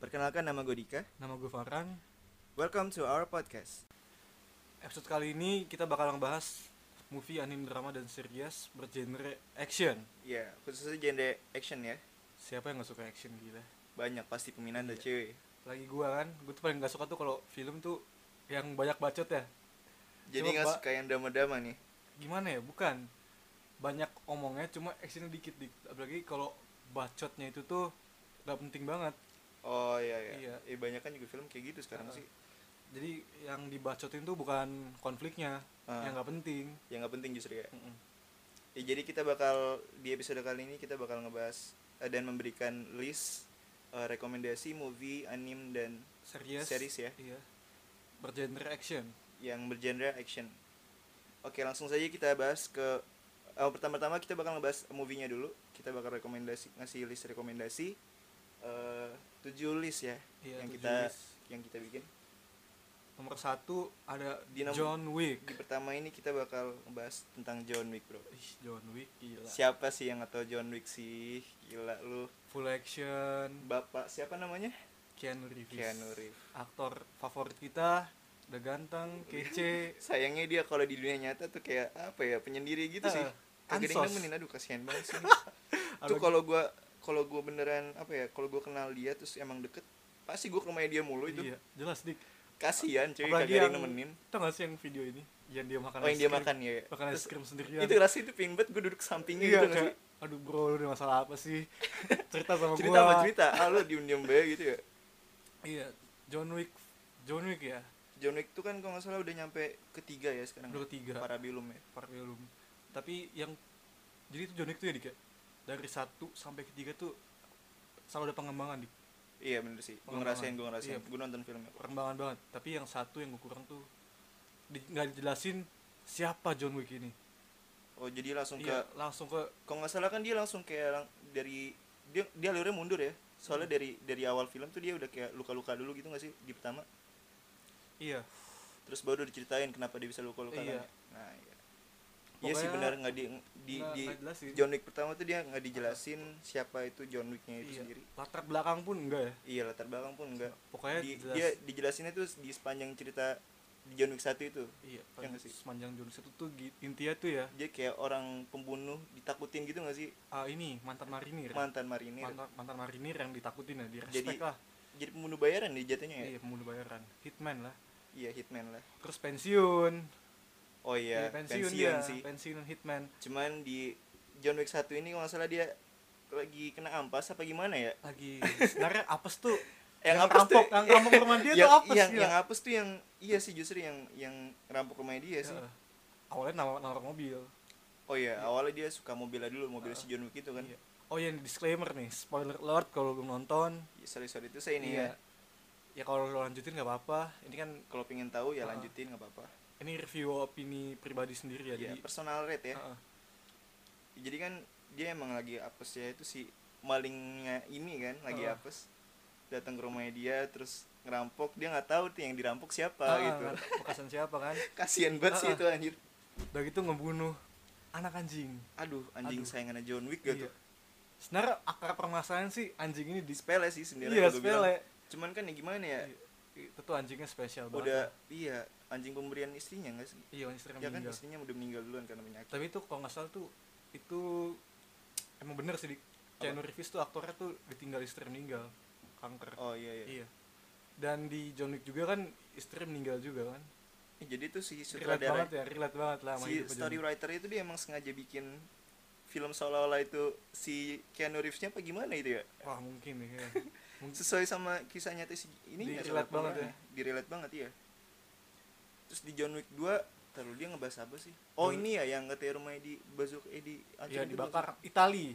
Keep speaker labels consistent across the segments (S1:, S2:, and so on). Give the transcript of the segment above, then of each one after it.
S1: Perkenalkan nama gue Dika.
S2: Nama gue Farhan.
S1: Welcome to our podcast.
S2: Episode kali ini kita bakal ngebahas movie, anime, drama, dan series bergenre action.
S1: Ya, khususnya genre action ya.
S2: Siapa yang gak suka action gila?
S1: Banyak pasti peminat dah cuy.
S2: Lagi gua kan, gue tuh paling gak suka tuh kalau film tuh yang banyak bacot ya.
S1: Jadi
S2: Coba,
S1: nggak
S2: Pak.
S1: suka yang drama-drama nih.
S2: Gimana ya? Bukan banyak omongnya, cuma actionnya dikit dikit. Apalagi kalau bacotnya itu tuh gak penting banget.
S1: Oh iya iya.
S2: Iya.
S1: Eh banyak kan juga film kayak gitu sekarang
S2: Heeh.
S1: sih.
S2: Jadi yang dibacotin tuh bukan konfliknya,
S1: Ah.
S2: yang gak penting.
S1: Yang nggak penting justru ya.
S2: Mm-mm.
S1: Ya, jadi kita bakal di episode kali ini kita bakal ngebahas eh, dan memberikan list eh, rekomendasi movie, anime dan
S2: Series.
S1: Series ya.
S2: Iya. Bergenre action.
S1: yang bergenre action. Oke, langsung saja kita bahas ke eh, pertama-tama kita bakal ngebahas movie-nya dulu. Kita bakal rekomendasi ngasih list rekomendasi eh 7 list ya
S2: Iya,
S1: yang
S2: tujuh
S1: kita
S2: list.
S1: yang kita bikin.
S2: Nomor satu ada
S1: Di nom-
S2: John Wick.
S1: Di pertama ini kita bakal ngebahas tentang John Wick, Bro.
S2: Ih, John Wick gila.
S1: Siapa sih yang nggak tahu John Wick sih? Gila lu.
S2: Full action,
S1: Bapak siapa namanya?
S2: Keanu Reeves.
S1: Keanu Reeves. Iya.
S2: Aktor favorit kita, udah ganteng, kece.
S1: Sayangnya dia kalau di dunia nyata tuh kayak apa ya, penyendiri gitu sih.
S2: Eh,
S1: Kagak ada yang
S2: ansos.
S1: nemenin, aduh kasihan banget sih. tuh
S2: Apalagi-
S1: kalau gua kalau gua beneran apa ya kalau gua kenal dia terus emang deket pasti gua ke rumahnya dia mulu itu
S2: Iya, jelas dik.
S1: kasihan cuy kagak
S2: Apalagi
S1: ada
S2: yang
S1: yang nemenin
S2: Tau gak sih yang video ini? Yang dia makan
S1: oh yang
S2: es
S1: dia
S2: krim.
S1: makan ya ya.
S2: Makan es
S1: Terus,
S2: krim sendirian.
S1: itu rasanya itu pingin banget gua duduk sampingnya
S2: iya,
S1: gitu nggak
S2: kayak,
S1: sih
S2: aduh bro, lu ada masalah apa sih? cerita sama
S1: cerita
S2: gua.
S1: sama cerita ah lu diem diem bae gitu ya
S2: Iya, John Wick. John Wick ya,
S1: John Wick tuh kan kalau nggak salah udah nyampe ketiga ya sekarang
S2: udah ketiga.
S1: Parabellum ya
S2: Park Bo-Lum. Tapi yang jadi itu John Wick tuh ya dik ya? Dari satu sampai ketiga tuh selalu ada pengembangan dik.
S1: iya bener sih gua
S2: Pengembangan.
S1: ngerasain gua ngerasain
S2: Iya.
S1: gua nonton filmnya kok.
S2: perkembangan banget tapi yang satu yang gue kurang tuh di- nggak dijelasin siapa John Wick ini
S1: oh jadi langsung ke
S2: iya langsung ke
S1: kalau nggak salah kan dia langsung kayak lang- dari dia dia alurnya mundur ya soalnya
S2: Hmm.
S1: dari dari awal film tuh dia udah kayak luka-luka dulu gitu nggak sih di pertama
S2: iya
S1: terus baru diceritain kenapa dia bisa luka-luka
S2: Iya.
S1: kan. nah iya Iya sih
S2: Pokoknya
S1: benar nggak di di,
S2: nggak-
S1: di
S2: nggak jelasin.
S1: John Wick pertama tuh dia nggak dijelasin siapa itu John Wicknya itu
S2: iya.
S1: sendiri
S2: latar belakang pun enggak ya
S1: iya latar belakang pun enggak
S2: pokoknya
S1: Di-
S2: jelas-
S1: dia dijelasinnya tuh di sepanjang cerita di John Wick satu itu
S2: iya
S1: Yang
S2: yang
S1: ya nggak sih?
S2: sepanjang John Wick itu tuh gi- intinya tuh ya
S1: dia kayak orang pembunuh ditakutin gitu nggak sih
S2: ah, ini mantan marinir
S1: mantan marinir
S2: Iya. mantan, mantan marinir yang ditakutin ya di
S1: Jadi-
S2: respect lah
S1: jadi pembunuh bayaran dia jatuhnya ya
S2: iya pembunuh bayaran hitman lah
S1: iya hitman lah
S2: terus pensiun
S1: oh iya, pensiun,
S2: dia
S1: sih
S2: pensiun hitman
S1: cuman di John Wick satu ini kalau nggak salah dia lagi kena ampas apa gimana ya
S2: lagi sebenarnya apes tuh
S1: Yang apes tuh-
S2: rampok- yang rampok rumah dia
S1: yang,
S2: tuh iya. apes
S1: Ya, yang,
S2: gila.
S1: yang apes tuh yang iya sih justru yang yang rampok rumahnya dia sih
S2: Heeh. awalnya nawar, nawar mobil
S1: oh iya awalnya dia suka mobilnya dulu mobil si John Wick itu kan
S2: Iya. oh yang disclaimer nih spoiler alert kalau belum nonton
S1: Ya, sorry sorry itu saya ini ya
S2: ya kalau lo lanjutin nggak apa-apa ini kan
S1: kalau pengen tahu ya
S2: Ah.
S1: lanjutin nggak apa-apa
S2: ini review opini pribadi sendiri ya,
S1: ya
S2: jadi
S1: personal rate ya
S2: Heeh.
S1: jadi kan dia emang lagi apes ya itu si malingnya ini kan lagi
S2: Ah.
S1: apes datang ke rumahnya dia terus ngerampok dia nggak tahu tuh yang dirampok siapa
S2: Ah,
S1: gitu
S2: nggak tahu bekasan siapa kan
S1: kasihan banget sih
S2: Ah, ah.
S1: itu anjir
S2: udah gitu ngebunuh anak anjing
S1: aduh anjing
S2: Aduh.
S1: sayangannya John Wick gitu. gak
S2: Iya.
S1: tuh
S2: sebenarnya akar permasalahan sih anjing ini di
S1: sepele sih sendiri
S2: iya
S1: kalau gua bilang.
S2: sepele Iya.
S1: cuman kan ya gimana ya
S2: itu tuh anjingnya spesial
S1: udah
S2: banget
S1: iya anjing pemberian istrinya nggak sih
S2: iya istri
S1: ya kan
S2: meninggal Iya.
S1: istrinya udah meninggal duluan karena penyakit
S2: tapi itu kalau nggak salah tuh itu emang bener sih di Keanu Reeves tuh aktornya tuh ditinggal istri meninggal kanker
S1: oh iya iya,
S2: iya dan di John Wick juga kan istri meninggal juga kan
S1: Eh, jadi tuh si
S2: relate
S1: sutradara
S2: banget ya relate banget lah sama
S1: si
S2: hidupnya John Wick.
S1: storywriter itu dia emang sengaja bikin film seolah-olah itu si Keanu Reeves-nya apa gimana itu ya
S2: wah mungkin ya mungkin
S1: sesuai sama kisah nyata si ini
S2: Di-relate banget ya.
S1: dirilet banget ya terus di John Wick 2 terus dia ngebahas apa sih oh
S2: John-
S1: ini ya yang katanya rumahnya di bazuk eh di
S2: ya
S1: hancurin itu bukan
S2: dibakar
S1: sih?
S2: Itali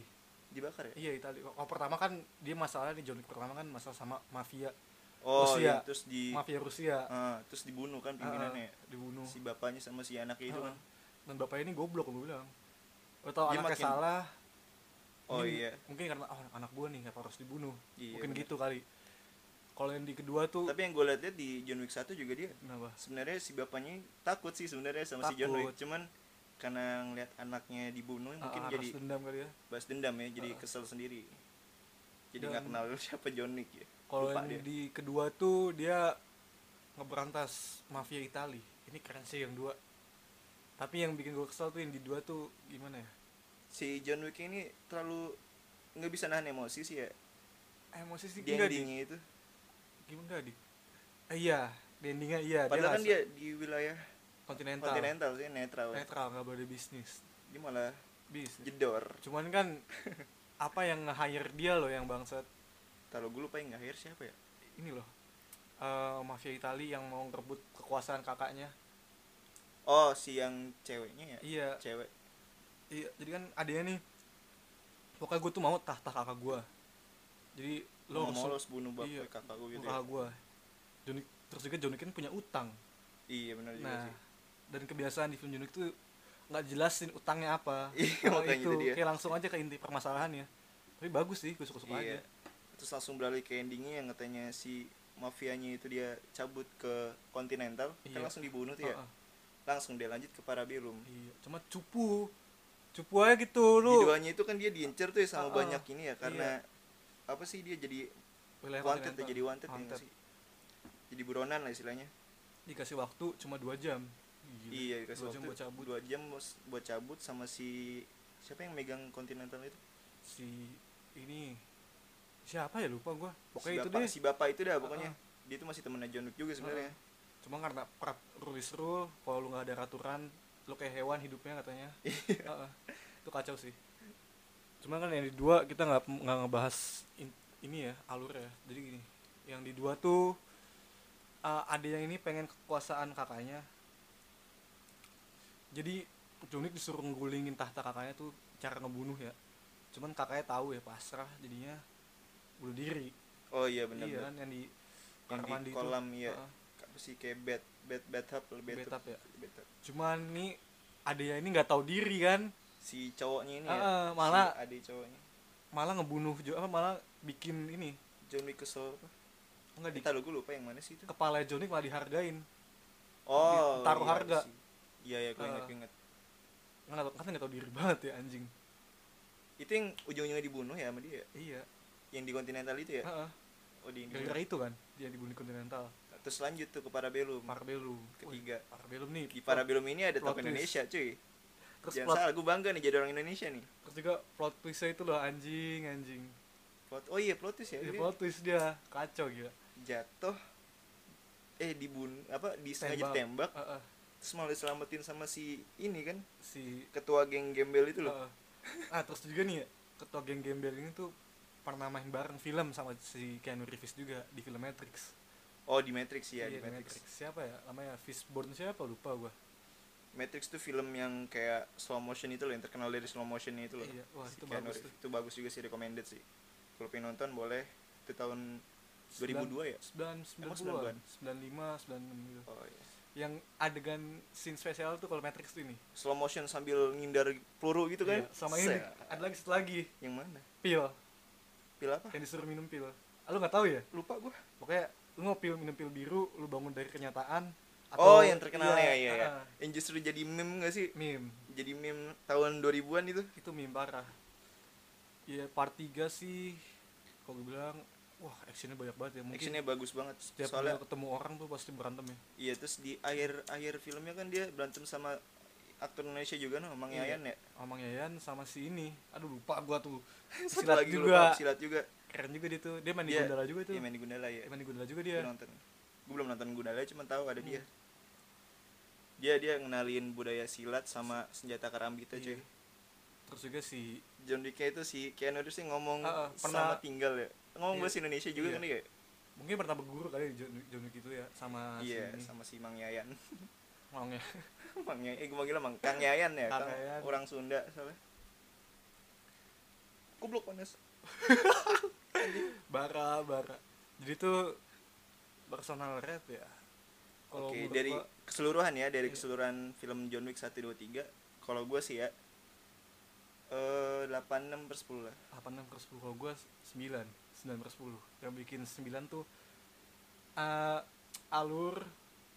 S1: dibakar ya
S2: iya Itali kalau pertama kan dia masalah di John Wick pertama kan masalah sama mafia
S1: oh
S2: Rusia.
S1: iya terus di
S2: mafia Rusia
S1: ah, terus dibunuh kan pimpinannya ya?
S2: Ah, dibunuh
S1: si bapaknya sama si anaknya itu kan
S2: dan bapak ini goblok gue bilang lo tau
S1: Dia
S2: anaknya
S1: makin-
S2: salah
S1: oh
S2: mungkin-
S1: iya
S2: mungkin karena oh, anak gue nih kenapa harus dibunuh
S1: Iya,
S2: mungkin
S1: benar.
S2: gitu kali kalau yang di kedua tuh
S1: tapi yang gue lihat di John Wick 1 juga dia
S2: kenapa
S1: sebenarnya si bapaknya takut sih sebenarnya sama si John
S2: Takut.
S1: Wick cuman karena ngelihat anaknya dibunuh mungkin
S2: Ah, ah,
S1: jadi
S2: harus dendam kali ya
S1: balas dendam ya jadi kesel sendiri jadi nggak
S2: Dan-
S1: kenal siapa John Wick ya
S2: Kalau
S1: Lupa
S2: yang
S1: dia.
S2: di kedua tuh dia ngeberantas mafia Itali. Ini keren sih yang dua. Tapi yang bikin gue kesel tuh yang di dua tuh gimana ya?
S1: si John Wick ini terlalu nggak bisa nahan emosi sih ya
S2: Eh, Emosi sih
S1: di
S2: enggak di.
S1: endingnya itu
S2: Gimana di? Eh, iya, di endingnya iya.
S1: padahal kan
S2: ras-
S1: dia di wilayah
S2: kontinental.
S1: kontinental sih netral
S2: Netral nggak boleh bisnis.
S1: dia malah
S2: Bisnis.
S1: jedor
S2: Cuman kan apa yang nge-hire dia loh yang bangsat
S1: kalau gue lupa yang akhir siapa ya
S2: ini loh. eh, mafia Itali yang mau ngerebut kekuasaan kakaknya.
S1: oh si yang ceweknya ya
S2: Iya,
S1: cewek
S2: Iya, jadi kan adanya nih pokoknya gue tuh mau tahta kakak gue. Jadi
S1: lo
S2: lo
S1: mau
S2: harus
S1: los bunuh bapak
S2: Iya.
S1: kakak gue gitu ya?
S2: kakak gue. Johnny terus juga Johnny kan punya utang.
S1: iya benar juga
S2: Nah,
S1: sih
S2: dan kebiasaan di film Johnny itu nggak jelasin utangnya apa.
S1: Iya,
S2: Kalau
S1: makanya
S2: itu
S1: itu dia.
S2: kayak langsung aja ke inti permasalahannya. Tapi bagus sih, gue suka-suka
S1: iya
S2: aja.
S1: terus langsung beralih ke endingnya yang katanya si mafianya itu dia cabut ke kontinental kan
S2: Iya.
S1: langsung dibunuh tuh ya
S2: Ah, ah,
S1: langsung dia lanjut ke Parabellum
S2: iya. Cuma cupu. Cupu aja gitu lu.
S1: Keduanya itu kan dia diincer tuh ya sama
S2: Ah, ah.
S1: banyak ini ya karena apa sih dia jadi
S2: Wilayah
S1: wanted
S2: kontinental.
S1: ya jadi wanted, ya
S2: Iya. Wanted.
S1: nggak sih jadi buronan lah istilahnya
S2: Dikasih waktu cuma 2 jam. Gila.
S1: iya
S2: Dua
S1: dikasih
S2: jam
S1: waktu
S2: buat cabut.
S1: dua jam bos- buat cabut sama si siapa yang megang kontinental itu
S2: si ini siapa ya lupa gua
S1: si
S2: pokoknya itu
S1: bapak
S2: deh
S1: si bapak itu dah
S2: Ah,
S1: pokoknya dia itu masih temennya John Wick juga sebenarnya
S2: cuma karena prap rulis rule kalau lu nggak ada aturan lu kayak hewan hidupnya katanya
S1: Iya.
S2: Heeh. itu kacau sih cuma kan yang di dua kita nggak nggak ngebahas in- ini ya alur ya jadi gini yang di dua tuh eh, ada yang ini pengen kekuasaan kakaknya jadi Jonik disuruh nggulingin tahta kakaknya tuh cara ngebunuh ya cuman kakaknya tahu ya pasrah jadinya bunuh diri
S1: oh iya benar
S2: iya
S1: benar
S2: kan yang di
S1: yang
S2: kamar
S1: di
S2: mandi itu. Ah.
S1: kolam ya
S2: Heeh,
S1: apa sih kayak bed bed bathtub lebih
S2: bathtub ya
S1: bathtub
S2: cuman nih ada yang ini nggak tahu diri kan
S1: si cowoknya ini ya
S2: Heeh, Ah, malah
S1: si adik cowoknya
S2: malah ngebunuh Jo- apa malah bikin ini
S1: John Wick kesel apa?
S2: enggak di
S1: Entah lu gue lupa yang mana sih itu
S2: kepala Johnny malah dihargain
S1: oh
S2: taruh
S1: iya
S2: harga.
S1: sih. iya iya gue
S2: Ah.
S1: inget gue inget
S2: nggak tahu kan nggak tahu diri banget ya anjing
S1: itu yang ujung-ujungnya dibunuh ya sama dia
S2: iya
S1: yang di kontinental itu ya
S2: heeh.
S1: oh di
S2: gara-gara itu kan dia dibunuh di kontinental
S1: terus lanjut tuh ke Parabellum
S2: Marbelu
S1: ketiga
S2: Marbelum nih
S1: di Parabellum ini ada tokoh
S2: Plot twist.
S1: Indonesia cuy
S2: terus
S1: jangan
S2: plot
S1: salah gue bangga nih jadi orang Indonesia nih
S2: terus juga plot twistnya itu loh anjing anjing
S1: plot oh iya plot twist ya
S2: Dia
S1: Dia
S2: plot twist dia kacau gila
S1: jatuh eh dibun apa disengaja tembak
S2: Heeh.
S1: terus malah diselamatin sama si ini kan
S2: si
S1: ketua geng gembel itu Gitu loh
S2: Heeh. ah terus juga nih ya, ketua geng gembel ini tuh pernah main bareng film sama si Keanu Reeves juga di film Matrix.
S1: oh di Matrix ya di
S2: Iya,
S1: Matrix
S2: Siapa ya? Namanya Fishburne siapa lupa gua.
S1: Matrix tuh film yang kayak slow motion itu loh yang terkenal dari slow motion itu loh
S2: Iya, wah
S1: Si
S2: itu
S1: Keanu
S2: bagus
S1: Reeves.
S2: tuh.
S1: itu bagus juga sih recommended sih kalau pengen nonton boleh itu tahun 2002 ya
S2: 9
S1: Emang
S2: 90-an, 95, 96 gitu.
S1: oh iya
S2: Yang adegan scene spesial tuh kalau Matrix tuh ini.
S1: slow motion sambil ngindar peluru gitu kan
S2: Iya, sama ini
S1: Set.
S2: ada lagi satu lagi,
S1: yang mana
S2: pil
S1: pil apa
S2: yang disuruh minum pil. Ah, lu nggak tahu ya?
S1: lupa gua
S2: Pokoknya lu mau pil minum pil biru, lu bangun dari kenyataan
S1: oh yang terkenal ya iya ya
S2: ah,
S1: yang justru jadi meme gak sih
S2: meme.
S1: jadi meme tahun 2000-an itu
S2: itu meme parah ya part 3 sih kalau gue bilang wah actionnya banyak banget ya mungkin
S1: actionnya bagus banget
S2: setiap
S1: soalnya
S2: gue ketemu orang tuh pasti berantem ya
S1: iya terus di akhir akhir filmnya kan dia berantem sama aktor Indonesia juga no Mang
S2: Iya.
S1: Yayan ya
S2: Amang Yayan sama si ini aduh lupa gua tuh
S1: Satu
S2: silat
S1: lagi lupa,
S2: juga
S1: silat juga
S2: keren juga dia tuh dia main di
S1: Dia-
S2: Gundala juga tuh
S1: dia Iya, main di Gundala ya
S2: dia main di Gundala juga dia
S1: Gua nonton gue belum nonton Gundala cuma tahu ada dia
S2: Hmm.
S1: dia dia ngenalin budaya silat sama senjata karambita
S2: Iya.
S1: cuy
S2: terus juga si
S1: John Wick itu si Keanu Reeves yang ngomong
S2: Ah, ah,
S1: sama
S2: pernah-
S1: tinggal ya ngomong
S2: Iya.
S1: bahasa Indonesia juga
S2: Iya.
S1: kan dia
S2: mungkin pernah berguru kali di John- John Wick itu ya sama
S1: iya
S2: si ini Ya.
S1: sama si Mang Yayan
S2: Amang Yayan.
S1: Mang Yayan eh gue manggilnya Mang Kang Yayan ya
S2: Kang
S1: Kang,
S2: Yayan.
S1: orang Sunda soalnya goblok panas
S2: bara bara jadi tuh personal rap ya
S1: oke
S2: kalau menurut
S1: dari
S2: gua-
S1: keseluruhan ya dari
S2: Iya.
S1: keseluruhan film John Wick 1, 2, 3 kalau gue sih ya eh 8, 6 per 10 lah
S2: 8 per 10 kalau gue 9 9 per 10 yang bikin 9 tuh eh, alur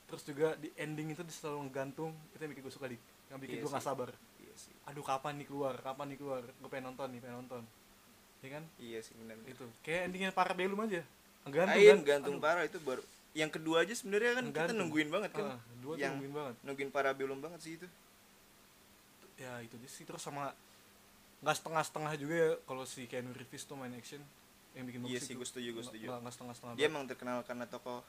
S2: terus juga di ending itu dia selalu ngegantung itu yang bikin gue suka di yang bikin
S1: Iya
S2: gue nggak
S1: sih.
S2: sabar
S1: iya sih
S2: aduh kapan nih keluar kapan nih keluar gue pengen nonton nih pengen nonton ya kan
S1: iya sih benar
S2: itu kayak endingnya para belum aja gantung
S1: Ain
S2: kan?
S1: gantung parah itu baru yang kedua aja sebenarnya kan kita
S2: Gantung.
S1: nungguin banget kan
S2: Ah, dua tuh
S1: yang-
S2: nungguin banget
S1: nungguin para belum banget sih itu
S2: ya itu dia sih terus sama nggak setengah-setengah juga ya kalau si Keanu Reeves tuh main action yang bikin
S1: iya
S2: bagus
S1: sih
S2: itu.
S1: gue setuju gue
S2: Nggak-
S1: setuju
S2: nggak nggak setengah-setengah
S1: dia
S2: banget.
S1: emang terkenal karena tokoh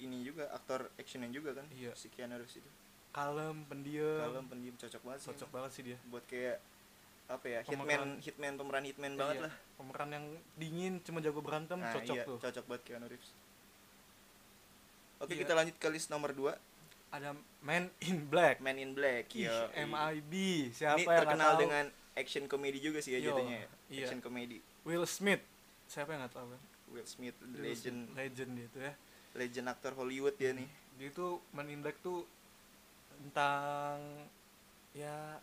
S1: ini juga aktor action yang juga kan
S2: Iya.
S1: si Keanu Reeves itu
S2: kalem pendiam
S1: kalau pendiam cocok banget sih
S2: cocok banget sih dia
S1: buat kayak apa ya hitman
S2: Pemeran.
S1: hitman pemeran hitman banget
S2: Iya,
S1: lah
S2: pemeran yang dingin cuma jago berantem
S1: nah
S2: cocok
S1: iya
S2: tuh
S1: cocok banget Keanu Reeves oke
S2: Iya.
S1: kita lanjut ke list nomor 2
S2: ada Man in Black
S1: Man in Black
S2: Ih,
S1: ya
S2: MIB siapa
S1: ini
S2: yang nggak
S1: terkenal
S2: tahu?
S1: dengan action comedy juga sih ya
S2: Yo,
S1: jadinya ya.
S2: iya.
S1: action comedy
S2: Will Smith siapa yang nggak tahu kan
S1: Will Smith
S2: Will
S1: legend
S2: Smith, legend dia tuh ya
S1: legend aktor Hollywood dia nih
S2: dia tuh Man in Black tuh tentang ya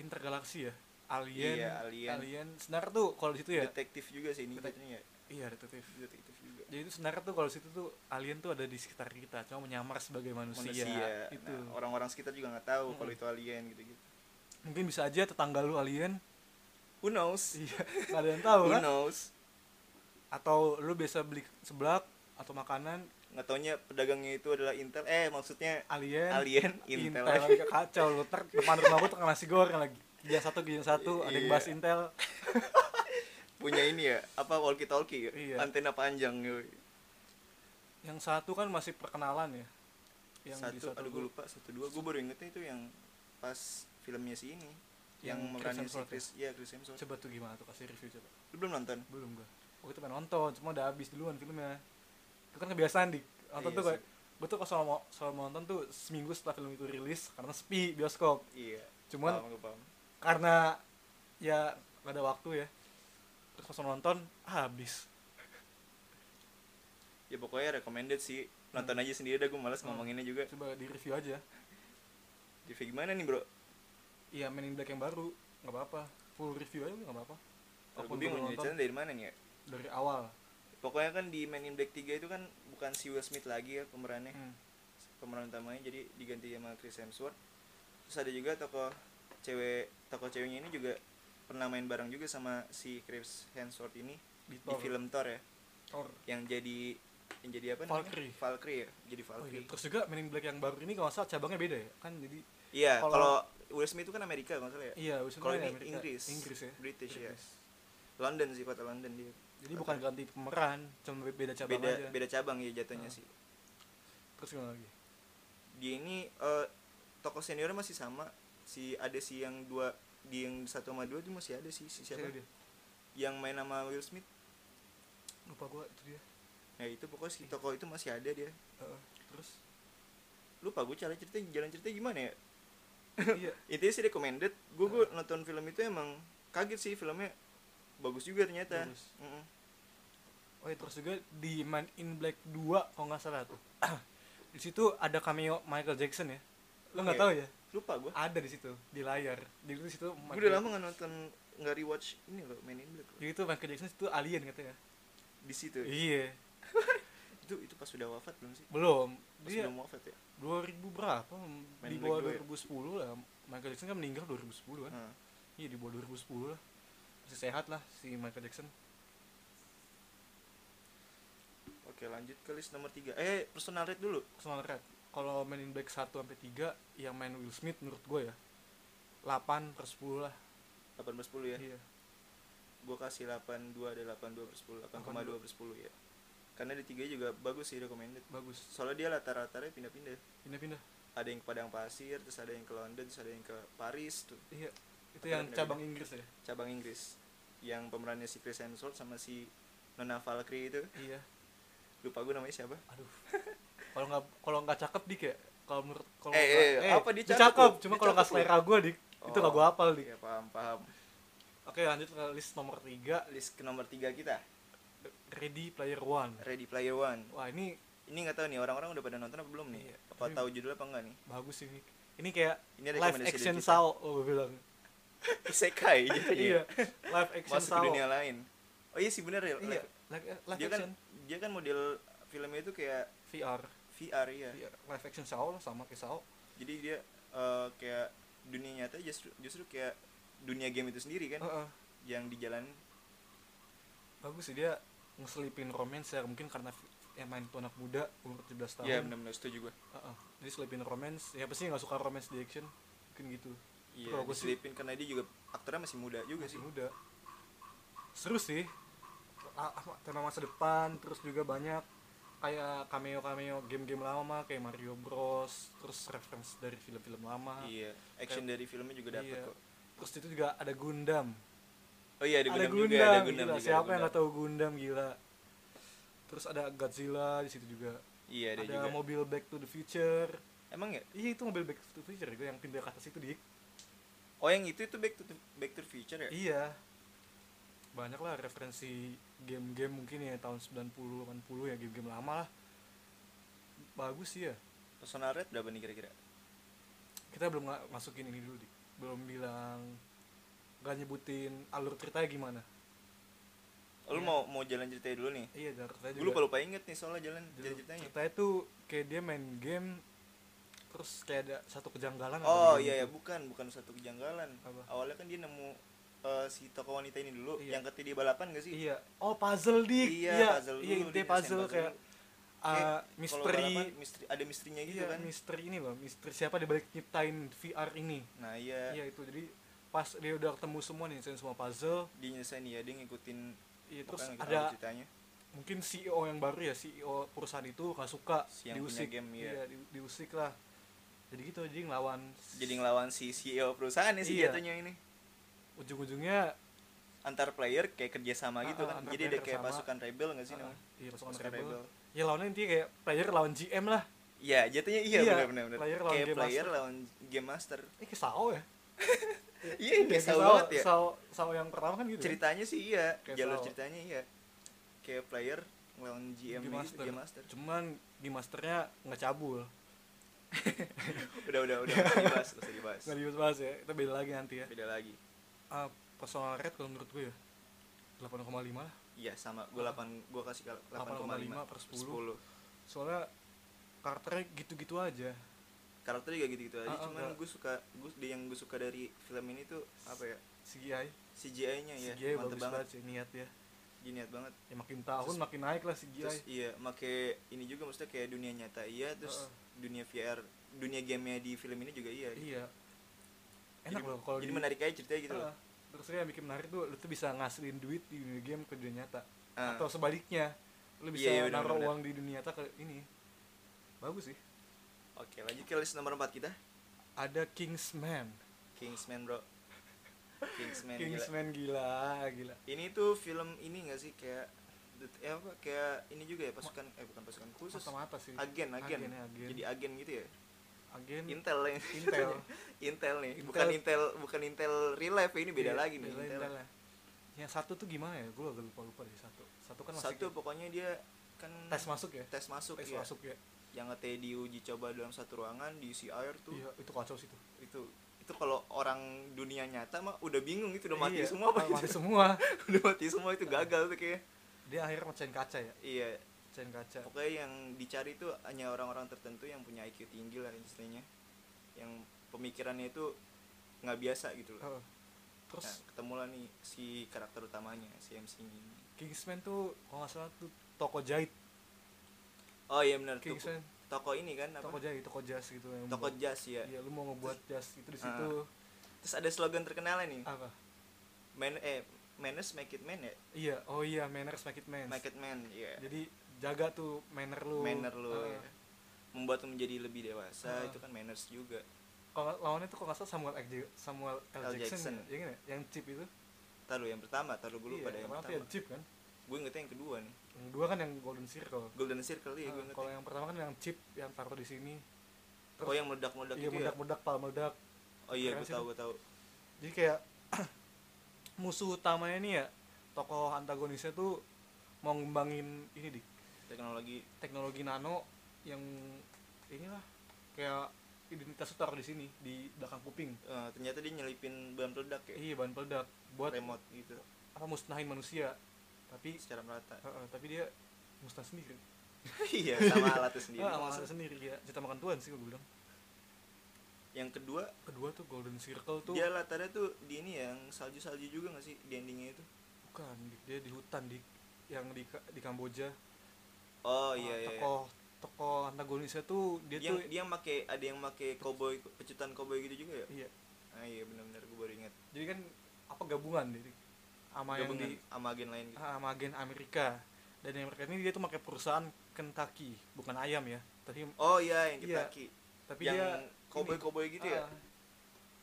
S2: intergalaksi ya alien
S1: Iya, alien.
S2: senar tuh kalau di situ ya
S1: detektif juga sih ini
S2: Detek-
S1: jadinya ya
S2: iya detektif
S1: detektif juga
S2: jadi itu senar tuh kalau di situ tuh alien tuh ada di sekitar kita cuma menyamar sebagai manusia,
S1: manusia Nah,
S2: itu
S1: orang-orang sekitar juga nggak tahu kalau
S2: Mm-mm.
S1: itu alien gitu-gitu
S2: mungkin bisa aja tetangga lu alien
S1: who knows
S2: iya nggak ada yang tahu
S1: who
S2: kan
S1: knows
S2: atau lu biasa beli seblak atau makanan
S1: nggak taunya pedagangnya itu adalah Intel eh maksudnya
S2: alien
S1: alien
S2: Intel,
S1: Intel,
S2: lagi kacau lu ter depan rumah gua tuh kena nasi goreng lagi giliran satu giliran satu ada
S1: Iya.
S2: yang bahas Intel
S1: punya ini ya apa walkie talkie ya?
S2: Iya.
S1: antena panjang gitu.
S2: yang satu kan masih perkenalan ya yang di
S1: satu aduh gue
S2: gua-
S1: lupa satu dua gue baru ingetnya itu yang pas filmnya si ini
S2: Yang
S1: yang,
S2: Chris
S1: meranin si
S2: Hemsworth ya?
S1: Chris ya Chris Hemsworth
S2: coba tuh gimana tuh kasih review coba
S1: lu belum nonton
S2: belum gua waktu itu pengen nonton cuma udah habis duluan filmnya itu kan kebiasaan di nonton
S1: Iya
S2: tuh
S1: sih.
S2: gua gua tuh kalau selalu mau selalu mau nonton tuh seminggu setelah film itu rilis karena sepi bioskop
S1: iya
S2: cuman
S1: paham, gua paham.
S2: karena ya gak ada waktu ya terus langsung nonton habis
S1: ya pokoknya recommended sih nonton aja sendiri dah gue malas
S2: Hmm.
S1: ngomonginnya juga
S2: coba di review aja
S1: Jadi gimana nih bro?
S2: iya Men in Black yang baru nggak apa-apa full review aja nggak apa-apa
S1: Aku
S2: Apapun
S1: bingung
S2: gua
S1: nih,
S2: nonton
S1: caranya dari mana nih ya?
S2: dari awal
S1: Pokoknya kan di Man in Black 3 itu kan bukan si Will Smith lagi ya pemerannya
S2: Hmm.
S1: Pemeran utamanya jadi diganti sama Chris Hemsworth Terus ada juga tokoh cewek tokoh ceweknya ini juga pernah main bareng juga sama si Chris Hemsworth ini
S2: di,
S1: Di
S2: Thor.
S1: film Thor ya
S2: Thor.
S1: Yang jadi yang jadi apa
S2: Valkyrie.
S1: namanya? Valkyrie ya? Jadi
S2: Oh iya,
S1: Valkyrie
S2: terus juga Men in Black yang baru ini kalau nggak salah cabangnya beda ya kan jadi
S1: Iya,
S2: Kalau-
S1: kalau Will Smith itu kan Amerika kalau nggak salah ya?
S2: iya maksudnya
S1: Kalau
S2: ya
S1: ini
S2: Amerika.
S1: Inggris,
S2: Inggris ya
S1: British, ya. London sih, kota London dia
S2: jadi bukan ganti pemeran cuma be- beda cabang
S1: beda
S2: aja
S1: beda cabang ya jatuhnya
S2: Ah.
S1: sih
S2: terus gimana lagi
S1: dia ini eh, tokoh seniornya masih sama si ada si yang dua di yang satu sama dua itu masih ada sih si siapa
S2: Siapa dia
S1: yang main nama Will Smith
S2: lupa gua itu dia
S1: nah itu pokoknya
S2: Iya.
S1: si tokoh itu masih ada dia
S2: Heeh. terus
S1: lupa gue cara cerita jalan cerita gimana ya
S2: iya
S1: intinya sih recommended gue gue nonton film itu emang kaget sih filmnya bagus juga ternyata
S2: Bagus.
S1: Mm-mm.
S2: oh iya, terus juga di Man in Black 2 kalau nggak salah tuh di situ ada cameo Michael Jackson ya lo nggak
S1: Iya.
S2: tahu ya
S1: lupa gue
S2: ada di situ di layar di situ- di situ
S1: gue udah lama nggak nonton nggak rewatch ini loh main in Black loh.
S2: jadi itu Michael Jackson itu alien katanya
S1: di situ ya.
S2: iya
S1: itu itu pas sudah wafat belum sih
S2: belum
S1: pas
S2: dia
S1: belum wafat ya
S2: 2000 berapa
S1: Man
S2: di
S1: in
S2: bawah
S1: Black ya?
S2: 2010 lah Michael Jackson kan meninggal 2010 kan
S1: Heeh.
S2: iya di bawah 2010 lah masih sehat lah si Michael Jackson
S1: Oke lanjut ke list nomor 3 Eh personal rate dulu
S2: personal red kalau Man in Black 1 sampai 3 yang main Will Smith menurut gue ya 8 per 10 lah
S1: 8 per 10 ya
S2: iya
S1: Gue kasih 82 ada 82 per 10 8,2 per 10 ya Karena di 3 juga bagus sih recommended
S2: bagus
S1: Soalnya dia latar-latarnya pindah-pindah
S2: pindah-pindah
S1: Ada yang ke Padang Pasir Terus ada yang ke London Terus ada yang ke Paris tuh
S2: iya
S1: Apa
S2: itu yang
S1: namanya?
S2: cabang Inggris ya
S1: Cabang Inggris Yang pemerannya si Chris Hemsworth sama si Nona Valkyrie itu
S2: iya
S1: Lupa gue namanya siapa
S2: aduh kalau nggak kalau nggak cakep dik ya kalau menurut kalau
S1: Eh,
S2: nggak-
S1: eh, apa dia cakep
S2: cakep
S1: lu?
S2: cuma
S1: Dia
S2: kalau nggak
S1: cakep lu?
S2: selera gue dik itu nggak
S1: Oh.
S2: gue hafal dik
S1: Ya paham paham
S2: oke lanjut ke list nomor 3
S1: List ke nomor 3 kita
S2: Ready Player One
S1: Ready Player One
S2: wah ini
S1: Ini nggak tahu nih orang-orang udah pada nonton apa belum nih
S2: Iya.
S1: Apa
S2: Ini-
S1: tahu judulnya apa enggak nih
S2: bagus ini ini kayak
S1: Ini
S2: live
S1: rekomendasi dari
S2: action
S1: kita.
S2: Sao oh, gue bilang
S1: Isekai jadinya
S2: iya live action
S1: masuk
S2: Sao
S1: ke dunia lain oh iya sih bener ya
S2: iya
S1: live-
S2: live, live
S1: dia
S2: action
S1: kan dia kan model filmnya itu kayak
S2: VR
S1: VR ya
S2: VR. Iya, live action Sao lah sama kayak Sao
S1: jadi dia eh, kayak dunia nyata justru justru kayak
S2: Oh.
S1: dunia game itu sendiri kan
S2: Heeh.
S1: yang dijalan
S2: bagus sih dia ngeselipin romance ya mungkin karena fi- ya main tuh anak muda umur 17 tahun
S1: Iya benar-benar setuju gue.
S2: Heeh. jadi selipin romance ya pasti nggak suka romance di action mungkin gitu
S1: Iya.
S2: Kalau
S1: Gue
S2: gua sih-
S1: selipin karena dia juga aktornya masih muda juga sih.
S2: masih muda seru sih A- apa, tema masa depan terus juga banyak kayak cameo cameo game-game lama kayak Mario Bros terus reference dari film-film lama
S1: Iya. Action dari filmnya juga dapat
S2: Iya.
S1: kok.
S2: terus itu juga ada Gundam
S1: Oh iya ada
S2: ada
S1: Gundam,
S2: Gundam,
S1: juga, ada Gundam
S2: gila.
S1: juga. ada
S2: siapa yang
S1: Gundam.
S2: nggak tahu Gundam gila terus ada Godzilla di situ juga
S1: Iya ada,
S2: ada,
S1: juga.
S2: mobil Back to the Future
S1: Emang ya?
S2: iya itu mobil Back to the Future gue yang pindah ke atas itu
S1: Iya.
S2: dik
S1: Oh yang itu itu Back to the, Back to the Future ya?
S2: iya banyak lah referensi game-game mungkin ya tahun 90 80 ya game-game lama lah bagus sih ya
S1: Personal Red berapa nih kira-kira?
S2: kita belum nga- masukin ini dulu dik belum bilang gak nyebutin alur ceritanya gimana
S1: Oh, Lu
S2: Iya.
S1: mau mau jalan ceritanya dulu nih?
S2: iya alur ceritanya
S1: Gue lupa lupa inget nih soalnya jalan jalan
S2: Dulu,
S1: ceritanya.
S2: ceritanya tuh kayak dia main game terus kayak ada satu kejanggalan
S1: Oh
S2: atau
S1: iya
S2: gimana
S1: ya bukan bukan satu kejanggalan.
S2: gitu? Apa?
S1: Awalnya kan dia nemu eh, si tokoh wanita ini dulu
S2: Iya.
S1: yang ketika dia balapan gak
S2: gitu.
S1: sih?
S2: iya oh puzzle dik
S1: Iya,
S2: iya
S1: puzzle dulu,
S2: iya intinya
S1: dia desain
S2: puzzle
S1: puzzle
S2: kayak
S1: dulu.
S2: ah,
S1: Kayak Kalau
S2: misteri
S1: balapan, misteri ada misterinya gitu
S2: iya
S1: kan.
S2: misteri ini loh misteri siapa di balik nyiptain VR ini
S1: Nah iya,
S2: iya itu jadi pas dia udah ketemu semua nih nyelesain semua puzzle
S1: dia nyelesain ya dia ngikutin
S2: iya terus
S1: bukan,
S2: ada
S1: alur ceritanya.
S2: mungkin CEO yang baru ya CEO perusahaan itu gak suka
S1: Si yang punya
S2: diusik
S1: game, iya.
S2: iya di- diusik lah jadi gitu jadi ngelawan
S1: Jadi ngelawan si CEO perusahaan ya sih
S2: Iya.
S1: jatuhnya ini.
S2: ujung-ujungnya
S1: Antar player kayak kerjasama
S2: Ah,
S1: gitu
S2: ah,
S1: kan.
S2: antar
S1: Jadi ada
S2: player
S1: kayak
S2: sama.
S1: pasukan rebel gak sih
S2: Ah,
S1: namanya?
S2: Iya, pasukan
S1: Pasukan
S2: rebel.
S1: rebel.
S2: Ya lawannya intinya kayak player lawan GM lah.
S1: Iya, jatuhnya iya,
S2: Iya,
S1: benar benar benar.
S2: player lawan
S1: Kayak
S2: game
S1: player
S2: master.
S1: lawan game master.
S2: Ini kayak SAO ya?
S1: Iya,
S2: Iya,
S1: udah
S2: kayak
S1: tahu banget ya.
S2: SAO, SAO yang pertama kan gitu. ya?
S1: Ceritanya sih iya,
S2: Kayak
S1: jalur
S2: sama.
S1: ceritanya iya. Kayak player lawan GM
S2: Game
S1: gitu,
S2: Master.
S1: game master.
S2: Cuman game masternya nggak cabul.
S1: Udah udah udah nggak dibahas, nggak usah dibahas.
S2: Nggak dibahas ya, kita beda lagi nanti ya.
S1: Beda lagi.
S2: Ah, personal rate kalau menurut gue ya 8,5 lah.
S1: Iya sama, gue 8, gue kasih kal-
S2: 8,5
S1: 8,5
S2: per 10. Soalnya karakternya gitu-gitu aja.
S1: Karakternya juga gitu-gitu aja,
S2: Ah, ah,
S1: cuman
S2: nggak.
S1: gue suka, gue yang gue suka dari film ini tuh apa ya?
S2: CGI,
S1: CGI-nya ya,
S2: CGI
S1: mantep
S2: bagus
S1: banget,
S2: banget sih niat ya.
S1: Gini niat banget.
S2: Ya makin tahun
S1: Terus-
S2: makin naik lah CGI.
S1: Terus iya, make ini juga maksudnya kayak dunia nyata iya, terus
S2: Ah, ah.
S1: dunia VR, dunia gamenya di film ini juga iya.
S2: iya. Enak
S1: jadi,
S2: loh kalau
S1: jadi
S2: di-
S1: menarik aja ceritanya gitu loh.
S2: Ah, terus yang bikin menarik tuh lu tuh bisa ngasilin duit di dunia game ke dunia nyata
S1: Ah.
S2: atau sebaliknya lu bisa
S1: Iya, iya, benar,
S2: naruh
S1: benar.
S2: uang di dunia nyata ke ini bagus sih
S1: Oke, lanjut ke list nomor 4 kita.
S2: ada Kingsman
S1: Kingsman, Bro. Kingsman, gila.
S2: Kingsman gila gila,
S1: Ini tuh film ini gak sih kayak det- eh apa kayak ini juga ya pasukan eh bukan pasukan khusus.
S2: mata sih
S1: Agen, agen.
S2: Agen, agen.
S1: Jadi agen gitu ya.
S2: agen
S1: Intel ya.
S2: Intel.
S1: Intel nih.
S2: Intel.
S1: Bukan Intel, bukan Intel real life ya, ini beda
S2: Iya,
S1: lagi nih.
S2: beda
S1: Intel.
S2: Intel lah. yang satu tuh gimana ya gue lupa lupa deh satu satu kan masih
S1: Satu pokoknya dia kan
S2: tes masuk ya
S1: tes masuk
S2: tes
S1: ya.
S2: masuk ya
S1: Yang katanya diuji coba dalam satu ruangan diisi air tuh.
S2: iya itu kacau sih tuh
S1: Itu itu kalau orang dunia nyata mah udah bingung itu udah mati
S2: Iya,
S1: semua apa
S2: mati Iya.
S1: gitu.
S2: semua
S1: udah mati semua itu gagal tuh kayak.
S2: dia akhirnya mecahin kaca ya
S1: Iya,
S2: mecahin kaca
S1: pokoknya yang dicari itu hanya orang-orang tertentu yang punya IQ tinggi lah istilahnya yang pemikirannya itu nggak biasa gitu loh
S2: Heeh. terus
S1: nah ketemulah nih si karakter utamanya si MC ini
S2: Kingsman tuh kalau nggak salah tuh toko jahit
S1: oh iya benar tuh
S2: Kingsman
S1: toko ini kan
S2: toko
S1: apa
S2: jahit toko jas gitu yang
S1: toko
S2: buat-
S1: jas ya ah.
S2: iya lu mau ngebuat jas itu di situ
S1: terus ada slogan terkenalnya nih
S2: apa
S1: man eh manners make it man ya
S2: iya oh iya manners make it man
S1: make it man iya
S2: jadi jaga tuh manner lu
S1: manner lu
S2: Ah.
S1: ya. membuat lu menjadi lebih dewasa
S2: Ah.
S1: itu kan manners juga
S2: kalau nggak- lawannya tuh kalau nggak salah Samuel L. J- Samuel L.
S1: L. Jackson.
S2: Jackson, ya? Iya kan ya? yang chip itu
S1: taruh yang pertama taruh dulu
S2: iya,
S1: pada yang
S2: pertama tuh
S1: pertama
S2: yang chip kan
S1: gue ingetnya yang kedua nih
S2: yang dua kan yang golden circle
S1: golden circle ya
S2: Ah,
S1: gue ingetnya
S2: kalau yang pertama kan yang chip yang taruh di sini Terus-
S1: Oh yang meledak-meledak
S2: iya
S1: itu ya?
S2: meledak-meledak pal meledak
S1: Oh iya
S2: Keren
S1: gue
S2: sih
S1: tahu gue tahu.
S2: jadi kayak musuh utamanya nih ya tokoh antagonisnya tuh mau ngembangin ini dik
S1: Teknologi
S2: teknologi nano yang inilah kayak identitas tuh taruh di sini di belakang kuping
S1: eh, ternyata dia nyelipin bahan peledak ya.
S2: iya bahan peledak buat
S1: remote gitu
S2: apa musnahin manusia tapi
S1: secara merata.
S2: Heeh, tapi dia musnah sendiri
S1: iya sama alatnya sendiri.
S2: Ah,
S1: Maksud-
S2: maksudnya sendiri ya cerita makan Tuhan sih gue bilang
S1: Yang kedua
S2: kedua tuh golden circle tuh
S1: dia ya, latarnya tuh di ini yang salju-salju juga gak sih di endingnya itu?
S2: bukan Dik. dia di hutan di yang di Ka- di Kamboja
S1: oh
S2: Ah,
S1: iya iya iya.
S2: tokoh tokoh antagonisnya tuh dia
S1: yang
S2: tuh
S1: dia yang make ada yang make cowboy pecutan cowboy gitu juga ya
S2: iya
S1: ah iya benar-benar gue baru ingat
S2: jadi kan apa gabungan jadi sama yang
S1: gabungan
S2: di
S1: sama agen lain gitu
S2: ah, sama agen Amerika dan yang mereka ini dia tuh pakai perusahaan Kentucky bukan ayam ya tapi
S1: oh iya yang
S2: Iya.
S1: Kentucky
S2: tapi
S1: yang
S2: dia
S1: cowboy
S2: ini,
S1: cowboy gitu ya
S2: ah,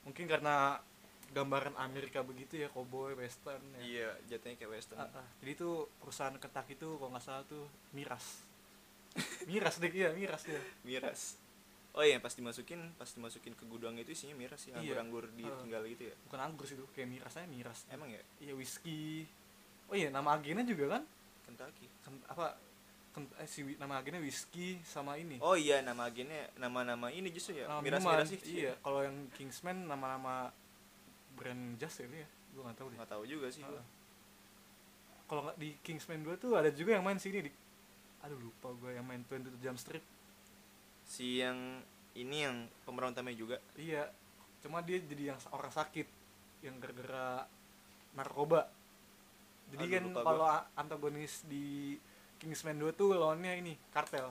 S2: mungkin karena gambaran Amerika begitu ya cowboy western ya
S1: iya jatuhnya kayak western
S2: Ah, ah. Jadi tuh perusahaan Kentucky itu kalau nggak salah tuh miras. miras deh iya, miras dia.
S1: miras oh iya pas dimasukin pas dimasukin ke gudang itu isinya miras sih
S2: Iya.
S1: anggur-anggur
S2: Ah.
S1: ditinggal gitu ya
S2: Bukan anggur sih itu, kayak miras aja miras.
S1: emang ya
S2: Iya whisky. Oh iya, nama agennya juga kan?
S1: Kentucky
S2: Ken- apa Ken- eh, si wi- nama agennya whisky sama ini.
S1: oh iya nama agennya nama-nama ini justru ya
S2: Nama
S1: miras
S2: minuman.
S1: miras sih
S2: Iya, kalau yang Kingsman nama-nama brand jas ya itu ya. Gua nggak tahu deh.
S1: nggak tahu juga sih gua.
S2: Ah, ah. Kalau nggak di Kingsman 2 tuh ada juga yang main sini di Aduh lupa gue yang main 22 Jump Street.
S1: si yang ini yang pemeran utamanya juga
S2: Iya, cuma dia jadi yang orang sakit yang gara-gara narkoba. Jadi
S1: Aduh,
S2: kan
S1: lupa
S2: kalau a- antagonis di Kingsman 2 tuh lawannya ini kartel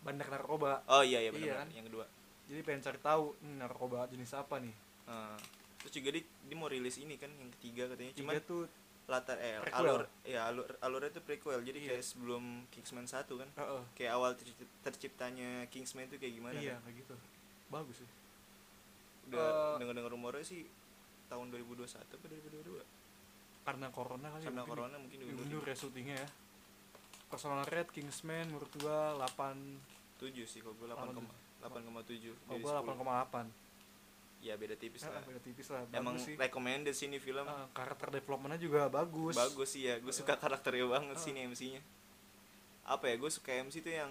S2: bandar narkoba.
S1: oh iya iya
S2: Iya,
S1: benar
S2: kan?
S1: yang kedua
S2: Jadi pengen cari tahu "Hmm, narkoba jenis apa nih.
S1: Ah. terus juga dia, dia mau rilis ini kan yang ketiga katanya cuman
S2: Tiga tuh
S1: latar eh,
S2: Prequel.
S1: alur ya alur alurnya itu prequel jadi
S2: Iya.
S1: kayak sebelum Kingsman 1 kan
S2: heeh.
S1: kayak awal terci- terciptanya Kingsman itu kayak gimana
S2: iya
S1: kan?
S2: kayak gitu. Bagus sih.
S1: udah
S2: Eh.
S1: denger dengar rumornya sih tahun 2021 apa 2022
S2: Karena corona kali ya,
S1: karena
S2: mungkin
S1: corona mungkin
S2: di-
S1: diundur
S2: diundur ya syutingnya ya. Personal Red Kingsman menurut gua 8
S1: 7 sih kalau gue
S2: Delapan
S1: 8,7
S2: kalau
S1: dari
S2: gua
S1: 10
S2: 8,8.
S1: ya beda tipis
S2: Ah,
S1: lah
S2: Beda tipis lah. Bagus
S1: emang
S2: sih.
S1: recommended sih ini film
S2: Eh, karakter developmentnya juga bagus.
S1: bagus sih ya gue suka karakternya banget sih
S2: Ah.
S1: nih MC-nya apa ya gue suka MC tuh yang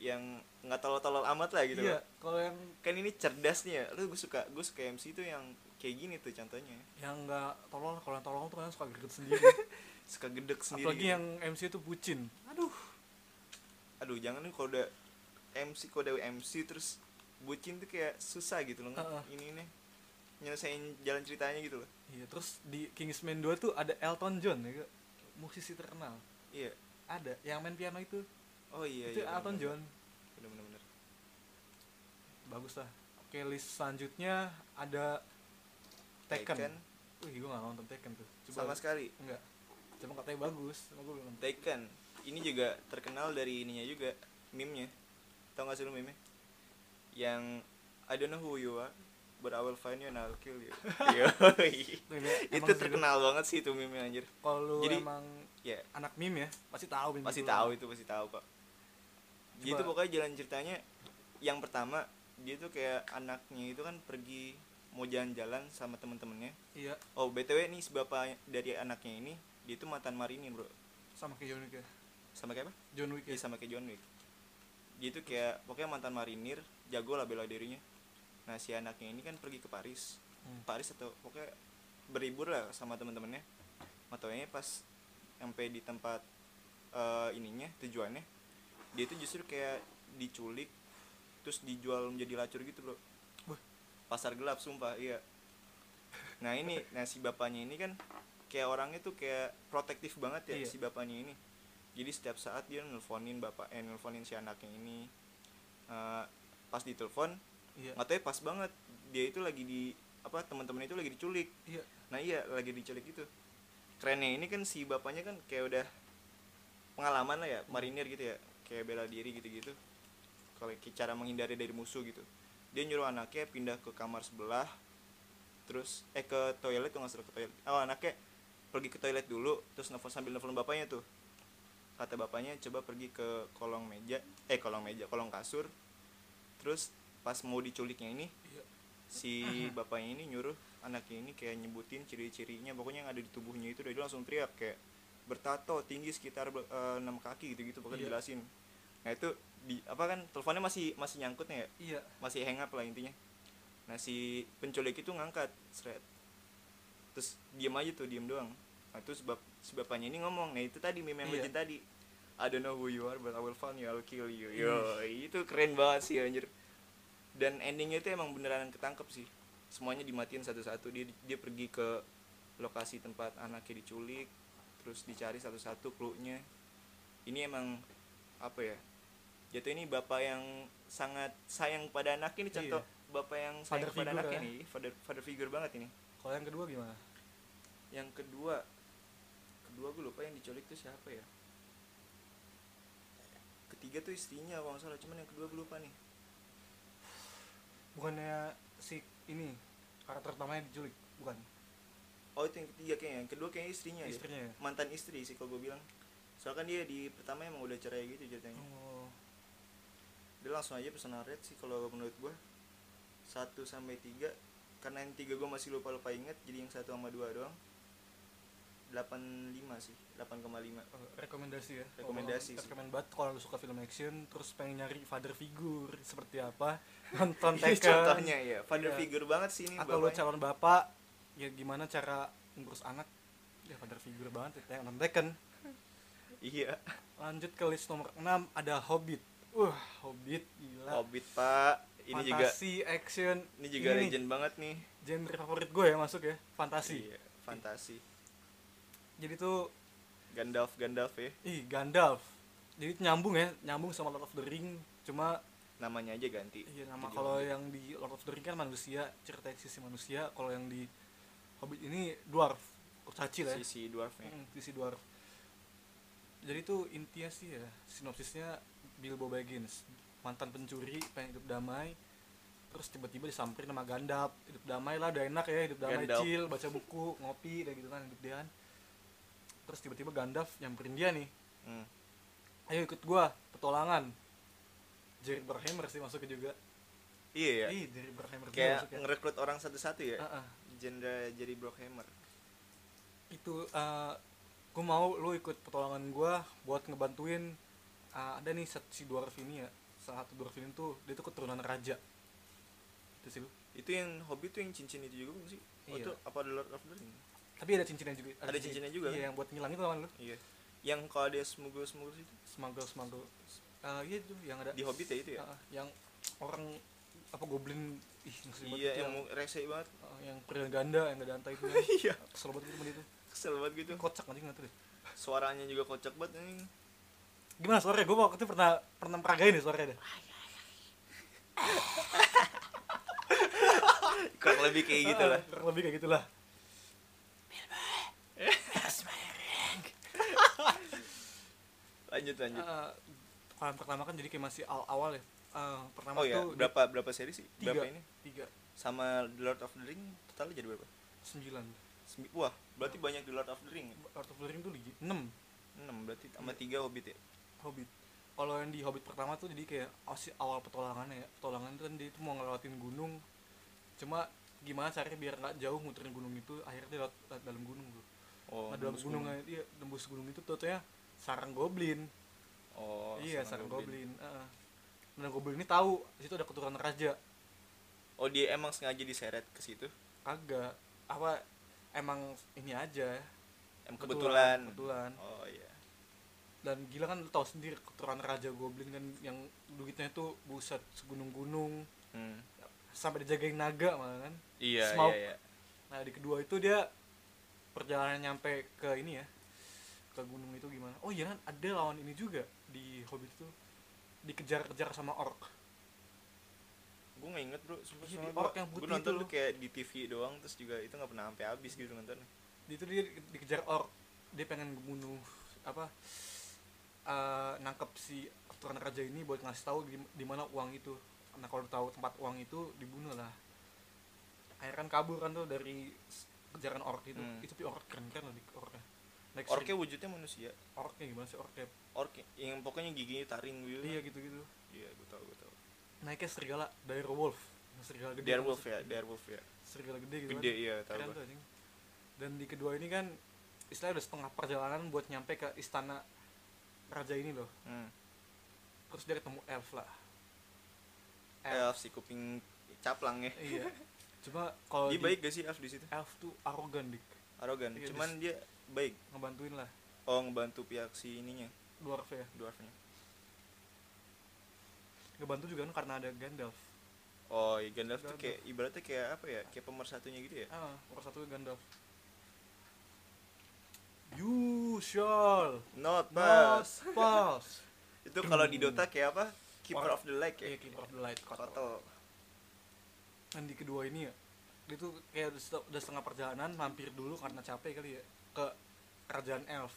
S1: yang nggak tolol-tolol amat lah gitu
S2: iya,
S1: loh.
S2: kalau yang
S1: kan ini cerdas nih ya lu gue suka gue suka MC tuh yang kayak gini tuh contohnya
S2: yang nggak tolong kalau yang tolong tuh kadang suka greget sendiri.
S1: suka gedek sendiri
S2: Apalagi
S1: gitu.
S2: yang MC itu bucin. Aduh,
S1: aduh jangan nih kalau udah MC kalau udah MC terus bucin tuh kayak susah gitu loh
S2: Ah, ah.
S1: ini nih nyelesain jalan ceritanya gitu loh
S2: iya terus di Kingsman 2 tuh ada Elton John ya, Kak. musisi terkenal.
S1: iya
S2: Ada yang main piano itu.
S1: oh iya
S2: itu
S1: iya,
S2: Elton
S1: bener-bener.
S2: John.
S1: bener-bener
S2: Bagus lah. Oke, list selanjutnya ada Taken. Wih, gue gak nonton Taken tuh.
S1: sama sekali
S2: Enggak. Cuma katanya bagus, cuma gue belum nonton.
S1: Taken ini juga terkenal dari ininya juga meme-nya tau gak sih lu meme yang I don't know who you are but I will find you and I'll kill you Yoi.
S2: Tuh, dia emang
S1: Iya, itu
S2: sih,
S1: terkenal banget sih itu meme anjir
S2: Kalau lu
S1: Jadi-
S2: emang
S1: ya
S2: anak meme ya, pasti tahu meme
S1: pasti
S2: gue.
S1: tahu itu pasti tahu kok dia
S2: Coba.
S1: tuh pokoknya jalan ceritanya yang pertama dia tuh kayak anaknya itu kan pergi mau jalan-jalan sama temen-temennya
S2: Iya,
S1: oh btw nih si bapak dari anaknya ini dia tuh mantan marinir bro
S2: sama kayak John Wick ya.
S1: sama kayak apa
S2: John Wick ya.
S1: Iya sama kayak John Wick. Dia tuh kayak pokoknya mantan marinir, jago lah bela dirinya. Nah si anaknya ini kan pergi ke Paris,
S2: Hmm.
S1: Paris atau pokoknya berlibur lah sama teman-temannya. Matanya pas sampai di tempat eh, ininya tujuannya, dia tuh justru kayak diculik, terus dijual menjadi lacur gitu loh.
S2: Wah.
S1: Pasar gelap sumpah iya. Nah ini, nah si bapaknya ini kan kayak orangnya tuh kayak protektif banget ya
S2: Iya.
S1: si bapaknya ini jadi setiap saat dia nelfonin bapak eh nelfonin si anaknya ini Eh, pas ditelepon
S2: Iya.
S1: nggak tahu ya pas banget dia itu lagi di apa teman-teman itu lagi diculik
S2: Iya.
S1: nah iya lagi diculik gitu kerennya ini kan si bapaknya kan kayak udah pengalaman lah ya marinir gitu ya kayak bela diri gitu-gitu kalau kayak cara menghindari dari musuh gitu dia nyuruh anaknya pindah ke kamar sebelah terus eh ke toilet tuh nggak salah ke toilet oh anaknya pergi ke toilet dulu terus nelfon sambil nelfon bapaknya tuh kata bapaknya coba pergi ke kolong meja eh kolong meja kolong kasur terus pas mau diculiknya ini
S2: Iya.
S1: si bapaknya ini nyuruh anaknya ini kayak nyebutin ciri-cirinya pokoknya yang ada di tubuhnya itu dari dia langsung teriak kayak bertato tinggi sekitar be- eh, enam kaki gitu gitu pokoknya
S2: Iya.
S1: jelasin nah itu di apa kan teleponnya masih masih nyangkutnya ya
S2: Iya.
S1: masih hang up lah intinya nah si penculik itu ngangkat seret terus diam aja tuh diam doang nah terus bap- si bapaknya ini ngomong nah itu tadi meme yang
S2: Iya.
S1: legend tadi I don't know who you are but I will find you I'll kill you yo itu keren banget sih anjir dan endingnya itu emang beneran ketangkep sih semuanya dimatiin satu-satu dia dia pergi ke lokasi tempat anaknya diculik terus dicari satu-satu clue-nya ini emang apa ya jatuh ini bapak yang sangat sayang pada anaknya ini contoh bapak yang sayang
S2: Iya. Father
S1: pada
S2: figure
S1: anaknya
S2: ya.
S1: nih father father figure banget ini
S2: Kalau yang kedua gimana?
S1: yang kedua kedua gue lupa yang diculik tuh siapa ya ketiga tuh istrinya kalau nggak salah cuman yang kedua gue lupa nih
S2: Bukannya si ini karakter utamanya diculik, bukan?
S1: oh itu yang ketiga kayaknya yang kedua kayaknya istrinya deh.
S2: Istrinya ya.
S1: mantan istri sih kalau gue bilang soalnya kan dia di pertama emang udah cerai gitu jatuhnya
S2: Oh,
S1: dia langsung aja pesan red sih kalau menurut gue satu sampai tiga karena yang tiga gue masih lupa lupa inget jadi yang satu sama dua doang 85 sih 8,5
S2: eh, rekomendasi ya.
S1: Rekomendasi
S2: Kalau-
S1: sih.
S2: Rekomend banget kalau lu suka film action terus pengen nyari father figure seperti apa? Nonton
S1: Iya,
S2: Tekken.
S1: contohnya ya father
S2: Iya.
S1: figure banget sih ini
S2: atau lo
S1: bapaknya.
S2: calon bapak ya gimana cara ngurus anak ya father figure banget ya yang Tekken
S1: iya
S2: lanjut ke list nomor 6 ada Hobbit wah Hobbit gila
S1: Hobbit pak ini juga
S2: fantasi action
S1: ini juga
S2: nih,
S1: legend banget nih
S2: genre favorit gue ya masuk ya fantasi
S1: Iya, fantasi
S2: jadi tuh
S1: Gandalf Gandalf ya
S2: ih Gandalf jadi nyambung ya nyambung sama Lord of the Ring cuma
S1: namanya aja ganti
S2: iya nama
S1: Jadi
S2: kalau
S1: Hobbit.
S2: yang di Lord of the Ring kan manusia cerita sisi manusia kalau yang di Hobbit ini dwarf kurcaci lah ya.
S1: sisi dwarfnya
S2: Mm, sisi dwarf jadi tuh intinya sih ya sinopsisnya Bilbo Baggins mantan pencuri pengen hidup damai terus tiba-tiba disamperin sama Gandalf hidup damai lah udah enak ya hidup damai
S1: Gandalf.
S2: chill baca buku ngopi kayak gitu kan hidup dia terus tiba-tiba Gandalf nyamperin dia nih
S1: Hmm.
S2: ayo ikut gua petualangan Jerry Bruckheimer sih masuknya juga
S1: iya ya
S2: ih Jerry Bruckheimer juga
S1: kayak
S2: masuknya
S1: ngerekrut orang satu-satu ya
S2: Ah, ah.
S1: genre jadi Brockhammer
S2: itu eh gue mau lu ikut petualangan gue buat ngebantuin eh, ada nih sat- si dwarf ini ya salah satu dwarf ini tuh dia tuh keturunan raja itu sih lu
S1: itu yang hobi tuh yang cincin itu juga bukan sih oh,
S2: Iya.
S1: itu apa The Lord of the Ring
S2: tapi ada cincinnya juga
S1: Ada cincinnya juga,
S2: iya
S1: kan?
S2: yang buat ngilang itu lawan lu
S1: iya yang kalau ada smuggle smuggle itu
S2: smuggle smuggle Eh iya tuh yang ada
S1: di Hobbit ya itu ya
S2: eh, yang orang apa goblin ih ngeselin banget
S1: iya
S2: itu
S1: yang
S2: yang
S1: mu- rese banget
S2: eh, yang pria ganda yang gak ada antai itu kan.
S1: iya
S2: kesel banget itu itu
S1: kesel banget gitu
S2: kocak anjing nanti deh
S1: suaranya juga kocak banget nih
S2: gimana suaranya gue waktu itu pernah pernah peragain nih suaranya deh
S1: kurang lebih kayak gitu lah
S2: Kurang lebih kayak gitulah.
S1: lanjut lanjut
S2: Eh, kolam pertama kan jadi kayak masih awal awal ya. Eh, pertama
S1: oh ya
S2: tuh di-
S1: berapa berapa seri sih
S2: Tiga.
S1: berapa ini
S2: tiga
S1: sama The Lord of the Ring totalnya jadi berapa
S2: sembilan.
S1: Sembi- wah berarti banyak The Lord of the Ring
S2: Lord of the Ring tuh lagi enam
S1: 6 berarti
S2: Iya.
S1: sama 3 Hobbit ya
S2: Hobbit. Kalau yang di Hobbit pertama tuh jadi kayak masih awal petualangannya ya. Petualangan tuh kan dia itu mau ngelewatin gunung. Cuma gimana caranya biar nggak jauh muterin gunung itu akhirnya dia lewat, lewat dalam gunung tuh.
S1: oh
S2: Nah, dalam
S1: nembus
S2: gunung, aja dia nembus gunung itu totalnya sarang goblin.
S1: oh
S2: iya,
S1: sama
S2: sarang goblin. Heeh. Nah, goblin ini tahu di situ ada keturunan raja.
S1: oh dia emang sengaja diseret ke situ
S2: kagak apa emang ini aja
S1: emang kebetulan
S2: kebetulan kebetulan
S1: oh iya
S2: dan gila kan lu tau sendiri keturunan raja goblin kan yang duitnya tuh buset segunung-gunung
S1: hmm.
S2: sampai dijagain naga malah kan
S1: iya iya
S2: Smaug.
S1: iya
S2: nah di kedua itu dia perjalanan nyampe ke ini ya ke gunung itu gimana oh iya kan ada lawan ini juga di hobbit itu dikejar-kejar sama orc
S1: gue gak inget bro sumpah
S2: Iya,
S1: soalnya
S2: di orc
S1: gua-
S2: yang
S1: gua
S2: putih
S1: nonton
S2: itu
S1: tuh kayak di TV doang terus juga itu gak pernah sampai habis gitu nonton
S2: di itu dia di- dikejar orc dia pengen bunuh apa eh, nangkep si keturunan raja ini buat ngasih tahu di, di mana uang itu nah kalau tahu tempat uang itu dibunuh lah akhirnya kan kabur kan tuh dari s- kejaran orc itu
S1: Hmm.
S2: itu tapi orc keren keren loh di orcnya Next
S1: orknya wujudnya manusia
S2: orcnya gimana sih orcnya
S1: ork yang pokoknya giginya taring gitu
S2: iya gitu gitu
S1: iya gue tau gue tau
S2: naiknya serigala direwolf Yang serigala gede
S1: Darewolf ya
S2: maksudnya.
S1: Darewolf ya
S2: serigala gede gitu
S1: gede
S2: kan.
S1: iya tau
S2: Keren
S1: gue
S2: tuh, anjing. Dan di kedua ini kan istilahnya udah setengah perjalanan buat nyampe ke istana raja ini loh.
S1: hmm.
S2: Terus dia ketemu elf lah.
S1: elf si kuping caplang ya
S2: iya. Cuma kalau
S1: dia
S2: Oh, di-
S1: baik gak sih elf di situ
S2: elf tuh arogan dik.
S1: arogan
S2: Iya,
S1: cuman dia baik
S2: Ngebantuin lah
S1: oh ngebantu pihak si ininya
S2: dwarf ya.
S1: dwarfnya
S2: Ngebantu juga kan karena ada Gandalf.
S1: oh iya Gandalf tuh
S2: Gandalf.
S1: kayak ibaratnya Ah. kayak apa ya kayak pemersatunya gitu ya
S2: Ah, nomor satu Gandalf. You shall
S1: Not
S2: not
S1: pass.
S2: pass.
S1: Itu kalau di Dota kayak apa? Keeper of the Light
S2: Iya,
S1: ya.
S2: keeper of the light.
S1: Kototo.
S2: Dan di kedua ini ya, dia tuh kayak udah set- udah setengah perjalanan, mampir dulu karena capek kali ya ke kerajaan elf.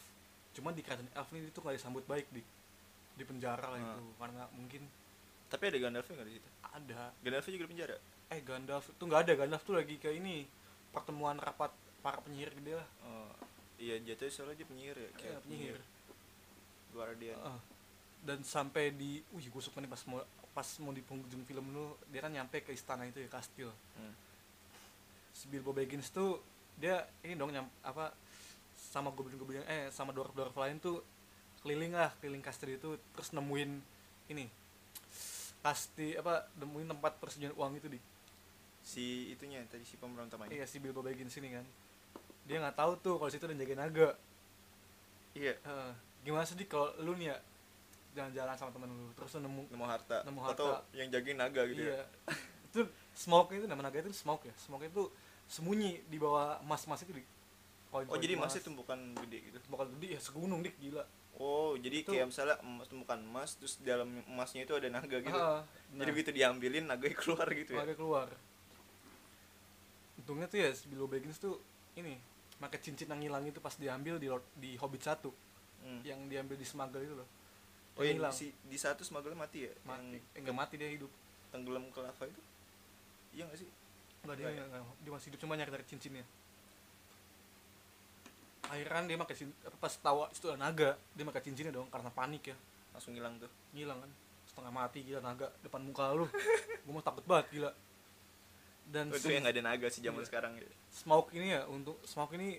S2: Cuman di kerajaan elf ini dia tuh gak disambut baik di di penjara lah
S1: Hmm.
S2: itu karena mungkin
S1: Tapi ada Gandalfnya nggak di situ?
S2: ada
S1: Gandalfnya juga di penjara.
S2: eh Gandalf tuh nggak ada Gandalf tuh lagi ke ini pertemuan rapat para penyihir gede lah
S1: Oh, iya jatuh soalnya dia penyihir ya.
S2: kayak Iya, penyihir Oh.
S1: Guardian.
S2: Heeh. dan sampai di wih gue suka nih pas mau pas mau di penghujung film lu dia kan nyampe ke istana itu ya kastil
S1: Hmm.
S2: si Bilbo Baggins tuh dia ini dong nyam, apa sama goblin-goblin eh sama dwarf-dwarf lain tuh keliling lah keliling kastil itu terus nemuin ini kasti apa nemuin tempat persetujuan uang itu di
S1: Si itunya tadi si pemeran utamanya.
S2: iya si Bilbo Baggins ini kan dia nggak tahu tuh kalau situ ada yang jaga naga
S1: Iya.
S2: Heeh. gimana sih Di, kalau lu nih ya jalan-jalan sama temen lu terus lu nemu
S1: Nemu harta.
S2: Nemu
S1: Atau
S2: harta.
S1: yang jagain naga gitu ya.
S2: iya itu smoke itu nama naga itu smoke ya smoke itu sembunyi di bawah emas-emas itu di Iya.
S1: Oh, jadi emasnya tumpukan gede gitu.
S2: bakal gede ya segunung dik gila
S1: Oh, jadi
S2: Itu-
S1: kayak misalnya emas tumpukan emas terus dalam emasnya itu ada naga gitu.
S2: Ah,
S1: Jadi
S2: nah,
S1: begitu diambilin naganya keluar gitu ya.
S2: naga keluar untungnya tuh ya si Bilbo Baggins tuh ini pakai cincin yang hilang itu pas diambil di Lord- di Hobbit 1
S1: Hmm.
S2: yang diambil di Smuggle itu loh
S1: Oh, yang
S2: Iya, hilang.
S1: si, di satu smuggler mati ya?
S2: mati
S1: Yang
S2: eh, nggak mati dia hidup
S1: tenggelam ke lava itu? Iya gak sih?
S2: Enggak dia
S1: Nggak ya?
S2: nggak- nggak- dia masih hidup cuma nyari dari cincinnya. Akhirnya dia pakai cin- apa, pas tawa itu ada naga, dia pakai cincinnya dong karena panik ya.
S1: Langsung hilang tuh. Oh,
S2: Ngilang kan. Setengah mati gila naga depan muka lu. Gua mau takut banget gila. Dan
S1: Oh, itu
S2: si
S1: yang gak ada naga sih zaman
S2: Iya.
S1: sekarang ya.
S2: smoke ini ya untuk smoke ini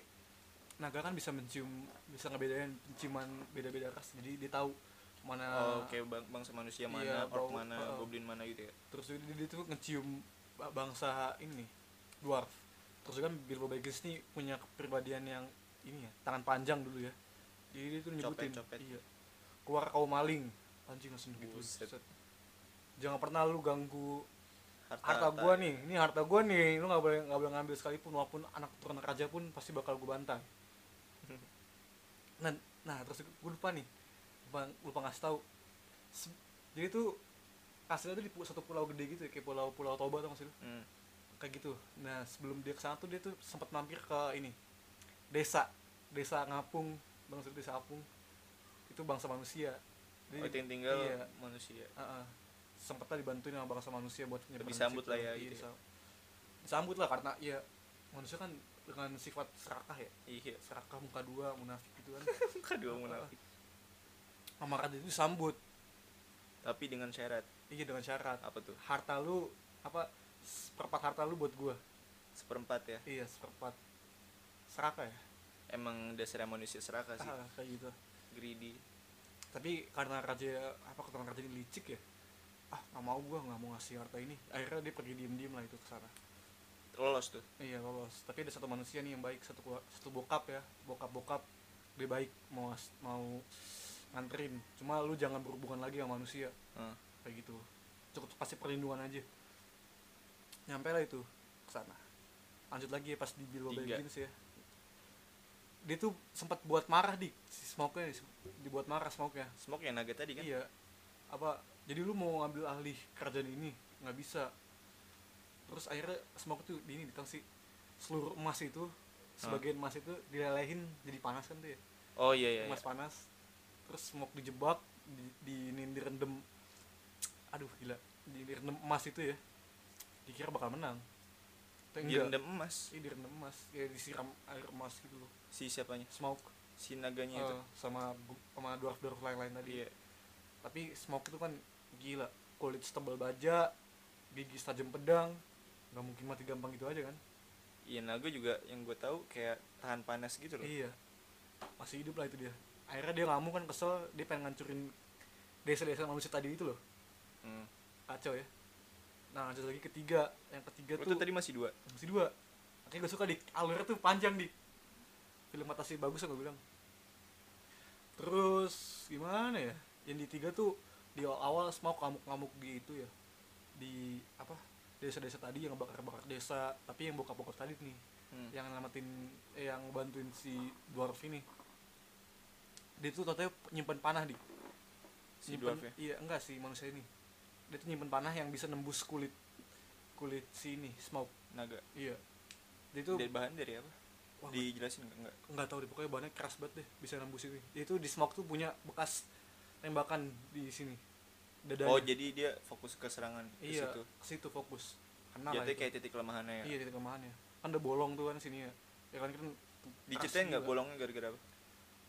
S2: naga kan bisa mencium bisa ngebedain penciuman beda-beda ras jadi dia tahu mana
S1: Oh, kayak bang bangsa manusia mana,
S2: Iya,
S1: orc
S2: bau-
S1: mana,
S2: uh-uh.
S1: goblin mana gitu ya.
S2: terus dia, dia tuh ngecium ba- bangsa ini dwarf terus kan Bilbo Baggins nih punya kepribadian yang ini ya tangan panjang dulu ya jadi dia tuh nyebutin
S1: Copet, copet.
S2: iya keluar kau maling anjing langsung gitu
S1: Buset.
S2: set. jangan pernah lu ganggu
S1: Harta, ya?
S2: harta gua nih ini harta gua nih lu nggak boleh nggak boleh ngambil sekalipun walaupun anak keturunan raja pun pasti bakal gua bantai nah nah terus gua lupa nih lupa, lupa ngasih tahu Se- jadi tuh hasilnya tuh di pu- satu pulau gede gitu ya, kayak pulau pulau toba atau masih
S1: Hmm.
S2: kayak gitu nah sebelum dia kesana tuh dia tuh sempat mampir ke ini desa desa ngapung bangsa desa apung itu bangsa manusia
S1: Oh,
S2: Jadi-
S1: itu yang tinggal
S2: iya.
S1: manusia.
S2: Heeh. sempet lah dibantuin sama bangsa manusia buat penyebaran
S1: disambut lah ya,
S2: Iya,
S1: gitu ya.
S2: disam- disambut lah karena ya manusia kan dengan sifat serakah ya
S1: Iya,
S2: serakah muka dua munafik gitu kan
S1: muka dua munafik.
S2: sama Raden itu disambut
S1: Tapi dengan syarat
S2: iya dengan syarat
S1: apa tuh?
S2: harta lu apa seperempat harta lu buat gua
S1: Seperempat ya.
S2: iya seperempat serakah ya
S1: Emang dasarnya manusia serakah sih,
S2: Ah, kayak gitu
S1: greedy.
S2: tapi karena raja apa keturunan raja ini licik ya ah nggak mau gua nggak mau ngasih harta ini akhirnya dia pergi diem diem lah itu ke sana
S1: Lolos tuh.
S2: Iya lolos. Tapi ada satu manusia nih yang baik, satu kelu- satu bokap ya, bokap bokap dia baik mau ngas- mau nganterin. Cuma lu jangan berhubungan lagi sama manusia
S1: Heeh.
S2: kayak gitu. Cukup pasti perlindungan aja. Nyampe lah itu ke sana. Lanjut lagi ya pas di Bilbo
S1: Tiga.
S2: Baggins ya. Dia tuh sempat buat marah di si Smoke-nya dis- dibuat marah Smoke-nya.
S1: Smoke yang naga tadi kan?
S2: Iya. Apa jadi lu mau ngambil ahli kerjaan ini nggak bisa. Terus akhirnya smoke tuh di ini ditangsi seluruh emas itu sebagian emas itu dilelehin jadi panas kan tuh ya.
S1: Oh iya iya. iya.
S2: Emas panas. Terus smoke dijebak di, di ini direndam. Aduh gila. Di direndam emas itu ya. Dikira bakal menang. Tapi enggak.
S1: Direndam emas.
S2: Iya, direndam emas. Ya disiram air emas gitu loh.
S1: Si siapanya?
S2: Smoke
S1: Si naganya Iya, itu.
S2: eh, sama sama dwarf-dwarf lain-lain tadi
S1: Iya.
S2: tapi smoke itu kan gila kulit setebal baja gigi tajam pedang nggak mungkin mati gampang gitu aja kan
S1: Iya naga juga yang gue tahu kayak tahan panas gitu loh.
S2: iya masih hidup lah itu dia akhirnya dia ngamuk kan kesel dia pengen ngancurin desa-desa manusia tadi itu loh
S1: Hmm.
S2: kacau ya nah lanjut lagi ketiga yang ketiga
S1: Oh,
S2: tuh
S1: tuh tadi masih dua.
S2: masih dua makanya gue suka di alurnya tuh panjang di film atasi bagus gue bilang terus gimana ya yang di tiga tuh di awal smoke ngamuk-ngamuk gitu ya di apa desa-desa tadi yang bakar-bakar desa tapi yang bokap-bokap tadi nih
S1: Hmm.
S2: yang ngelamatin eh, yang bantuin si dwarf ini dia tuh tau nyimpen panah di
S1: Si
S2: nyimpen,
S1: dwarf ya?
S2: iya enggak sih manusia ini dia tuh nyimpen panah yang bisa nembus kulit kulit si ini smoke
S1: naga
S2: iya dia
S1: itu
S2: tuh
S1: bahan dari apa
S2: wah,
S1: dijelasin nggak enggak
S2: nggak tahu deh pokoknya bahannya keras banget deh bisa nembus itu dia tuh di smoke tuh punya bekas tembakan di sini dadanya
S1: oh jadi dia fokus ke serangan ke
S2: iya
S1: situ
S2: ke situ fokus kena
S1: jadi
S2: lah itu.
S1: kayak titik kelemahannya ya
S2: iya titik kelemahannya kan ada bolong tuh kan sininya ya kan kan
S1: diceritain
S2: keras
S1: nggak
S2: juga.
S1: bolongnya gara-gara apa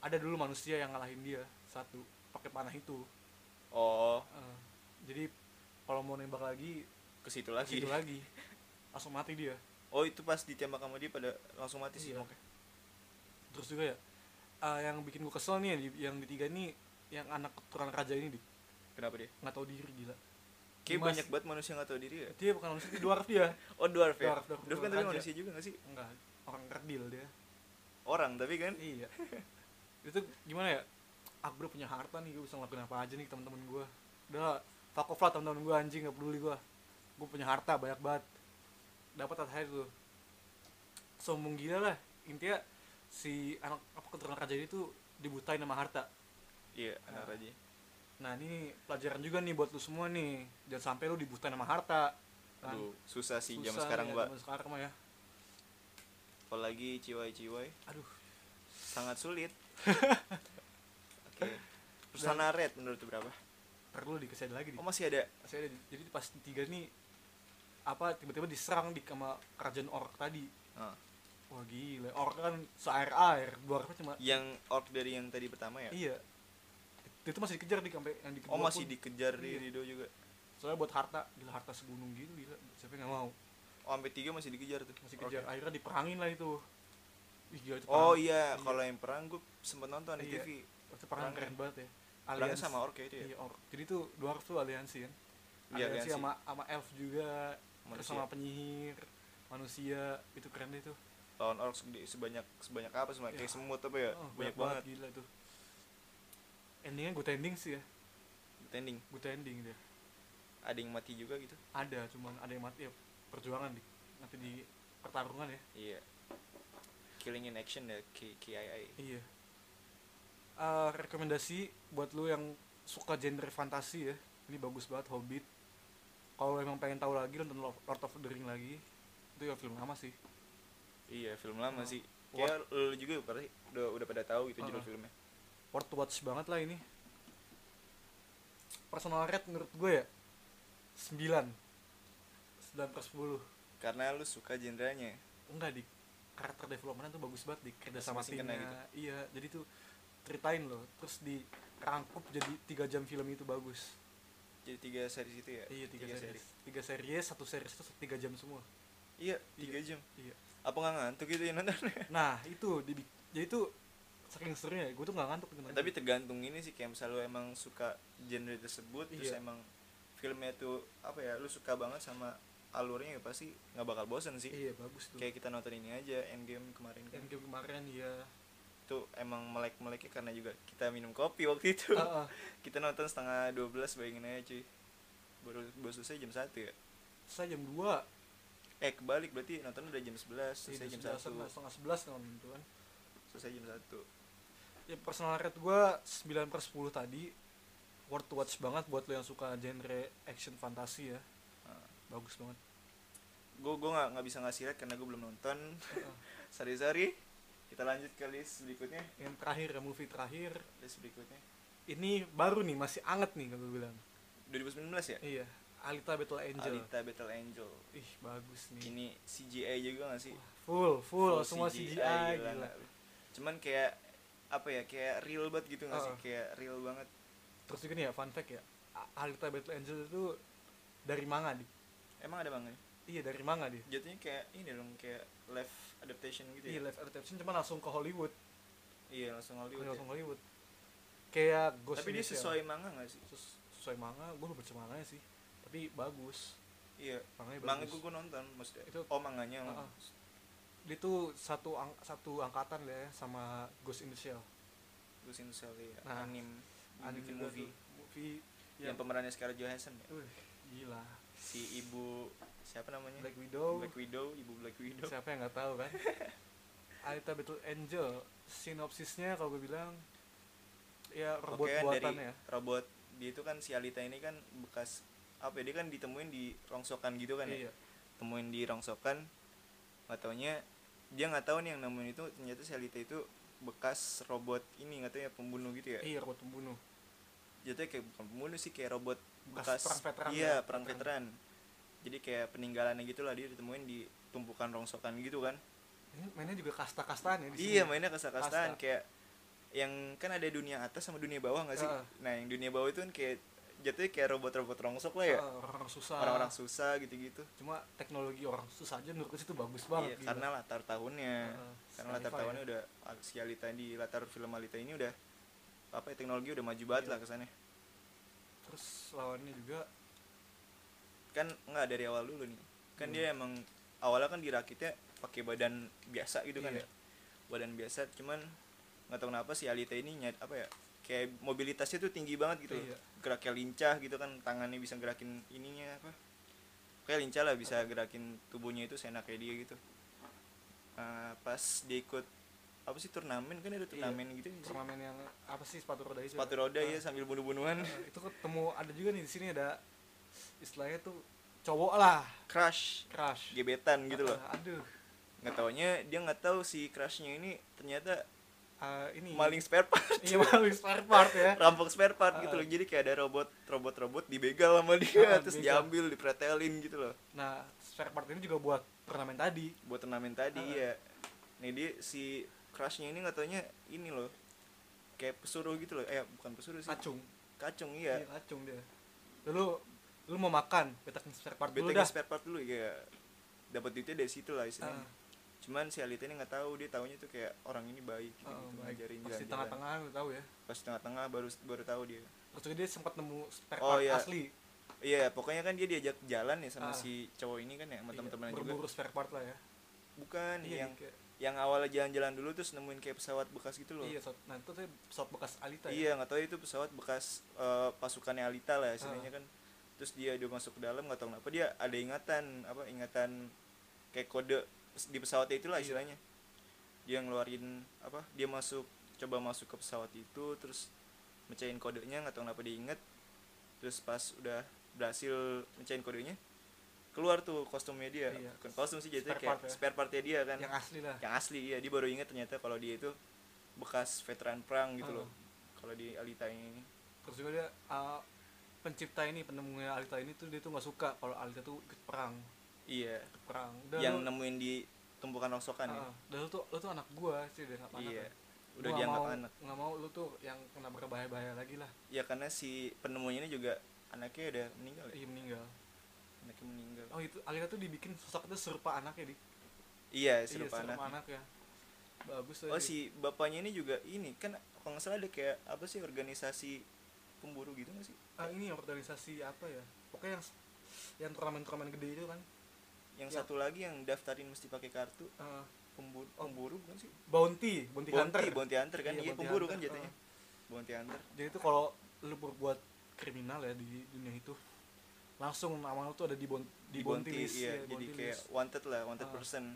S2: ada dulu manusia yang ngalahin dia satu pakai panah itu
S1: oh
S2: Eh, jadi kalau mau nembak lagi
S1: ke situ
S2: ke
S1: lagi
S2: situ lagi langsung mati dia
S1: oh itu pas ditembak sama dia pada langsung mati sih
S2: Iya.
S1: oke
S2: terus juga ya eh, yang bikin gue kesel nih di- yang di tiga nih yang anak keturunan raja ini di
S1: kenapa dia
S2: nggak tahu diri gila
S1: kayak
S2: Mas-
S1: banyak banget manusia nggak tahu diri ya
S2: dia bukan manusia dia dwarf dia
S1: oh dwarf ya
S2: Dwarf, dwarf,
S1: dwarf kan
S2: dwarf
S1: tapi
S2: raja.
S1: manusia juga nggak sih
S2: enggak orang kerdil dia
S1: orang tapi kan
S2: iya itu gimana ya aku udah punya harta nih gue bisa ngelakuin apa aja nih ke teman-teman gue udah fuck off lah teman-teman gue anjing gak peduli gue gue punya harta banyak banget dapat terakhir tuh sombong gila lah intinya si anak apa keturunan raja ini tuh dibutain sama harta
S1: iya anak
S2: Nah.
S1: raja
S2: nah ini pelajaran juga nih buat lu semua nih jangan sampai lu dibutain sama harta Kan?
S1: aduh susah sih zaman
S2: Susah
S1: sekarang
S2: ya,
S1: mbak
S2: zaman sekarang mah ya
S1: apalagi ciwai-ciwai
S2: aduh
S1: sangat sulit oke persana red menurut lu berapa
S2: perlu dikasih lagi di
S1: oh masih ada
S2: saya ada- jadi pas di tiga nih apa tiba-tiba diserang di sama kerajaan orc tadi
S1: Ah.
S2: wah gila orc kan seair air dwarfnya cuma
S1: yang orc dari yang tadi pertama ya
S2: iya itu masih dikejar di sampai yang di
S1: oh
S2: kedua
S1: masih
S2: pun.
S1: dikejar di
S2: Iya.
S1: Rido juga
S2: soalnya buat harta gila harta segunung gitu gila siapa yang nggak mau
S1: oh sampai tiga masih dikejar tuh
S2: masih
S1: Orc
S2: kejar
S1: ya.
S2: akhirnya diperangin lah itu Ih, gila, itu
S1: oh
S2: perang-
S1: iya
S2: Iya.
S1: kalau yang perang gue sempet nonton di
S2: Iya.
S1: TV
S2: itu perang
S1: perangnya.
S2: keren banget ya
S1: perangnya
S2: Aliansi.
S1: sama orc ya itu ya
S2: iya orc jadi tuh dwarf tuh aliansi kan
S1: Iya, aliansi.
S2: aliansi, sama sama elf juga terus
S1: Manusia.
S2: sama penyihir manusia itu keren deh tuh
S1: lawan orc segede- sebanyak sebanyak apa sebanyak
S2: Iya.
S1: kayak semut apa ya
S2: Oh,
S1: banyak banget
S2: gila tuh endingnya good ending sih ya
S1: tending
S2: good ending dia
S1: ada yang mati juga gitu
S2: ada cuman ada yang mati ya perjuangan di nanti di pertarungan ya
S1: iya killing in action ya K- KII
S2: iya Eh, rekomendasi buat lu yang suka genre fantasi ya ini bagus banget Hobbit kalau emang pengen tahu lagi nonton Lo- Lord of the Ring lagi itu ya film lama sih
S1: iya film lama
S2: Oh.
S1: sih kayak lu juga pasti udah udah pada tahu gitu judul
S2: Ah.
S1: filmnya
S2: worth to watch banget lah ini personal rate menurut gue ya 9 9 per 10
S1: karena lu suka genrenya
S2: enggak di karakter development tuh bagus banget di kerja sama
S1: Masing-masing kena
S2: timnya iya jadi tuh ceritain loh terus dirangkup jadi tiga jam film itu bagus
S1: jadi tiga series itu ya
S2: iya tiga, series tiga series satu series itu tiga jam semua
S1: iya tiga jam
S2: iya
S1: apa nggak ngantuk gitu ya itu yang nonton
S2: nah itu di jadi tuh saking serunya gue tuh nggak ngantuk gitu.
S1: tapi tergantung ini sih kayak misal lu emang suka genre tersebut terus
S2: Iya.
S1: emang filmnya tuh apa ya lu suka banget sama alurnya ya pasti nggak bakal bosen sih
S2: iya bagus tuh
S1: kayak kita nonton ini aja Endgame kemarin kan
S2: yang game kemarin ya
S1: itu emang melek meleknya karena juga kita minum kopi waktu itu
S2: Ah, ah.
S1: kita nonton setengah 12 bayangin aja cuy baru baru selesai jam satu ya
S2: saya jam dua
S1: eh kebalik berarti nonton udah jam 11 selesai jam
S2: Iya, sebelas
S1: satu
S2: setengah sebelas kan gitu kan
S1: selesai jam satu
S2: ya personal rate gue 9 per 10 tadi worth to watch banget buat lo yang suka genre action fantasi ya bagus banget
S1: gue gue Ah. nggak nggak bisa ngasih rate karena gue belum nonton sari sari kita lanjut ke list berikutnya
S2: yang terakhir ya movie terakhir
S1: list berikutnya
S2: ini baru nih masih anget nih kalau gue bilang
S1: 2019 ya
S2: iya Alita Battle Angel
S1: Alita Battle Angel
S2: ih bagus nih
S1: ini CGI juga gak sih
S2: full full,
S1: Full
S2: semua CGI, gila,
S1: nggak lu? cuman kayak apa ya kayak real banget gitu gak sih
S2: Oh.
S1: kayak real banget
S2: terus juga nih ya fun fact ya A- Alita Battle Angel itu dari manga di
S1: emang ada bang ya?
S2: iya dari manga dia
S1: jatuhnya kayak ini dong kayak live adaptation gitu
S2: iya
S1: ya
S2: live adaptation cuma langsung ke Hollywood
S1: iya langsung Hollywood ya.
S2: langsung Hollywood kayak Ghost
S1: tapi
S2: in
S1: dia
S2: the Shell.
S1: sesuai manga gak sih
S2: terus sesuai manga gue lupa baca manganya sih tapi bagus
S1: iya
S2: manganya
S1: manga
S2: bagus
S1: gue nonton maksudnya
S2: Itu-
S1: oh manganya
S2: Ah, ah. dia tuh satu ang- satu angkatan lah ya sama Ghost in the Shell
S1: Hmm, Ghost in the Shell ya
S2: Nah,
S1: anim
S2: Anime
S1: bikin
S2: juga
S1: movie
S2: tuh. Iya. movie
S1: yang pemerannya Scarlett Johansson ya
S2: Wih, gila
S1: si ibu siapa namanya
S2: Black Widow
S1: Eh, Black Widow ibu Black Widow
S2: siapa yang nggak tahu kan Alita Battle Angel sinopsisnya kalau gue bilang ya robot
S1: Oke kan dari
S2: buatan ya
S1: robot dia itu kan si Alita ini kan bekas apa ya, dia kan ditemuin di rongsokan gitu kan ya.
S2: iya
S1: Temuin di rongsokan. Nggak taunya dia nggak tahu nih yang nemuin itu ternyata si Alita itu bekas robot ini nggak tahu ya pembunuh gitu ya.
S2: iya robot pembunuh
S1: Jatuhnya kayak bukan pembunuh sih kayak robot
S2: Bekas
S1: bekas,
S2: perang veteran
S1: iya
S2: ya,
S1: perang veteran.
S2: veteran.
S1: Jadi kayak peninggalannya gitu lah dia ditemuin di tumpukan rongsokan gitu kan.
S2: ini mainnya juga kasta kastaan ya di
S1: Iya
S2: sini.
S1: mainnya kasar-kasaran
S2: Kasta.
S1: kayak yang kan ada dunia atas sama dunia bawah nggak sih?
S2: Heeh.
S1: Nah yang dunia bawah itu kan kayak jatuhnya kayak robot-robot rongsok lah ya,
S2: Ah, orang-orang susah
S1: orang-orang susah gitu-gitu.
S2: cuma teknologi orang susah aja menurutku sih itu bagus
S1: Iya,
S2: banget gila.
S1: karena latar tahunnya,
S2: Heeh,
S1: karena
S2: sci-fi
S1: latar
S2: ya.
S1: tahunnya udah si Alita di latar film Alita ini udah apa ya, teknologi udah maju banget
S2: Iya.
S1: lah kesannya.
S2: terus lawannya juga
S1: Kan nggak dari awal dulu nih, kan
S2: Hmm.
S1: dia emang awalnya kan dirakitnya pakai badan biasa gitu kan ya,
S2: Iya.
S1: badan biasa. Cuman nggak tahu kenapa si Alita ini nyat apa ya, kayak mobilitasnya tuh tinggi banget gitu.
S2: Iya.
S1: geraknya lincah gitu kan tangannya bisa gerakin ininya apa kayak lincah lah bisa gerakin tubuhnya itu seenaknya dia gitu Eh, pas dia ikut apa sih turnamen kan ada turnamen gitu ya sih?
S2: Iya. turnamen yang apa sih sepatu roda itu
S1: sepatu roda
S2: Ah,
S1: ya sambil bunuh-bunuhan
S2: ah, itu ketemu ada juga nih di sini ada istilahnya tuh cowok lah
S1: crush
S2: crush
S1: gebetan gitu loh
S2: Ah, aduh
S1: nggak taunya dia nggak tahu si crushnya ini ternyata
S2: Ah, ini
S1: maling spare part
S2: iya maling spare part ya
S1: rampok spare part
S2: Ah,
S1: gitu
S2: ah.
S1: loh jadi kayak ada robot robot robot dibegal sama dia
S2: Ah,
S1: terus
S2: dibegal.
S1: diambil dipretelin gitu loh
S2: nah spare part ini juga buat turnamen tadi
S1: buat turnamen tadi
S2: Heeh.
S1: ya nih dia si crushnya ini nggak taunya ini loh kayak pesuruh gitu loh eh bukan pesuruh sih
S2: kacung
S1: kacung
S2: Ah. iya
S1: iya
S2: kacung dia lu lu mau makan betakin spare part dulu
S1: BTG
S2: dah
S1: spare part dulu ya dapat duitnya dari situ lah istilahnya
S2: Ah,
S1: cuman si Alita ini nggak tahu dia taunya tuh kayak orang ini baik gitu,
S2: ah,
S1: gitu
S2: baik.
S1: ngajarin
S2: pas di
S1: jalan-jalan.
S2: tengah-tengah lu tahu ya
S1: pas di tengah-tengah baru baru tahu dia
S2: terus juga dia sempat nemu spare
S1: Oh,
S2: part
S1: iya.
S2: asli
S1: iya pokoknya kan dia diajak jalan ya sama
S2: Ah.
S1: si cowok ini kan ya sama
S2: Iya,
S1: teman-teman juga
S2: berburu spare part lah ya
S1: bukan
S2: iya
S1: yang
S2: kayak-
S1: yang awalnya jalan-jalan dulu terus nemuin kayak pesawat bekas gitu loh
S2: iya pesawat- nah itu tuh pesawat bekas Alita ya
S1: Iya nggak tahu itu pesawat bekas eh, pasukannya Alita lah istilahnya
S2: Ah.
S1: kan. Terus dia udah masuk ke dalam nggak tahu kenapa dia ada ingatan apa ingatan kayak kode pes- di pesawatnya itulah
S2: Iya.
S1: istilahnya. Dia ngeluarin apa? Dia masuk coba masuk ke pesawat itu terus mecahin kodenya nggak tahu kenapa dia inget. Terus pas udah berhasil mecahin kodenya keluar tuh kostumnya dia.
S2: Iya.
S1: Bukan kostum sih jadi
S2: Spare
S1: kayak
S2: part ya.
S1: spare partnya dia kan
S2: yang asli lah
S1: yang asli iya dia baru ingat ternyata kalau dia itu bekas veteran perang gitu loh
S2: Ah.
S1: kalau di Alita ini
S2: terus juga dia uh, pencipta ini penemunya Alita ini tuh dia tuh nggak suka kalau Alita tuh ikut perang
S1: iya
S2: ikut perang udah
S1: yang
S2: lu,
S1: nemuin di tumpukan rongsokan ya
S2: ah, udah lu tuh lu tuh anak gua sih dia anak
S1: iya
S2: ya.
S1: udah
S2: Gua nggak
S1: dianggap
S2: mau-
S1: anak
S2: nggak mau lu tuh yang kena berbahaya-bahaya lagi lah
S1: ya karena si penemunya ini juga anaknya udah meninggal ya
S2: iya meninggal
S1: anaknya meninggal
S2: oh itu Alita tuh dibikin sosok itu serupa anaknya di
S1: iya
S2: Iya,
S1: serupa anak
S2: ya bagus tuh iya.
S1: oh
S2: Di.
S1: si bapaknya ini juga ini kan kalau nggak salah ada kayak apa sih organisasi pemburu gitu nggak sih
S2: Ah, ini organisasi apa ya pokoknya yang yang turnamen-turnamen gede itu kan
S1: yang
S2: Ya.
S1: satu lagi yang daftarin mesti pakai kartu
S2: ah,
S1: pemburu
S2: Oh.
S1: pemburu bukan sih
S2: bounty bounty, hunter
S1: bounty bounty hunter kan
S2: Iya,
S1: iya
S2: bounty
S1: pemburu
S2: hunter,
S1: kan jatuhnya
S2: ah.
S1: bounty hunter
S2: jadi itu kalau lu berbuat kriminal ya di dunia itu langsung nama lu tuh ada di bon di, bounty, list
S1: iya,
S2: ya,
S1: jadi
S2: bounty
S1: kayak
S2: list.
S1: wanted lah wanted
S2: Ah.
S1: person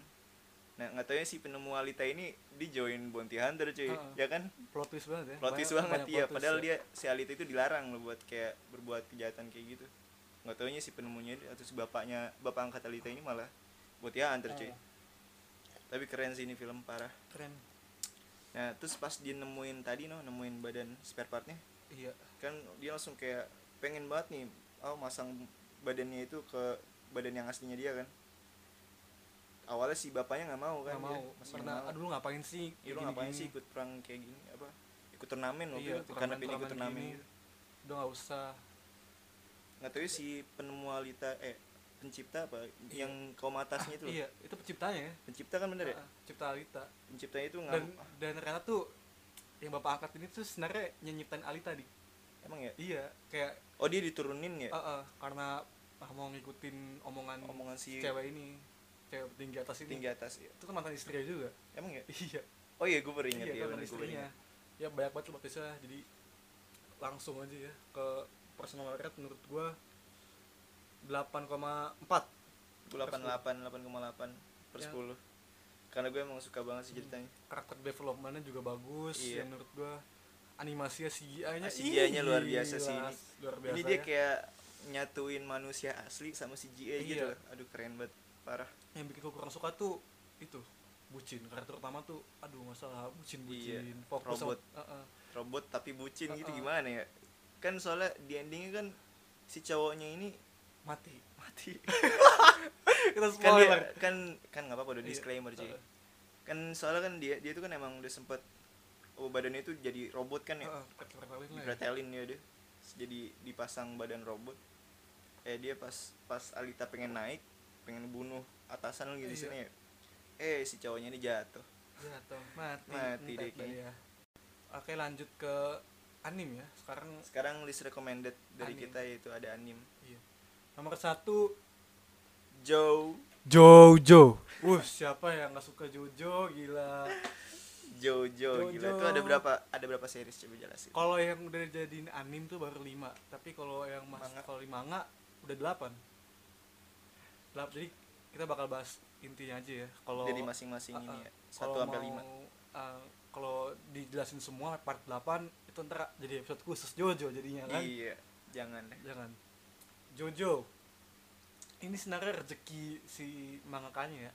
S1: nah nggak taunya si penemu Alita ini di join bounty hunter cuy
S2: Ah.
S1: ya kan
S2: plot twist banget ya
S1: plot twist
S2: Banyak-
S1: banget
S2: banyak
S1: iya
S2: plot twist
S1: padahal
S2: ya.
S1: dia si Alita itu dilarang loh buat kayak berbuat kejahatan kayak gitu nggak taunya si penemunya ini atau si bapaknya bapak angkat Alita ini malah bounty hunter cuy
S2: Ah.
S1: tapi keren sih ini film parah
S2: keren
S1: nah terus pas dia nemuin tadi noh nemuin badan spare partnya
S2: iya
S1: kan dia langsung kayak pengen banget nih oh masang badannya itu ke badan yang aslinya dia kan awalnya si bapaknya nggak mau kan
S2: nggak
S1: dia
S2: mau
S1: masih
S2: karena
S1: nggak mau
S2: aduh ngapain sih
S1: ya lu
S2: Gini-gini.
S1: ngapain sih ikut perang kayak gini apa ikut turnamen waktu
S2: iya
S1: itu karena pengen ikut turnamen
S2: turnamen gini.
S1: gitu.
S2: udah nggak usah
S1: nggak tahu ya si penemu Alita eh pencipta apa
S2: Iya.
S1: yang kaum atasnya itu loh.
S2: iya itu penciptanya ya
S1: pencipta kan bener ya
S2: Ah, ah, cipta Alita
S1: penciptanya itu nggak
S2: dan dan ternyata tuh yang bapak angkat ini tuh sebenarnya nyiptain Alita di
S1: emang ya
S2: iya kayak
S1: oh dia diturunin ya
S2: ah, ah, karena ah, mau ngikutin omongan
S1: omongan si
S2: cewek ini cewek tinggi atas ini
S1: tinggi atas ya.
S2: itu kan mantan istrinya juga
S1: emang ya
S2: iya
S1: oh iya gue baru ingat
S2: iya
S1: ya bener,
S2: mantan
S1: gua baru
S2: istrinya
S1: ingat.
S2: ya banyak banget loh bisa jadi langsung aja ya ke personal rate menurut gua 8,4
S1: gue 88 8,8 per
S2: Ya.
S1: 10 karena gue emang suka banget sih ceritanya
S2: karakter developmentnya juga bagus
S1: Iya.
S2: ya menurut gua animasinya CGI-nya
S1: Ah, CGI-nya luar biasa sih ini.
S2: luar biasa
S1: ini dia
S2: ya.
S1: kayak nyatuin manusia asli sama CGI gitu
S2: Iya.
S1: loh. aduh keren banget parah
S2: yang bikin gue kurang suka tuh itu bucin karakter utama tuh aduh masalah bucin bucin
S1: Iya,
S2: fokus
S1: robot.
S2: sama, Ah, Heeh.
S1: robot tapi bucin gitu
S2: Uh-uh.
S1: gimana ya kan soalnya di endingnya kan si cowoknya ini
S2: mati
S1: mati
S2: kita
S1: kan dia
S2: spoiler
S1: kan kan nggak apa-apa udah
S2: Iya.
S1: disclaimer cuy
S2: Heeh.
S1: kan soalnya kan dia dia tuh kan emang udah sempet oh, badannya tuh jadi robot kan ya
S2: Heeh, perkenalan lah ya.
S1: dipretelin ya dia Terus jadi dipasang badan robot eh dia pas pas Alita pengen naik pengen bunuh atasan gitu
S2: Iya.
S1: sini ya. eh si cowoknya ini jatuh
S2: jatuh Ya, mati
S1: Mati
S2: entek
S1: deh kayaknya.
S2: ya. oke lanjut ke anime ya sekarang
S1: sekarang list recommended dari
S2: Anime.
S1: kita yaitu ada anim
S2: iya. nomor satu
S1: Joe
S2: Jojo Wuh siapa yang nggak suka Jojo gila
S1: Jojo gila
S2: Jojo.
S1: itu ada berapa ada berapa series coba jelasin
S2: kalau yang udah jadiin anim tuh baru lima tapi kalau yang mas
S1: Manga.
S2: kalau di manga udah delapan Delap- jadi kita bakal bahas intinya aja ya kalau
S1: jadi masing-masing
S2: Ah,
S1: ini
S2: ah.
S1: ya satu
S2: kalau
S1: sampai
S2: mau,
S1: lima
S2: ah, kalau dijelasin semua part 8 itu ntar jadi episode khusus Jojo jadinya kan
S1: iya jangan deh
S2: jangan Jojo ini sebenarnya rezeki si mangakanya ya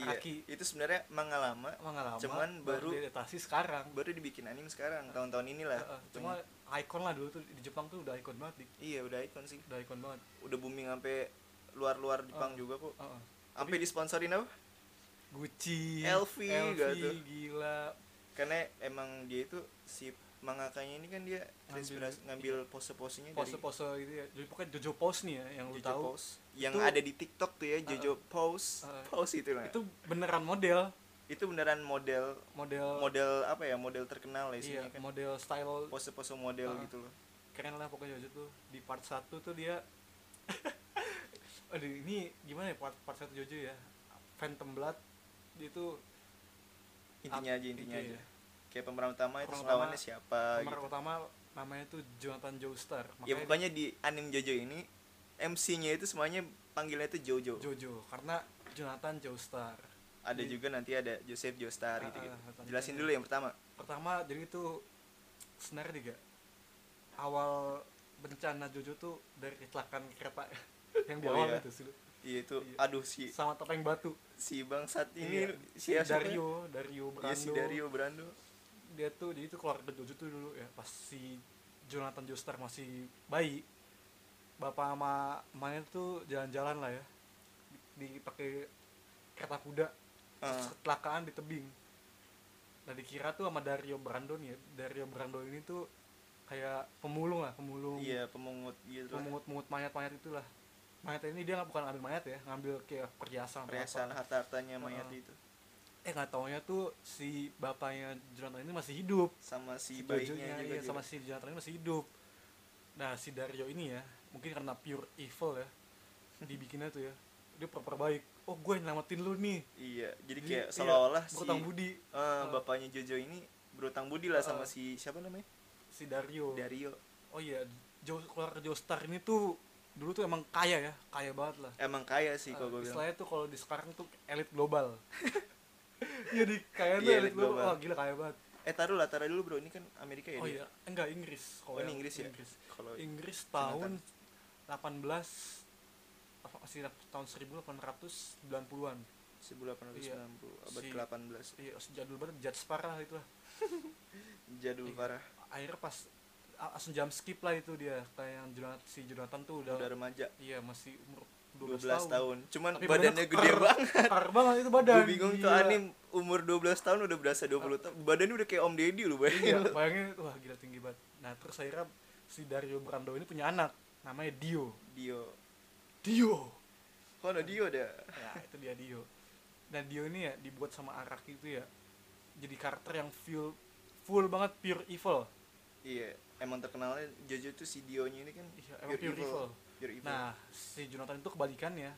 S1: iya
S2: Araki
S1: itu sebenarnya manga lama
S2: manga lama
S1: Cuman baru-
S2: diadaptasi sekarang
S1: baru dibikin anim sekarang tahun-tahun inilah
S2: Heeh, Uh, cuma icon lah dulu tuh di Jepang tuh udah icon banget Dik.
S1: iya udah ikon sih
S2: udah icon banget
S1: udah booming sampai luar-luar Jepang
S2: Ah.
S1: juga kok
S2: Heeh.
S1: sampai disponsorin apa
S2: Gucci
S1: LV, gak tuh?
S2: gila
S1: karena emang dia itu si mangakanya ini kan dia terinspirasi- ngambil pose-posenya dari
S2: pose-pose gitu ya jadi pokoknya Jojo pose nih ya yang lu
S1: Jojo
S2: tahu
S1: Pose yang
S2: Itu-
S1: ada di TikTok tuh ya Jojo Pose
S2: Ah.
S1: Pose itu lah
S2: itu beneran model
S1: itu beneran model
S2: model
S1: model apa ya model terkenal lah
S2: Oh. iya
S1: isinya kan
S2: model style
S1: pose-pose model
S2: Ah.
S1: gitu loh
S2: keren lah pokoknya Jojo tuh di part 1 tuh dia aduh ini gimana ya part part 1 Jojo ya Phantom Blood dia tuh
S1: intinya aja intinya
S2: itu
S1: aja
S2: ya.
S1: kayak pemeran utama itu
S2: Pemeran utama-
S1: lawannya siapa
S2: pemeran
S1: gitu
S2: utama namanya tuh Jonathan Joestar
S1: ya pokoknya di anime Jojo ini MC-nya itu semuanya panggilnya itu Jojo
S2: dia Jojo karena Jonathan Joestar
S1: ada
S2: Jadi-
S1: juga nanti ada Joseph Joestar
S2: Ah,
S1: gitu gitu
S2: Iya. ah, ah,
S1: jelasin
S2: ah.
S1: dulu yang pertama
S2: pertama jadi itu sebenarnya tiga awal bencana Jojo tuh dari kecelakaan kereta yang di
S1: Oh,
S2: awal
S1: iya.
S2: itu sih,
S1: iya itu
S2: Iya.
S1: aduh si
S2: sama topeng batu
S1: si bangsat ini
S2: Iya.
S1: si siapa? ya?
S2: Dario Dario Brando
S1: Iya, si Dario Brando
S2: dia tuh jadi tuh keluarga Jojo tuh dulu ya pas si Jonathan Joestar masih bayi bapak sama emaknya tuh jalan-jalan lah ya dipakai kereta kuda
S1: Ah.
S2: terus kecelakaan di tebing nah dikira tuh sama Dario Brando nih ya Dario Brando ini tuh kayak pemulung lah pemulung
S1: iya pemungut gitu lah.
S2: pemungut-mungut mayat-mayat itulah mayat ini dia nggak- bukan ngambil mayat ya ngambil kayak perhiasan atau
S1: perhiasan
S2: apa.
S1: harta hartanya mayat
S2: Ah.
S1: itu
S2: eh nggak taunya tuh si bapaknya Jonathan ini masih hidup
S1: sama si
S2: Jojo-nya,
S1: bayinya juga
S2: iya,
S1: gitu.
S2: sama si Jonathan ini masih hidup nah si Dario ini ya mungkin karena pure evil ya dibikinnya tuh ya dia proper baik oh gue yang nyelamatin lu nih
S1: iya jadi
S2: Jadi,
S1: kayak
S2: iya,
S1: seolah-olah Ah, si
S2: berutang budi
S1: eh,
S2: Ah.
S1: bapaknya Jojo ini berutang budi lah sama
S2: Ah.
S1: si siapa namanya
S2: si Dario
S1: Dario
S2: oh iya Jo, keluarga Joestar ini tuh dulu tuh emang kaya ya kaya banget lah
S1: emang kaya sih kalau
S2: Eh,
S1: gue bilang
S2: istilahnya tuh kalau di sekarang tuh elit global jadi kaya tuh
S1: Iya,
S2: elit
S1: elit
S2: global
S1: global.
S2: wah gila kaya banget
S1: eh taruh lah taruh dulu bro ini kan Amerika ya
S2: oh
S1: dia?
S2: iya enggak Inggris
S1: oh ini Inggris ya
S2: Inggris,
S1: kalau
S2: Inggris
S1: Jonathan.
S2: tahun 18 apa masih tahun 1890-an
S1: 1890 abad
S2: iya. Si-
S1: ke-18
S2: iya jadul banget judge parah itu lah
S1: jadul
S2: Iya.
S1: parah
S2: akhirnya pas a- langsung jam skip lah itu dia kayak yang Jonathan, si Jonathan tuh udah,
S1: udah remaja
S2: iya masih umur
S1: 12
S2: 12,
S1: tahun.
S2: tahun
S1: cuman
S2: Tapi
S1: badannya
S2: badannya
S1: gede
S2: keker.
S1: banget
S2: Parah banget itu badan Iya.
S1: gue bingung tuh
S2: gila.
S1: anim umur 12 tahun udah berasa 20 tahun badannya udah kayak om deddy lu
S2: iya
S1: bayangin lu.
S2: bayangin wah gila tinggi banget nah terus akhirnya si Dario Brando ini punya anak namanya Dio
S1: Dio
S2: Dio
S1: kok ada Dio dah
S2: ya itu dia Dio nah Dio ini ya dibuat sama Arak itu ya jadi karakter yang full full banget pure evil
S1: iya emang terkenalnya Jojo tuh si Dio nya ini kan
S2: Iya, emang pure evil.
S1: pure evil
S2: nah si Jonathan itu kebalikannya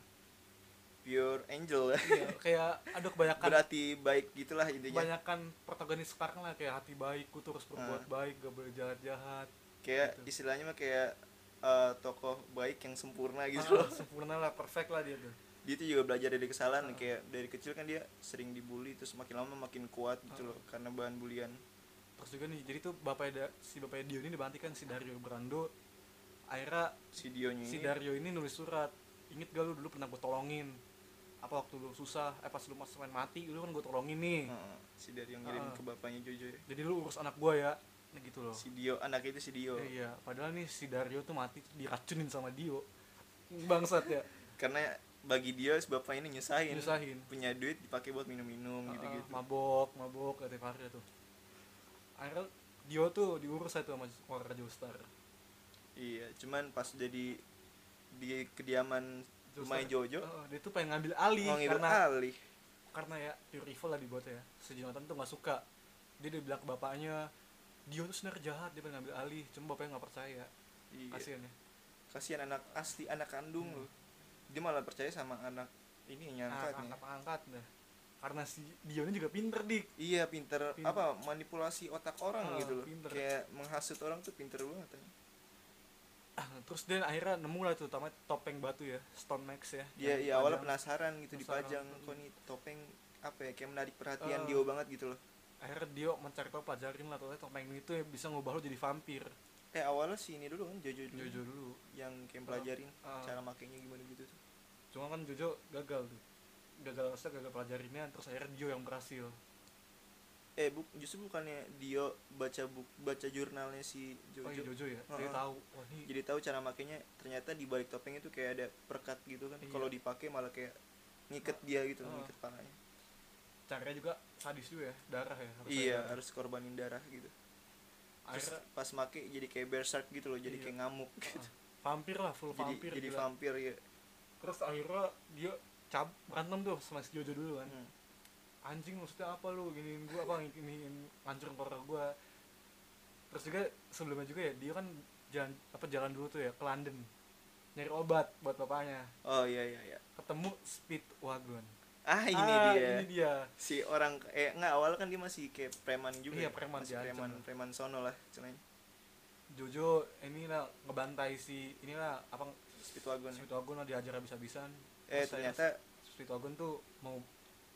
S1: pure angel ya
S2: Iya, kayak aduh kebanyakan
S1: berarti baik gitulah intinya
S2: kebanyakan protagonis sekarang lah kayak hati baik ku
S1: Ah.
S2: terus berbuat baik gak boleh jahat jahat
S1: kayak
S2: gitu.
S1: istilahnya mah kayak eh, tokoh baik yang sempurna gitu
S2: Ah.
S1: loh
S2: sempurna lah perfect lah dia tuh
S1: dia tuh juga belajar dari kesalahan
S2: Ah.
S1: kayak dari kecil kan dia sering dibully terus makin lama makin kuat gitu
S2: Ah.
S1: loh karena bahan bulian
S2: terus juga nih jadi tuh bapaknya da- si bapaknya Dio ini dibantikan si Dario Brando akhirnya
S1: si Dionya
S2: si
S1: ini
S2: Dario ini nulis surat inget gak lu dulu pernah gue tolongin apa waktu lu susah eh pas lu mas main mati lu kan gue tolongin nih
S1: Heeh, si Dario yang ngirim
S2: Heeh.
S1: ke bapaknya Jojo ya.
S2: jadi lu urus anak gue ya nah, gitu loh
S1: si Dio anak itu si Dio
S2: Ya, iya padahal nih si Dario tuh mati tuh diracunin sama Dio bangsat ya
S1: karena bagi Dio si bapak ini nyusahin,
S2: nyusahin
S1: punya duit dipakai buat minum-minum
S2: Ah,
S1: gitu-gitu
S2: mabok mabok kata Fahri tuh akhirnya Dio tuh diurus satu sama keluarga Joestar
S1: iya cuman pas jadi di kediaman
S2: Joestar-
S1: rumahnya Jojo
S2: Heeh, dia tuh pengen ngambil alih
S1: mau Ah, ngibur
S2: karena
S1: alih
S2: karena ya pure evil lah dibuatnya ya si Jonathan tuh nggak suka dia udah bilang ke bapaknya Dio tuh sebenarnya jahat dia pengen ngambil alih cuma bapaknya nggak percaya
S1: Iya.
S2: kasihan ya
S1: kasihan anak asli anak kandung
S2: Hmm.
S1: lu dia malah percaya sama anak ini yang
S2: angkat
S1: nyangkatnya
S2: Ah, angkat angkat dah karena si Dio ini juga pinter dik
S1: iya pinter,
S2: Pinter.
S1: apa manipulasi otak orang
S2: Ah,
S1: gitu loh
S2: pinter.
S1: kayak menghasut orang tuh pinter banget ya.
S2: terus dia akhirnya nemu lah tuh tamat topeng batu ya Stone Max ya
S1: dia
S2: Yang
S1: ya awalnya
S2: dipadang.
S1: penasaran gitu
S2: Penasaran,
S1: dipajang
S2: mm.
S1: kok nih topeng apa ya kayak menarik perhatian
S2: Ah.
S1: Dio banget gitu loh
S2: akhirnya Dio mencari tahu pelajarin lah ternyata topeng itu ya bisa ngubah lo jadi vampir
S1: eh awalnya sih ini dulu kan Jojo dulu
S2: Jojo dulu
S1: yang kayak pelajarin
S2: Ah.
S1: cara makainya gimana gitu tuh
S2: cuma kan Jojo gagal tuh gagal maksudnya gagal pelajarinnya terus akhirnya Dio yang berhasil
S1: eh bu justru bukannya Dio baca buk baca jurnalnya si Jojo,
S2: oh iya Jojo ya
S1: Ah,
S2: dia
S1: ah.
S2: tahu wah ini
S1: jadi tahu cara makainya ternyata di balik topeng itu kayak ada perkat gitu kan
S2: Iya.
S1: kalau dipakai malah kayak ngiket dia gitu
S2: Ah.
S1: ngiket pahanya
S2: caranya juga sadis juga ya darah ya harus
S1: iya
S2: ada darah.
S1: harus korbanin darah gitu terus
S2: akhirnya
S1: pas make jadi kayak berserk gitu loh jadi
S2: Iya.
S1: kayak ngamuk gitu.
S2: ah, ah. vampir lah full
S1: jadi
S2: vampir
S1: jadi
S2: gila. Eh.
S1: vampir ya
S2: terus akhirnya dia cab berantem tuh sama si Jojo dulu kan
S1: Hmm.
S2: anjing maksudnya apa lu giniin gua apa giniin hancurin keluarga gua terus juga sebelumnya juga ya dia kan jalan apa jalan dulu tuh ya ke London nyari obat buat bapaknya
S1: oh iya iya iya
S2: ketemu speedwagon
S1: ah ini
S2: Ah,
S1: dia
S2: ini dia
S1: si orang eh nggak awal kan dia masih kayak preman juga
S2: Iya,
S1: ya.
S2: preman,
S1: masih
S2: diancam
S1: preman
S2: lah.
S1: preman sono lah istilahnya
S2: Jojo inilah ngebantai si inilah apa
S1: speedwagon ya.
S2: speedwagon lah diajar habis-habisan
S1: eh
S2: Terus akhirnya
S1: ternyata
S2: speedwagon tuh mau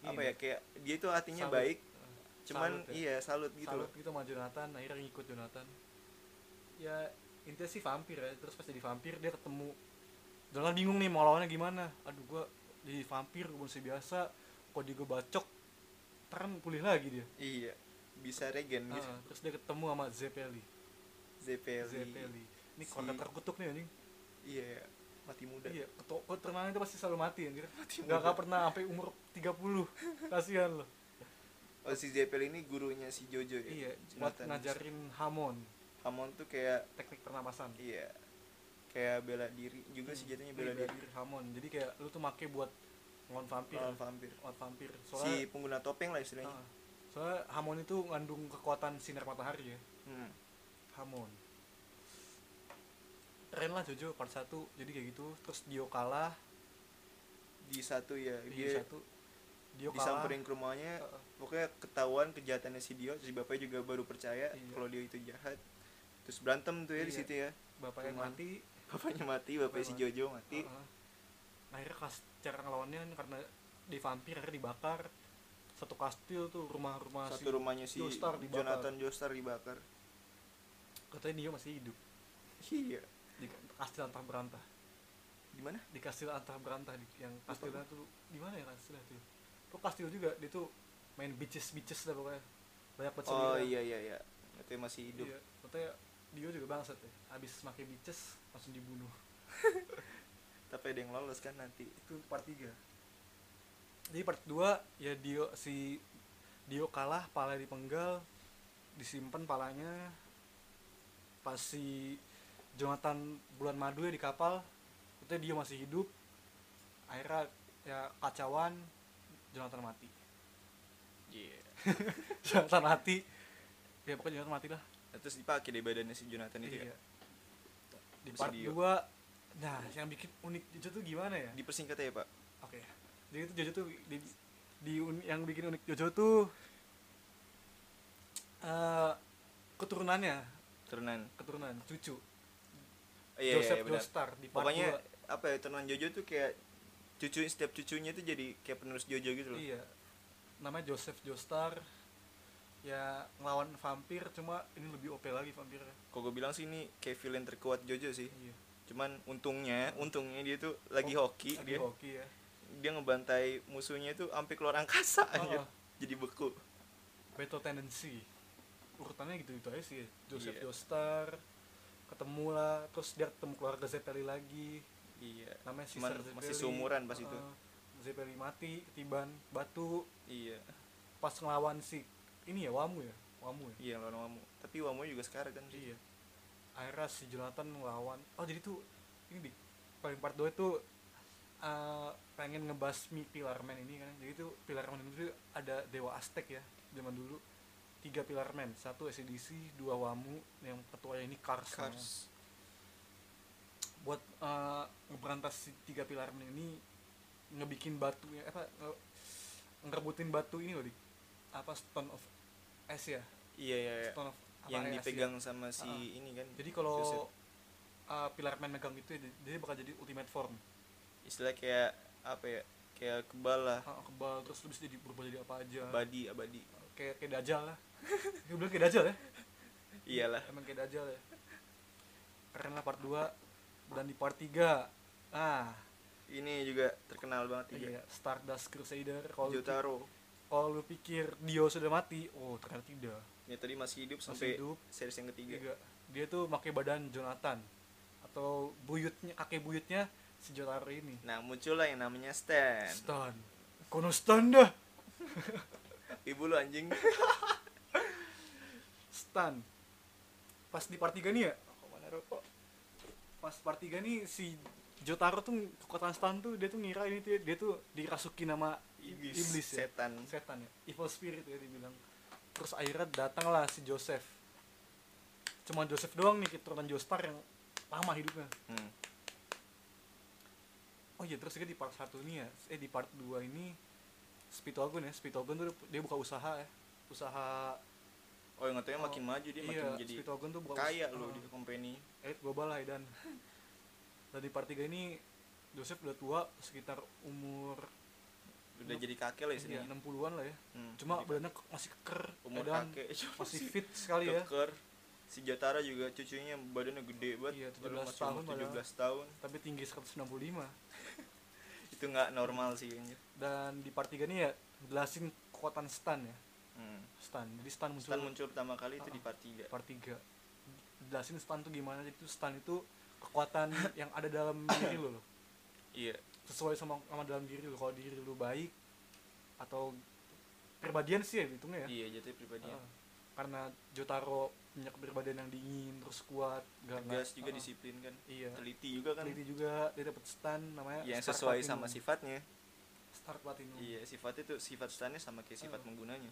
S2: ini Eh,
S1: apa ya
S2: nih,
S1: kayak dia tuh hatinya
S2: salut.
S1: baik
S2: Eh,
S1: cuman
S2: Salut ya.
S1: iya salut gitu
S2: salut
S1: loh
S2: gitu sama Jonathan akhirnya ngikut Jonathan ya intinya sih vampir ya terus pas jadi vampir dia ketemu Jonathan bingung nih mau lawannya gimana aduh gua jadi vampir gue masih biasa kode gue bacok Teran pulih lagi dia
S1: iya bisa regen gitu
S2: Ah, terus dia ketemu sama Zeppeli
S1: Zeppeli.
S2: Zeppeli ini
S1: Si-
S2: keluarga terkutuk nih anjing
S1: iya mati muda
S2: iya ketok terkenalnya itu pasti selalu mati anjir
S1: muda.
S2: nggak nggak pernah sampai umur 30 kasihan loh
S1: oh si Zeppeli ini gurunya si Jojo ya
S2: iya buat
S1: Jonathan.
S2: ngajarin Hamon
S1: Hamon tuh kayak
S2: teknik pernapasan
S1: iya kayak bela diri juga sih jatuhnya
S2: Iya,
S1: bela
S2: bela
S1: diri
S2: diri Hamon jadi kayak lu tuh make buat ngelawan vampir
S1: lawan vampir
S2: ngelawan vampir
S1: si
S2: soalnya
S1: pengguna topeng lah istilahnya
S2: ah, soalnya Hamon itu ngandung kekuatan sinar matahari ya
S1: Hmm.
S2: Hamon keren lah Jojo part 1 jadi kayak gitu terus Dio kalah
S1: di satu ya
S2: Dio
S1: dia
S2: satu Dio kalah
S1: disamperin ke rumahnya
S2: Heeh.
S1: pokoknya ketahuan kejahatannya si Dio terus bapaknya juga baru percaya
S2: Iya.
S1: kalau Dio itu jahat terus berantem tuh ya di
S2: Iya.
S1: situ ya
S2: bapaknya
S1: Cuman-
S2: mati
S1: bapaknya mati bapaknya si
S2: Bapaknya
S1: Jojo mati
S2: Heeh. Nah, akhirnya kas cara ngelawannya kan karena di vampir akhirnya dibakar satu kastil tuh rumah-rumah
S1: satu rumahnya si
S2: Ah, Joestar dibakar.
S1: Jonathan Joestar dibakar
S2: katanya dia masih hidup
S1: iya
S2: di kastil antah berantah
S1: di mana
S2: di kastil antah berantah di, yang kastilnya tuh di mana ya kastilnya tuh kok kastil juga dia tuh main bitches bitches lah pokoknya banyak banget
S1: oh
S2: selera.
S1: iya iya iya katanya masih hidup
S2: Iya, katanya dia juga bangsat ya habis pakai bitches langsung dibunuh
S1: tapi ada yang lolos kan nanti
S2: itu part 3 jadi part 2 ya Dio si Dio kalah pala dipenggal disimpan palanya pas si Jonathan bulan madu ya di kapal itu Dio masih hidup akhirnya ya kacauan Jonathan mati
S1: iya
S2: Jonathan mati ya pokoknya Jonathan mati lah
S1: Nah, terus dipakai deh badannya si Jonathan itu ya
S2: Iya. di
S1: Si
S2: part
S1: Dio.
S2: 2 nah yang bikin unik itu tuh gimana ya
S1: dipersingkat ya pak
S2: Oke. Jadi itu Jojo tuh di, di un- yang bikin unik Jojo tuh eh keturunannya,
S1: Ternan
S2: keturunan cucu.
S1: Eh, iya iya,
S2: Joseph
S1: iya benar
S2: Joestar di part
S1: pokoknya
S2: dua.
S1: apa ya Ternan Jojo tuh kayak cucu setiap cucunya tuh jadi kayak penerus Jojo gitu loh
S2: Iya. Namanya Joseph Joestar. ya ngelawan vampir cuma ini lebih OP lagi vampirnya
S1: Kok gue bilang sih ini kayak villain terkuat Jojo sih.
S2: iya
S1: Cuman untungnya, untungnya dia tuh lagi hoki
S2: Oh, Lagi
S1: dia.
S2: hoki ya
S1: Dia ngebantai musuhnya tuh sampai keluar angkasa anjir.
S2: Oh, oh.
S1: Jadi beku.
S2: battle tendency urutannya gitu gitu aja sih Joseph
S1: Iya.
S2: Joestar ketemu lah terus dia ketemu keluarga Zeppeli lagi
S1: Iya.
S2: namanya
S1: Cuman
S2: Sister Zeppeli
S1: masih seumuran pas itu.
S2: Heeh. Zeppeli Ah, mati ketiban batu
S1: Iya.
S2: pas ngelawan si ini ya Wamu ya Wamu ya
S1: Iya lawan Wamu. Tapi Wamu juga sekarang kan.
S2: iya akhirnya si Jonathan ngelawan oh jadi tuh ini di paling part 2 itu eh, pengen ngebasmi Pilar Man ini kan jadi tuh Pilar Man itu ada dewa Aztec ya zaman dulu tiga Pilar Man satu SDC dua Wamu yang ketuanya ini Kars, namanya.
S1: Kars.
S2: buat eh, ngeberantas si tiga Pilar Man ini ngebikin batunya apa nge- ngerebutin batu ini loh di apa Stone of Ice ya
S1: Iya iya. iya.
S2: Stone of apa,
S1: Yang
S2: Ice ya?
S1: dipegang sama si
S2: Heeh.
S1: ini kan.
S2: Jadi
S1: Joseph.
S2: kalau uh, Pilar Man megang itu dia- dia bakal jadi ultimate form.
S1: istilah kayak apa ya? Kayak kebal lah.
S2: Ah, kebal terus lu bisa jadi berubah jadi apa aja.
S1: Abadi abadi.
S2: kayak kayak Dajjal lah. Gue bilang kayak Dajjal ya.
S1: Iyalah.
S2: Emang kayak Dajjal ya. Keren lah part 2 dan di part 3 ah
S1: Ini juga terkenal banget tiga.
S2: iya, Stardust Crusader kalau lu pi-
S1: Jotaro.
S2: kalau lu pikir Dio sudah mati, oh ternyata tidak.
S1: Ya tadi masih hidup
S2: Masih
S1: sampai
S2: hidup. Iya.
S1: series yang ketiga.
S2: Tiga. Dia tuh pakai badan Jonathan atau buyutnya kakek buyutnya si Jotaro ini.
S1: Nah, muncullah yang namanya Stan.
S2: Stan. Kono Stan dah.
S1: Ibu lu anjing.
S2: stun pas di part 3 nih ya aku mana rokok pas part 3 nih si Jotaro tuh kekuatan stun tuh dia tuh ngira ini tuh dia tuh dirasuki nama i-
S1: Iblis,
S2: iblis, ya
S1: setan.
S2: setan ya evil spirit ya dibilang terus akhirnya datanglah si Joseph cuma Joseph doang nih keturunan Joestar yang lama hidupnya
S1: Hmm.
S2: oh iya terus dia di part 1 nih ya eh di part 2 ini Spitogun ya Spitogun tuh dia buka usaha ya usaha
S1: Oh, yang katanya makin
S2: Oh,
S1: maju dia makin
S2: iya,
S1: jadi
S2: Spitogun tuh buka
S1: kaya
S2: usaha-
S1: lu
S2: Ah.
S1: di company.
S2: elit global lah dan dan di part 3 ini Joseph udah tua sekitar umur
S1: Udah jadi kakek lah
S2: ya,
S1: istilahnya.
S2: 60-an lah ya
S1: Hmm,
S2: cuma
S1: jadi
S2: badannya ke- masih keker
S1: umur
S2: Edan
S1: kakek
S2: masih fit sekali ya
S1: keker. Si Jatara juga cucunya badannya gede banget.
S2: Iya,
S1: Baru
S2: 17
S1: masih umur
S2: tahun padahal.
S1: 17 tahun.
S2: tapi tinggi 165
S1: Itu nggak normal sih anjir.
S2: dan di part 3 ini ya jelasin kekuatan stun ya
S1: Hmm.
S2: stun jadi stun muncul
S1: Stan muncul pertama kali itu
S2: Ah,
S1: di part 3.
S2: part 3 jelasin stun tuh gimana jadi tuh stun itu kekuatan yang ada dalam diri lo loh.
S1: Iya.
S2: sesuai sama sama dalam diri lo kalau diri lo baik atau perbadian sih ya hitungnya ya
S1: Iya, jatuh pribadi.
S2: Ah, karena Jotaro punya kepribadian yang dingin terus kuat gak
S1: Tegas juga
S2: ah,
S1: disiplin kan.
S2: iya
S1: Teliti juga kan. Iya,
S2: teliti juga dia dapat stun namanya
S1: Yang
S2: Star
S1: sesuai
S2: Platinum.
S1: sama sifatnya.
S2: Hmm. Star Platinum
S1: Iya, sifatnya tuh sifat stannya sama kayak sifat
S2: Ah.
S1: menggunanya.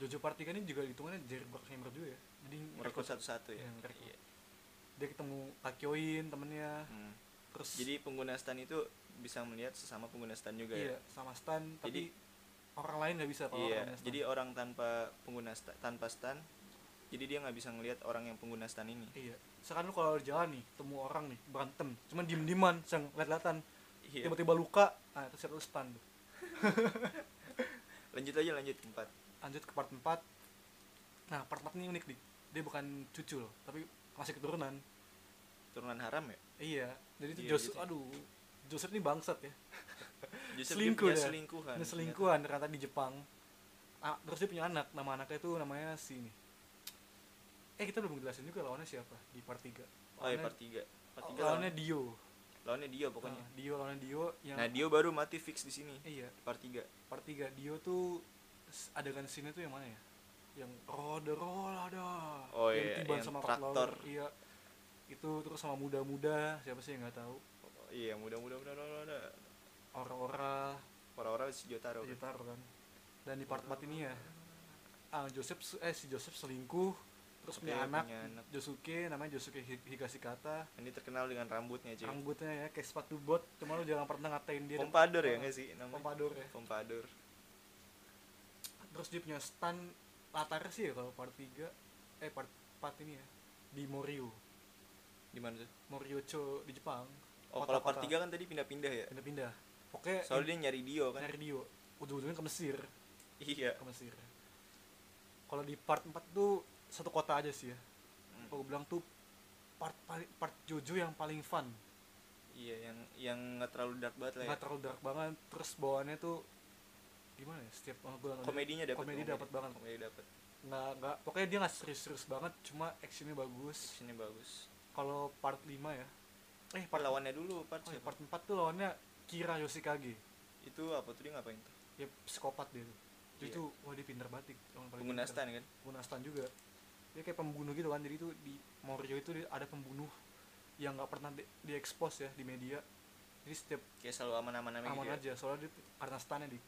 S2: Jojo Party kan ini juga hitungannya Jailbreak Hammer juga ya jadi
S1: Merekrut satu-satu ya.
S2: Iya, merekrut.
S1: Iya.
S2: dia ketemu Kakyoin temennya
S1: Hmm.
S2: terus
S1: Jadi pengguna stan itu bisa melihat sesama pengguna stan juga ya.
S2: iya sama stun
S1: Jadi-
S2: tapi orang lain nggak bisa kalau
S1: Iya.
S2: orangnya stun.
S1: Jadi orang tanpa pengguna sta- tanpa stan, jadi dia nggak bisa ngelihat orang yang pengguna stan ini.
S2: iya misalkan lu kalau jalan nih temu orang nih berantem cuman diem dieman sang liat-liatan
S1: Iya.
S2: tiba-tiba luka nah terus lu stun tuh
S1: Lanjut aja lanjut empat.
S2: lanjut ke part 4 nah part 4 ini unik nih dia bukan cucu loh tapi masih keturunan
S1: Turunan haram ya.
S2: iya jadi itu
S1: Iya,
S2: Joseph
S1: gitu.
S2: aduh Joseph ini bangsat ya
S1: Justru
S2: Selingkuh
S1: dia punya
S2: dah.
S1: selingkuhan. Oh,
S2: ini selingkuhan ternyata di Jepang Ah, terus dia punya anak nama anaknya itu namanya si ini eh kita belum jelasin juga lawannya siapa di part 3
S1: ternyata. Oh, ya, part 3. Part 3
S2: lawannya
S1: lawannya,
S2: Dio
S1: lawannya dia pokoknya.
S2: Ah, Dio lawannya Dio yang
S1: Nah, Dio baru mati fix di sini.
S2: iya
S1: Part 3.
S2: part 3 Dio tuh s- adegan scene tuh yang mana ya? Yang roda roda.
S1: Oh
S2: yang
S1: iya,
S2: ditiban
S1: yang
S2: sama
S1: traktor.
S2: traktor. Iya. Itu terus sama muda-muda, siapa sih yang nggak tahu?
S1: Iya, mudah-mudahan mudah-mudahan.
S2: Ora-ora
S1: Orang-orang si Jotaro. kan?
S2: gitar kan. Dan di part 4 ini ya. Ah, Joseph se- eh si Joseph selingkuh terus
S1: Oke,
S2: punya anak,
S1: punya anak.
S2: Josuke namanya Josuke Hi- Higashikata
S1: Ini terkenal dengan rambutnya, cuy.
S2: anggotanya ya kayak sepatu bot cuma lu jangan pernah ngatain dia
S1: Pompadour ya nggak sih namanya?
S2: Pompadour iya. ya
S1: Pompadour.
S2: terus dia punya stun latar sih ya kalau part 3 eh part 4 ini ya di Morio
S1: Di mana tuh?
S2: Moriocho di Jepang
S1: Oh, kalau part 3 kan tadi pindah-pindah ya.
S2: pindah-pindah pokoknya
S1: Soalnya dia nyari Dio kan.
S2: dari Dio ujung-ujungnya ke Mesir
S1: Iya.
S2: ke Mesir kalau di part 4 tuh satu kota aja sih ya
S1: Hmm.
S2: kalau gue bilang tuh part paling- part Jojo yang paling fun
S1: iya yang yang nggak terlalu dark banget lah ya
S2: nggak terlalu dark banget terus bawaannya tuh gimana ya setiap uh, gue nonton
S1: komedinya dapat
S2: komedi dapat banget
S1: komedi dapat
S2: nggak nggak pokoknya dia nggak serius-serius banget cuma actionnya bagus
S1: sini bagus
S2: kalau part 5 ya eh
S1: part
S2: part oh,
S1: lawannya dulu part,
S2: iya,
S1: siapa?
S2: part 4 tuh lawannya Kira Yoshikage
S1: itu apa tuh dia ngapain tuh
S2: ya psikopat dia tuh dia
S1: Iya.
S2: tuh wah dia pinter banget dia, orang paling
S1: pengguna
S2: pinter.
S1: stan kan
S2: pengguna stan juga dia kayak pembunuh gitu kan jadi tuh di Morjo itu dia ada pembunuh yang nggak pernah di, diekspos ya di media jadi setiap
S1: kayak selalu aman-aman aja gitu
S2: aman
S1: ya.
S2: aja soalnya dia karena stannya di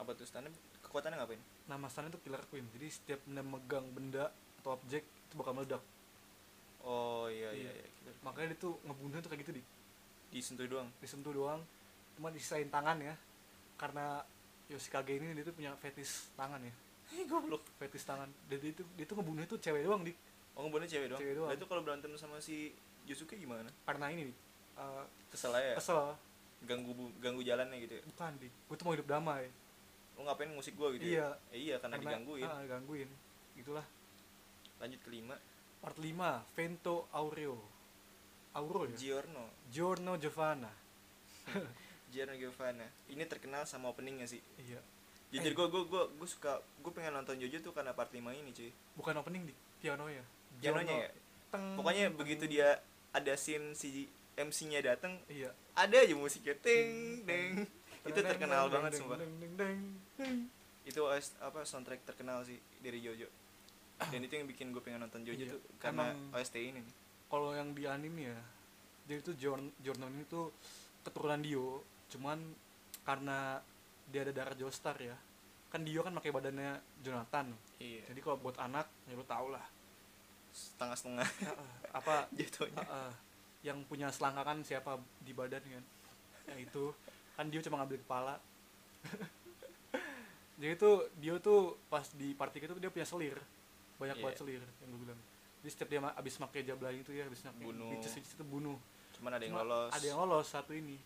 S1: apa tuh stannya kekuatannya ngapain
S2: nama stannya tuh killer queen jadi setiap dia megang benda atau objek itu bakal meledak
S1: oh iya iya, iya.
S2: Iya.
S1: Kita-
S2: makanya dia tuh ngebunuh tuh kayak gitu di
S1: disentuh doang
S2: disentuh doang cuma disisain tangan ya karena Yoshikage ini dia tuh punya fetis tangan ya
S1: goblok
S2: fetis tangan dan dia tuh dia tuh ngebunuh tuh cewek doang di
S1: oh ngebunuhnya cewek doang
S2: Cewek doang.
S1: Lah, itu kalau berantem sama si Yusuke gimana
S2: karena ini Dik. Eh,
S1: kesel aja ya?
S2: kesel
S1: ganggu bu- ganggu jalannya gitu ya
S2: bukan di gue tuh mau hidup damai
S1: lo ngapain ngusik gua gitu
S2: Iya.
S1: ya? Eh, iya karena, digangguin
S2: ah, digangguin gitulah
S1: lanjut kelima
S2: part 5 Vento Aureo Auro ya
S1: Giorno
S2: Giorno Giovanna
S1: Giorno Giovanna ini terkenal sama openingnya sih
S2: iya
S1: jujur
S2: Eh.
S1: gua gua gua gua suka gua pengen nonton Jojo tuh karena part 5 ini cuy
S2: bukan opening di piano ya
S1: Pianonya ya?
S2: Hmm.
S1: pokoknya begitu dia ada scene si MC-nya dateng
S2: iya
S1: ada aja musiknya ting deng itu terkenal banget sumpah
S2: Hmm. Deng, deng, deng, deng.
S1: itu OS apa soundtrack terkenal sih dari Jojo dan itu yang bikin gue pengen nonton Jojo
S2: Ah. Iya,
S1: tuh karena
S2: emang-
S1: OST ini nih.
S2: kalau yang di anime ya jadi tuh Jorn Jornon ini tuh keturunan Dio cuman karena dia ada darah Joestar ya kan Dio kan pakai badannya Jonathan
S1: iya
S2: jadi kalau buat anak ya lu tau lah
S1: setengah setengah
S2: Heeh, apa
S1: jatuhnya
S2: heeh, yang punya selangkangan siapa di badan kan yang itu kan Dio cuma ngambil kepala jadi tuh Dio tuh pas di party itu dia punya selir banyak banget
S1: Iya.
S2: selir yang gue bilang jadi setiap dia ma- abis pakai jablan itu ya abis pakai
S1: Bunuh.
S2: bitches bitches itu bunuh
S1: cuman ada yang
S2: Cuma
S1: lolos
S2: ada yang lolos satu ini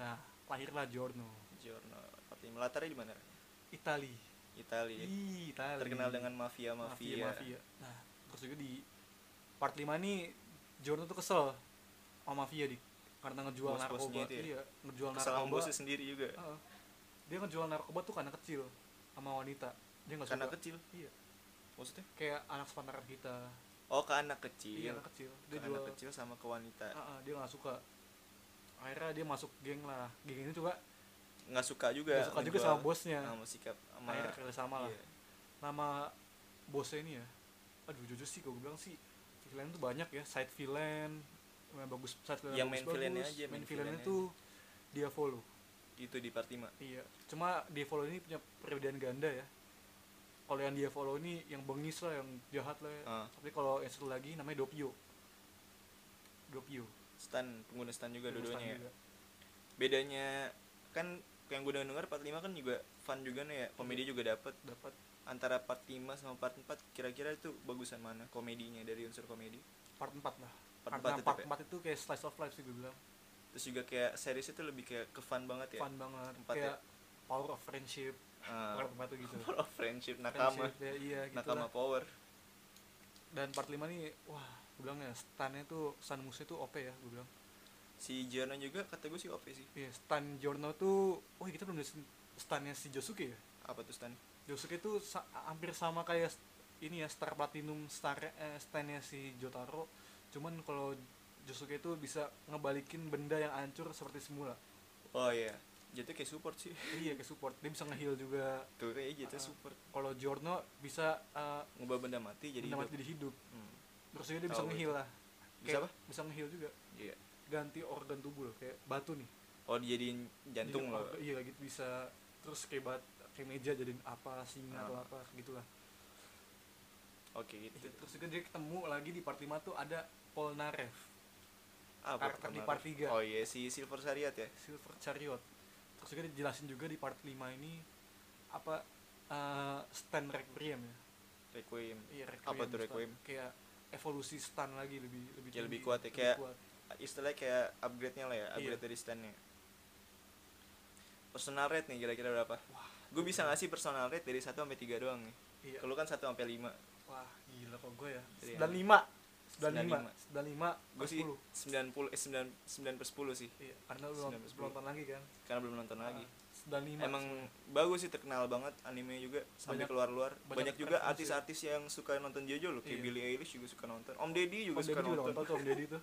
S2: nah lahirlah Giorno
S1: Giorno tapi latarnya di mana
S2: Itali
S1: Italia
S2: Ih, Itali
S1: Iya. terkenal dengan mafia
S2: Iya, mafia
S1: mafia,
S2: mafia nah terus juga di part 5 nih Giorno tuh kesel sama mafia di karena ngejual
S1: Bos-bosnya
S2: narkoba
S1: itu ya?
S2: iya ngejual
S1: kesal sama
S2: narkoba Ah,
S1: bosnya sendiri juga
S2: Heeh. dia ngejual narkoba tuh karena kecil sama wanita dia nggak
S1: karena
S2: suka
S1: kecil
S2: iya
S1: maksudnya
S2: kayak anak sepantaran kita
S1: oh ke anak
S2: iya
S1: kecil
S2: anak kecil
S1: ke
S2: dia
S1: anak
S2: jual Ah.
S1: kecil sama ke wanita
S2: Heeh, dia nggak suka akhirnya dia masuk geng lah geng ini juga
S1: nggak suka juga
S2: nggak suka juga
S1: ngejual
S2: sama bosnya
S1: sama sikap sama
S2: akhirnya kerjasama lah
S1: iya.
S2: nama bosnya ini ya aduh jujur sih kalau gue bilang sih villain tuh banyak ya side villain yang bagus side villain
S1: Yang
S2: bagus,
S1: main villainnya
S2: bagus.
S1: aja,
S2: main,
S1: main villainnya
S2: villainnya tuh dia follow
S1: itu di part 5
S2: iya cuma dia follow ini punya perbedaan ganda ya kalau yang dia follow ini yang bengis lah yang jahat lah ya.
S1: Ah.
S2: tapi kalau yang satu lagi namanya Dopio Dopio
S1: stan pengguna stan juga
S2: Dopio Stan
S1: dua-duanya ya.
S2: juga.
S1: bedanya kan yang gue udah denger part 5 kan juga fun juga nih ya komedi
S2: Iya.
S1: juga dapet
S2: dapat
S1: antara part 5 sama part 4 kira-kira itu bagusan mana komedinya dari unsur komedi
S2: part 4 lah
S1: Part
S2: karena
S1: empat tetep
S2: part
S1: ya?
S2: 4 itu kayak slice of life sih gue bilang
S1: terus juga kayak series itu lebih kayak ke fun banget ya
S2: fun banget
S1: Empat ya?
S2: kayak power of friendship
S1: Ah,
S2: part 4 tuh gitu
S1: power of friendship nakama
S2: Friendship, ya, iya gitu
S1: nakama
S2: lah.
S1: power
S2: dan part 5 nih wah gue bilang ya stunnya tuh stun musuh tuh OP ya gue bilang
S1: si Giorno juga kata gue sih OP sih
S2: iya stun Giorno tuh oh kita belum jelasin stunnya si Josuke ya
S1: apa tuh stan
S2: Josuke tuh sa- hampir sama kayak st- ini ya star platinum star eh, stunnya si Jotaro cuman kalau Josuke itu bisa ngebalikin benda yang hancur seperti semula
S1: oh iya jatuh kayak support sih
S2: iya ke support dia bisa ngeheal juga
S1: tuh kayak jatuh
S2: Ah.
S1: support
S2: kalau Giorno bisa eh,
S1: ngubah benda mati jadi
S2: jadi
S1: hidup.
S2: jadi hidup
S1: Hmm.
S2: terus juga dia bisa
S1: Tahu
S2: ngeheal lah
S1: bisa
S2: Kayak
S1: apa
S2: bisa ngeheal juga
S1: iya
S2: ganti organ tubuh loh kayak batu nih
S1: oh dijadiin jantung
S2: Jadi,
S1: loh
S2: organ- iya gitu bisa terus kayak bat kayak meja jadiin apa singa
S1: Ah.
S2: atau apa gitulah
S1: oke gitu
S2: terus juga dia ketemu lagi di part 5 tuh ada Polnareff
S1: ah,
S2: karakter di part tiga.
S1: oh iya si Silver Sariat ya
S2: Silver Chariot terus juga dijelasin juga di part 5 ini apa eh, stand requiem ya
S1: Requiem
S2: iya
S1: Apa tuh
S2: stand.
S1: requiem?
S2: kayak evolusi stand lagi lebih lebih
S1: Ya, lebih
S2: tinggi,
S1: kuat ya, kayak-
S2: kuat.
S1: istilahnya kayak upgrade-nya lah ya, upgrade
S2: Iya.
S1: dari stand-nya. Personal rate nih kira-kira berapa? Gue bisa ngasih personal rate dari 1 sampai 3 doang nih.
S2: Iya.
S1: Kalau kan 1 sampai 5.
S2: Wah, gila kok gue ya.
S1: Iya.
S2: 95. 95. 95.
S1: Gue sih
S2: 10.
S1: 90 eh 9 9 per 10 sih
S2: Iya, karena lu nonton,
S1: 90.
S2: nonton lagi kan.
S1: karena belum nonton lagi.
S2: Ah, 95.
S1: Emang bagus sih terkenal banget animenya juga sampai
S2: Banyak-
S1: keluar-luar.
S2: banyak
S1: Banyak, juga
S2: referensi.
S1: artis-artis yang suka nonton Jojo loh, kayak
S2: Iya.
S1: Billie Eilish juga suka nonton. Om Deddy
S2: Om
S1: juga suka
S2: Deddy juga
S1: nonton.
S2: nonton tuh Om Deddy tuh.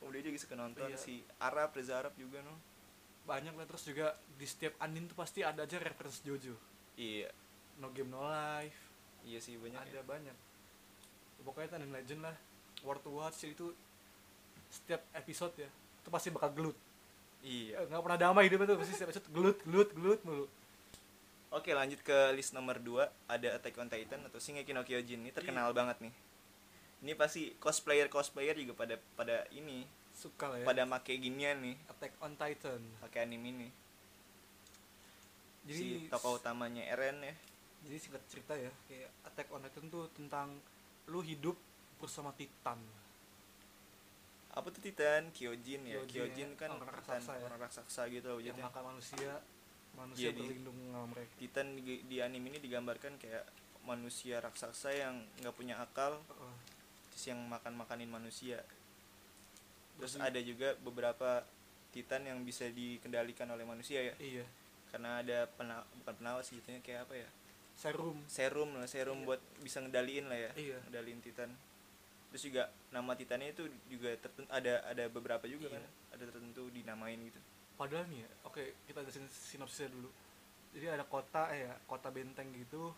S1: Om Deddy juga suka nonton
S2: Iya.
S1: si Arab, Reza Arab juga no.
S2: Banyak lah terus juga di setiap Andin tuh pasti ada aja reference Jojo.
S1: Iya.
S2: No Game No Life.
S1: Iya sih banyak. ya.
S2: ada banyak. Pokoknya Andin Legend lah. War to Watch itu setiap episode ya itu pasti bakal gelut.
S1: Iya.
S2: Eh, Nggak pernah damai hidupnya tuh pasti setiap episode gelut, gelut, gelut mulu.
S1: Oke, lanjut ke list nomor 2 ada Attack on Titan atau Shingeki no Kyojin. Ini
S2: Iya.
S1: terkenal banget nih. Ini pasti cosplayer-cosplayer juga pada pada ini,
S2: Suka lah ya.
S1: pada make ginian nih,
S2: Attack on Titan.
S1: pakai anime ini.
S2: Jadi
S1: si tokoh utamanya Eren ya.
S2: jadi singkat cerita ya kayak Attack on Titan tuh tentang lu hidup bersama Titan
S1: Apa tuh Titan? Kyojin ya.
S2: Kyojin
S1: Kyojin
S2: ya,
S1: kan
S2: orang
S1: Titan,
S2: raksasa ya. Iya,
S1: orang raksasa gitu
S2: yang
S1: wujudnya.
S2: makan manusia manusia
S1: Jadi-
S2: berlindung sama mereka
S1: Titan di, di anime ini digambarkan kayak manusia raksasa yang nggak punya akal,
S2: Heeh.
S1: terus yang makan-makanin manusia. Terus
S2: Jadi-
S1: ada juga beberapa Titan yang bisa dikendalikan oleh manusia ya.
S2: iya
S1: karena ada pena bukan penawas sih jatuhnya kayak apa ya
S2: serum
S1: serum lah serum
S2: Iya.
S1: buat bisa ngedaliin lah ya
S2: Iya.
S1: ngedaliin titan terus juga nama titannya itu juga tertentu ada ada beberapa juga
S2: Iya.
S1: kan ada tertentu dinamain gitu
S2: padahal nih ya oke kita ada sin- sinopsisnya dulu jadi ada kota ya kota benteng gitu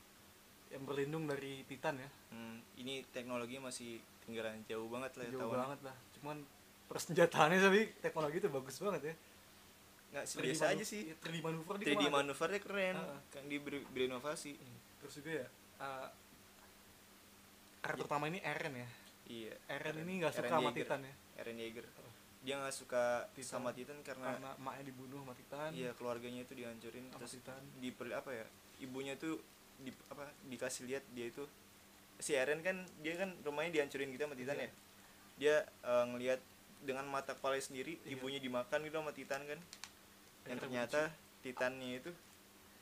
S2: yang berlindung dari Titan ya
S1: hmm, ini teknologi masih tinggalan jauh banget lah ya,
S2: jauh
S1: tahun
S2: banget lah cuman persenjataannya tapi teknologi itu bagus banget ya
S1: nggak
S2: 3D
S1: biasa
S2: manu-
S1: aja sih
S2: iya, 3D manuver dia
S1: 3D
S2: kemarin.
S1: manuvernya keren
S2: Ah.
S1: kan di ber- berinovasi
S2: terus juga ya eh, karakter utama ini Eren ya
S1: iya
S2: Eren ini nggak suka
S1: Eren Nah.
S2: sama
S1: Yeager.
S2: Titan ya
S1: Eren Yeager
S2: Oh.
S1: dia nggak suka
S2: Titan.
S1: sama Titan karena
S2: karena emaknya dibunuh sama Titan
S1: iya keluarganya itu dihancurin
S2: sama
S1: terus
S2: Titan
S1: di apa ya ibunya tuh di apa dikasih lihat dia itu si Eren kan dia kan rumahnya dihancurin gitu sama Titan
S2: Iya.
S1: ya dia eh, ngelihat dengan mata kepala sendiri
S2: Iya.
S1: ibunya dimakan gitu sama Titan kan yang
S2: Akhirnya
S1: ternyata Titannya itu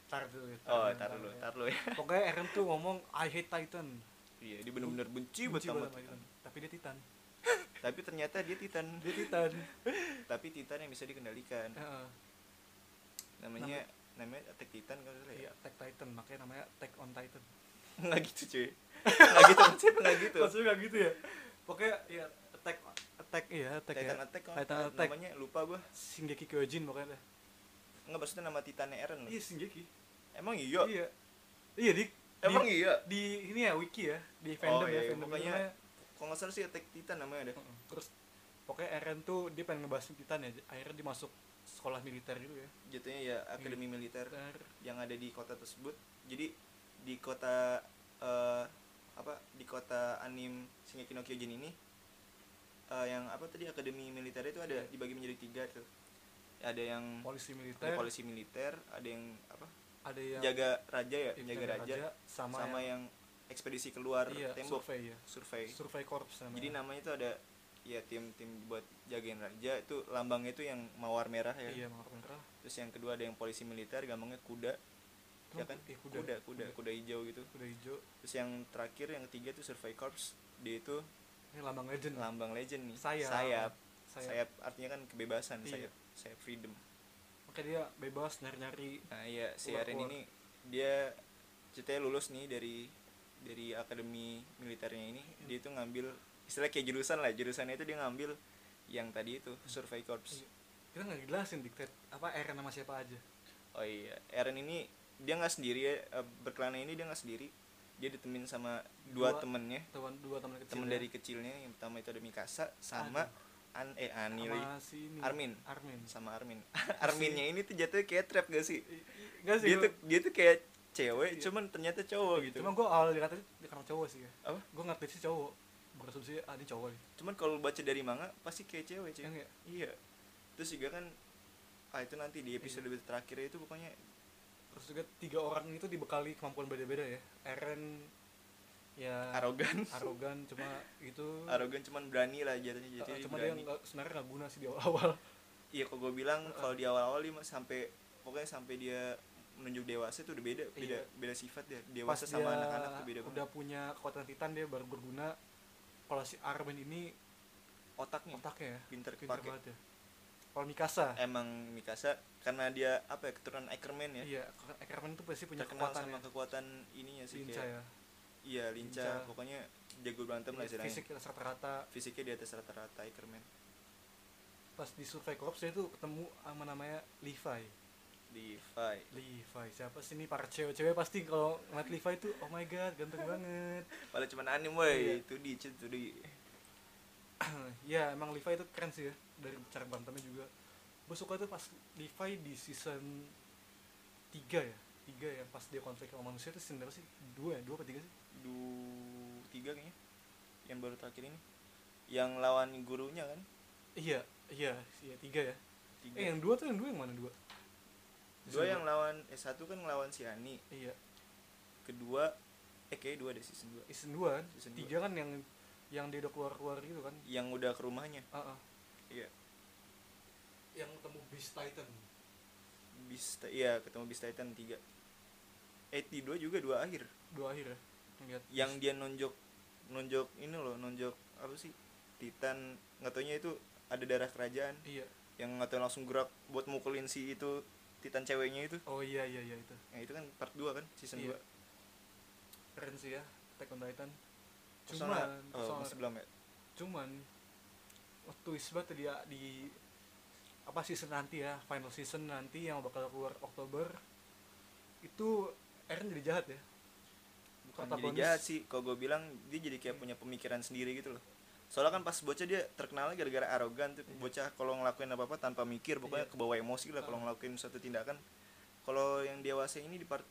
S2: tar dulu ya, tar
S1: oh
S2: dulu,
S1: tar
S2: tar
S1: lu
S2: dulu ya.
S1: tar lu ya
S2: pokoknya Eren tuh ngomong I hate Titan
S1: iya dia benar-benar benci banget
S2: Benci
S1: sama
S2: banget
S1: Titan
S2: tapi dia Titan
S1: tapi ternyata dia Titan
S2: dia Titan
S1: tapi Titan yang bisa dikendalikan
S2: Heeh.
S1: namanya namanya Attack Titan kalau nggak salah
S2: iya
S1: ya
S2: Attack Titan makanya namanya Attack on Titan
S1: nggak gitu cuy nggak gitu konsep nggak gitu
S2: maksudnya nggak gitu ya pokoknya ya Attack Attack iya Attack
S1: Titan
S2: ya
S1: Attack,
S2: Titan
S1: kan?
S2: Attack.
S1: namanya Hmm. lupa gua
S2: Shingeki Kyojin pokoknya dah.
S1: nggak maksudnya nama Titannya Eren loh
S2: iya Shingeki
S1: Emang iya?
S2: iya iya di
S1: Emang
S2: di,
S1: iya?
S2: di ini ya wiki ya di fandom
S1: iya,
S2: ya
S1: iya,
S2: fandom
S1: pokoknya-
S2: namanya-
S1: Kalau nggak salah sih Attack Titan namanya ada
S2: Heeh. terus pokoknya Eren tuh dia pengen ngebahas Titan ya akhirnya dia masuk sekolah militer gitu ya
S1: Jatuhnya ya Akademi
S2: Hmm.
S1: Militer
S2: Ter,
S1: yang ada di kota tersebut Jadi di kota eh, apa di kota anim Shingeki no Kyojin ini eh, yang apa tadi akademi militer itu ada
S2: Iya.
S1: dibagi menjadi tiga tuh ada yang
S2: polisi militer
S1: ada Hmm. polisi militer ada yang apa
S2: ada yang
S1: jaga raja ya
S2: yang
S1: jaga raja
S2: sama,
S1: sama, yang,
S2: yang,
S1: ekspedisi keluar
S2: iya,
S1: tembok
S2: survei ya
S1: survei
S2: survei korps namanya
S1: Jadi namanya itu ada ya tim-tim buat jagain raja itu lambangnya itu yang mawar merah ya.
S2: iya mawar merah
S1: Terus yang kedua ada yang polisi militer gampangnya kuda. Ya kan?
S2: Iya, kuda.
S1: kuda, kuda, kuda, hijau gitu.
S2: kuda hijau
S1: Terus yang terakhir yang ketiga itu Survey Corps. Dia itu
S2: ini lambang legend
S1: lambang legend nih.
S2: Sayap.
S1: sayap.
S2: saya
S1: Sayap artinya kan kebebasan,
S2: Iya.
S1: sayap. Sayap freedom.
S2: makanya dia bebas nyari nyari
S1: Nah, iya si
S2: Keluar,
S1: Aren
S2: keluar.
S1: ini dia ceritanya lulus nih dari dari akademi militernya ini.
S2: Iya.
S1: Dia itu ngambil istilah kayak jurusan lah. Jurusannya itu dia ngambil yang tadi itu Survey Corps.
S2: Iya. kita nggak jelasin diktat apa Eren nama siapa aja
S1: Oh iya, Eren ini dia nggak sendiri ya eh, berkelana ini dia nggak sendiri. Dia ditemenin sama dua,
S2: Dua
S1: temennya,
S2: teman dua teman kecil
S1: temen
S2: ya.
S1: dari kecilnya. Yang pertama itu ada Mikasa sama An eh Ani
S2: sama
S1: lagi.
S2: si ini
S1: Armin.
S2: Armin
S1: sama Armin. Arminnya ini tuh jatuhnya kayak trap gak sih?
S2: Gak sih,
S1: Dia
S2: gua-
S1: tuh dia tuh kayak cewek,
S2: Iya.
S1: cuman ternyata cowok gitu.
S2: Cuma gue awal dikatain karena cowok sih ya.
S1: Apa?
S2: Gue ngerti sih cowok. Berasumsi ah ini cowok nih.
S1: Cuman kalau lu baca dari manga pasti kayak cewek cuy.
S2: Yang ya,
S1: Iya. Terus juga kan ah itu nanti
S2: Iya.
S1: di episode terakhir itu pokoknya
S2: terus juga tiga orang itu dibekali kemampuan beda-beda ya. Eren ya
S1: arogan.
S2: arogan cuma gitu.
S1: arogan cuman berani lah jatuhnya
S2: Eh,
S1: jadi
S2: cuma dia
S1: berani.
S2: nggak sebenarnya nggak guna sih di awal-awal.
S1: Iya kok gue bilang kalau di awal-awal dia mas- sampai pokoknya sampai dia menunjuk dewasa itu udah beda beda
S2: Iya.
S1: beda sifat dia
S2: Pas
S1: dewasa
S2: dia
S1: sama anak-anak tuh beda
S2: udah
S1: banget
S2: punya kekuatan titan dia baru berguna kalau si Armin ini
S1: otaknya
S2: otaknya ya
S1: pinter kepake
S2: pinter
S1: Nah,
S2: banget ya kalau Mikasa
S1: emang Mikasa karena dia apa ya keturunan Ackerman ya
S2: iya Ackerman tuh pasti punya
S1: terkenal
S2: kekuatan
S1: sama
S2: ya
S1: kekuatan ininya sih
S2: lincah
S1: kayak
S2: ya
S1: iya lincah
S2: Lincah.
S1: pokoknya jago berantem lah
S2: Iya,
S1: istilahnya
S2: fisik rata-rata
S1: fisiknya di atas rata-rata ya, Ackerman
S2: pas di survei korps dia tuh ketemu sama namanya Levi
S1: Levi
S2: Levi siapa sih ini para cewek-cewek pasti kalau ngeliat Levi itu oh my god ganteng banget
S1: Padahal cuman anime woy
S2: Iya.
S1: itu di itu di
S2: ya emang Levi itu keren sih ya dari cara bantamnya juga gue suka tuh pas Levi di season 3 ya tiga yang pas dia konflik sama manusia itu season berapa sih dua ya dua apa tiga sih
S1: du tiga kayaknya yang baru terakhir ini yang lawan gurunya kan
S2: iya iya iya tiga ya
S1: tiga
S2: eh yang dua tuh yang dua yang mana dua
S1: Iya. dua
S2: Season
S1: yang lawan eh satu kan ngelawan si Ani
S2: iya
S1: kedua eh kayaknya dua deh season dua
S2: season dua kan
S1: Season
S2: tiga kan yang yang dia udah keluar keluar gitu kan
S1: yang udah ke rumahnya
S2: Ah, ah.
S1: iya
S2: yang ketemu Beast Titan
S1: Beast iya ketemu Beast Titan tiga eh di dua juga dua akhir
S2: dua akhir ya Ngeliat
S1: yang dia nonjok nonjok ini loh nonjok apa sih Titan nggak taunya itu ada darah kerajaan
S2: iya
S1: yang nggak tahu langsung gerak buat mukulin si itu Titan ceweknya itu
S2: oh iya iya iya itu
S1: Nah itu kan part 2 kan season
S2: Iya.
S1: 2
S2: keren sih ya Attack on Titan
S1: Persona,
S2: cuman
S1: oh,
S2: Persona-
S1: masih belum ya
S2: cuman oh, twist banget dia di apa season nanti ya final season nanti yang bakal keluar Oktober itu Eren jadi jahat ya
S1: Bukan Kan jadi
S2: Protagonis.
S1: jahat sih Kalau gue bilang dia jadi
S2: Iya.
S1: kayak punya pemikiran sendiri gitu loh Soalnya kan pas bocah dia terkenalnya gara-gara arogan tuh
S2: Iya.
S1: Bocah kalau ngelakuin apa-apa tanpa mikir Pokoknya
S2: Iya.
S1: kebawa emosi lah kalau
S2: Ah.
S1: ngelakuin suatu tindakan Kalau yang dewasa ini di part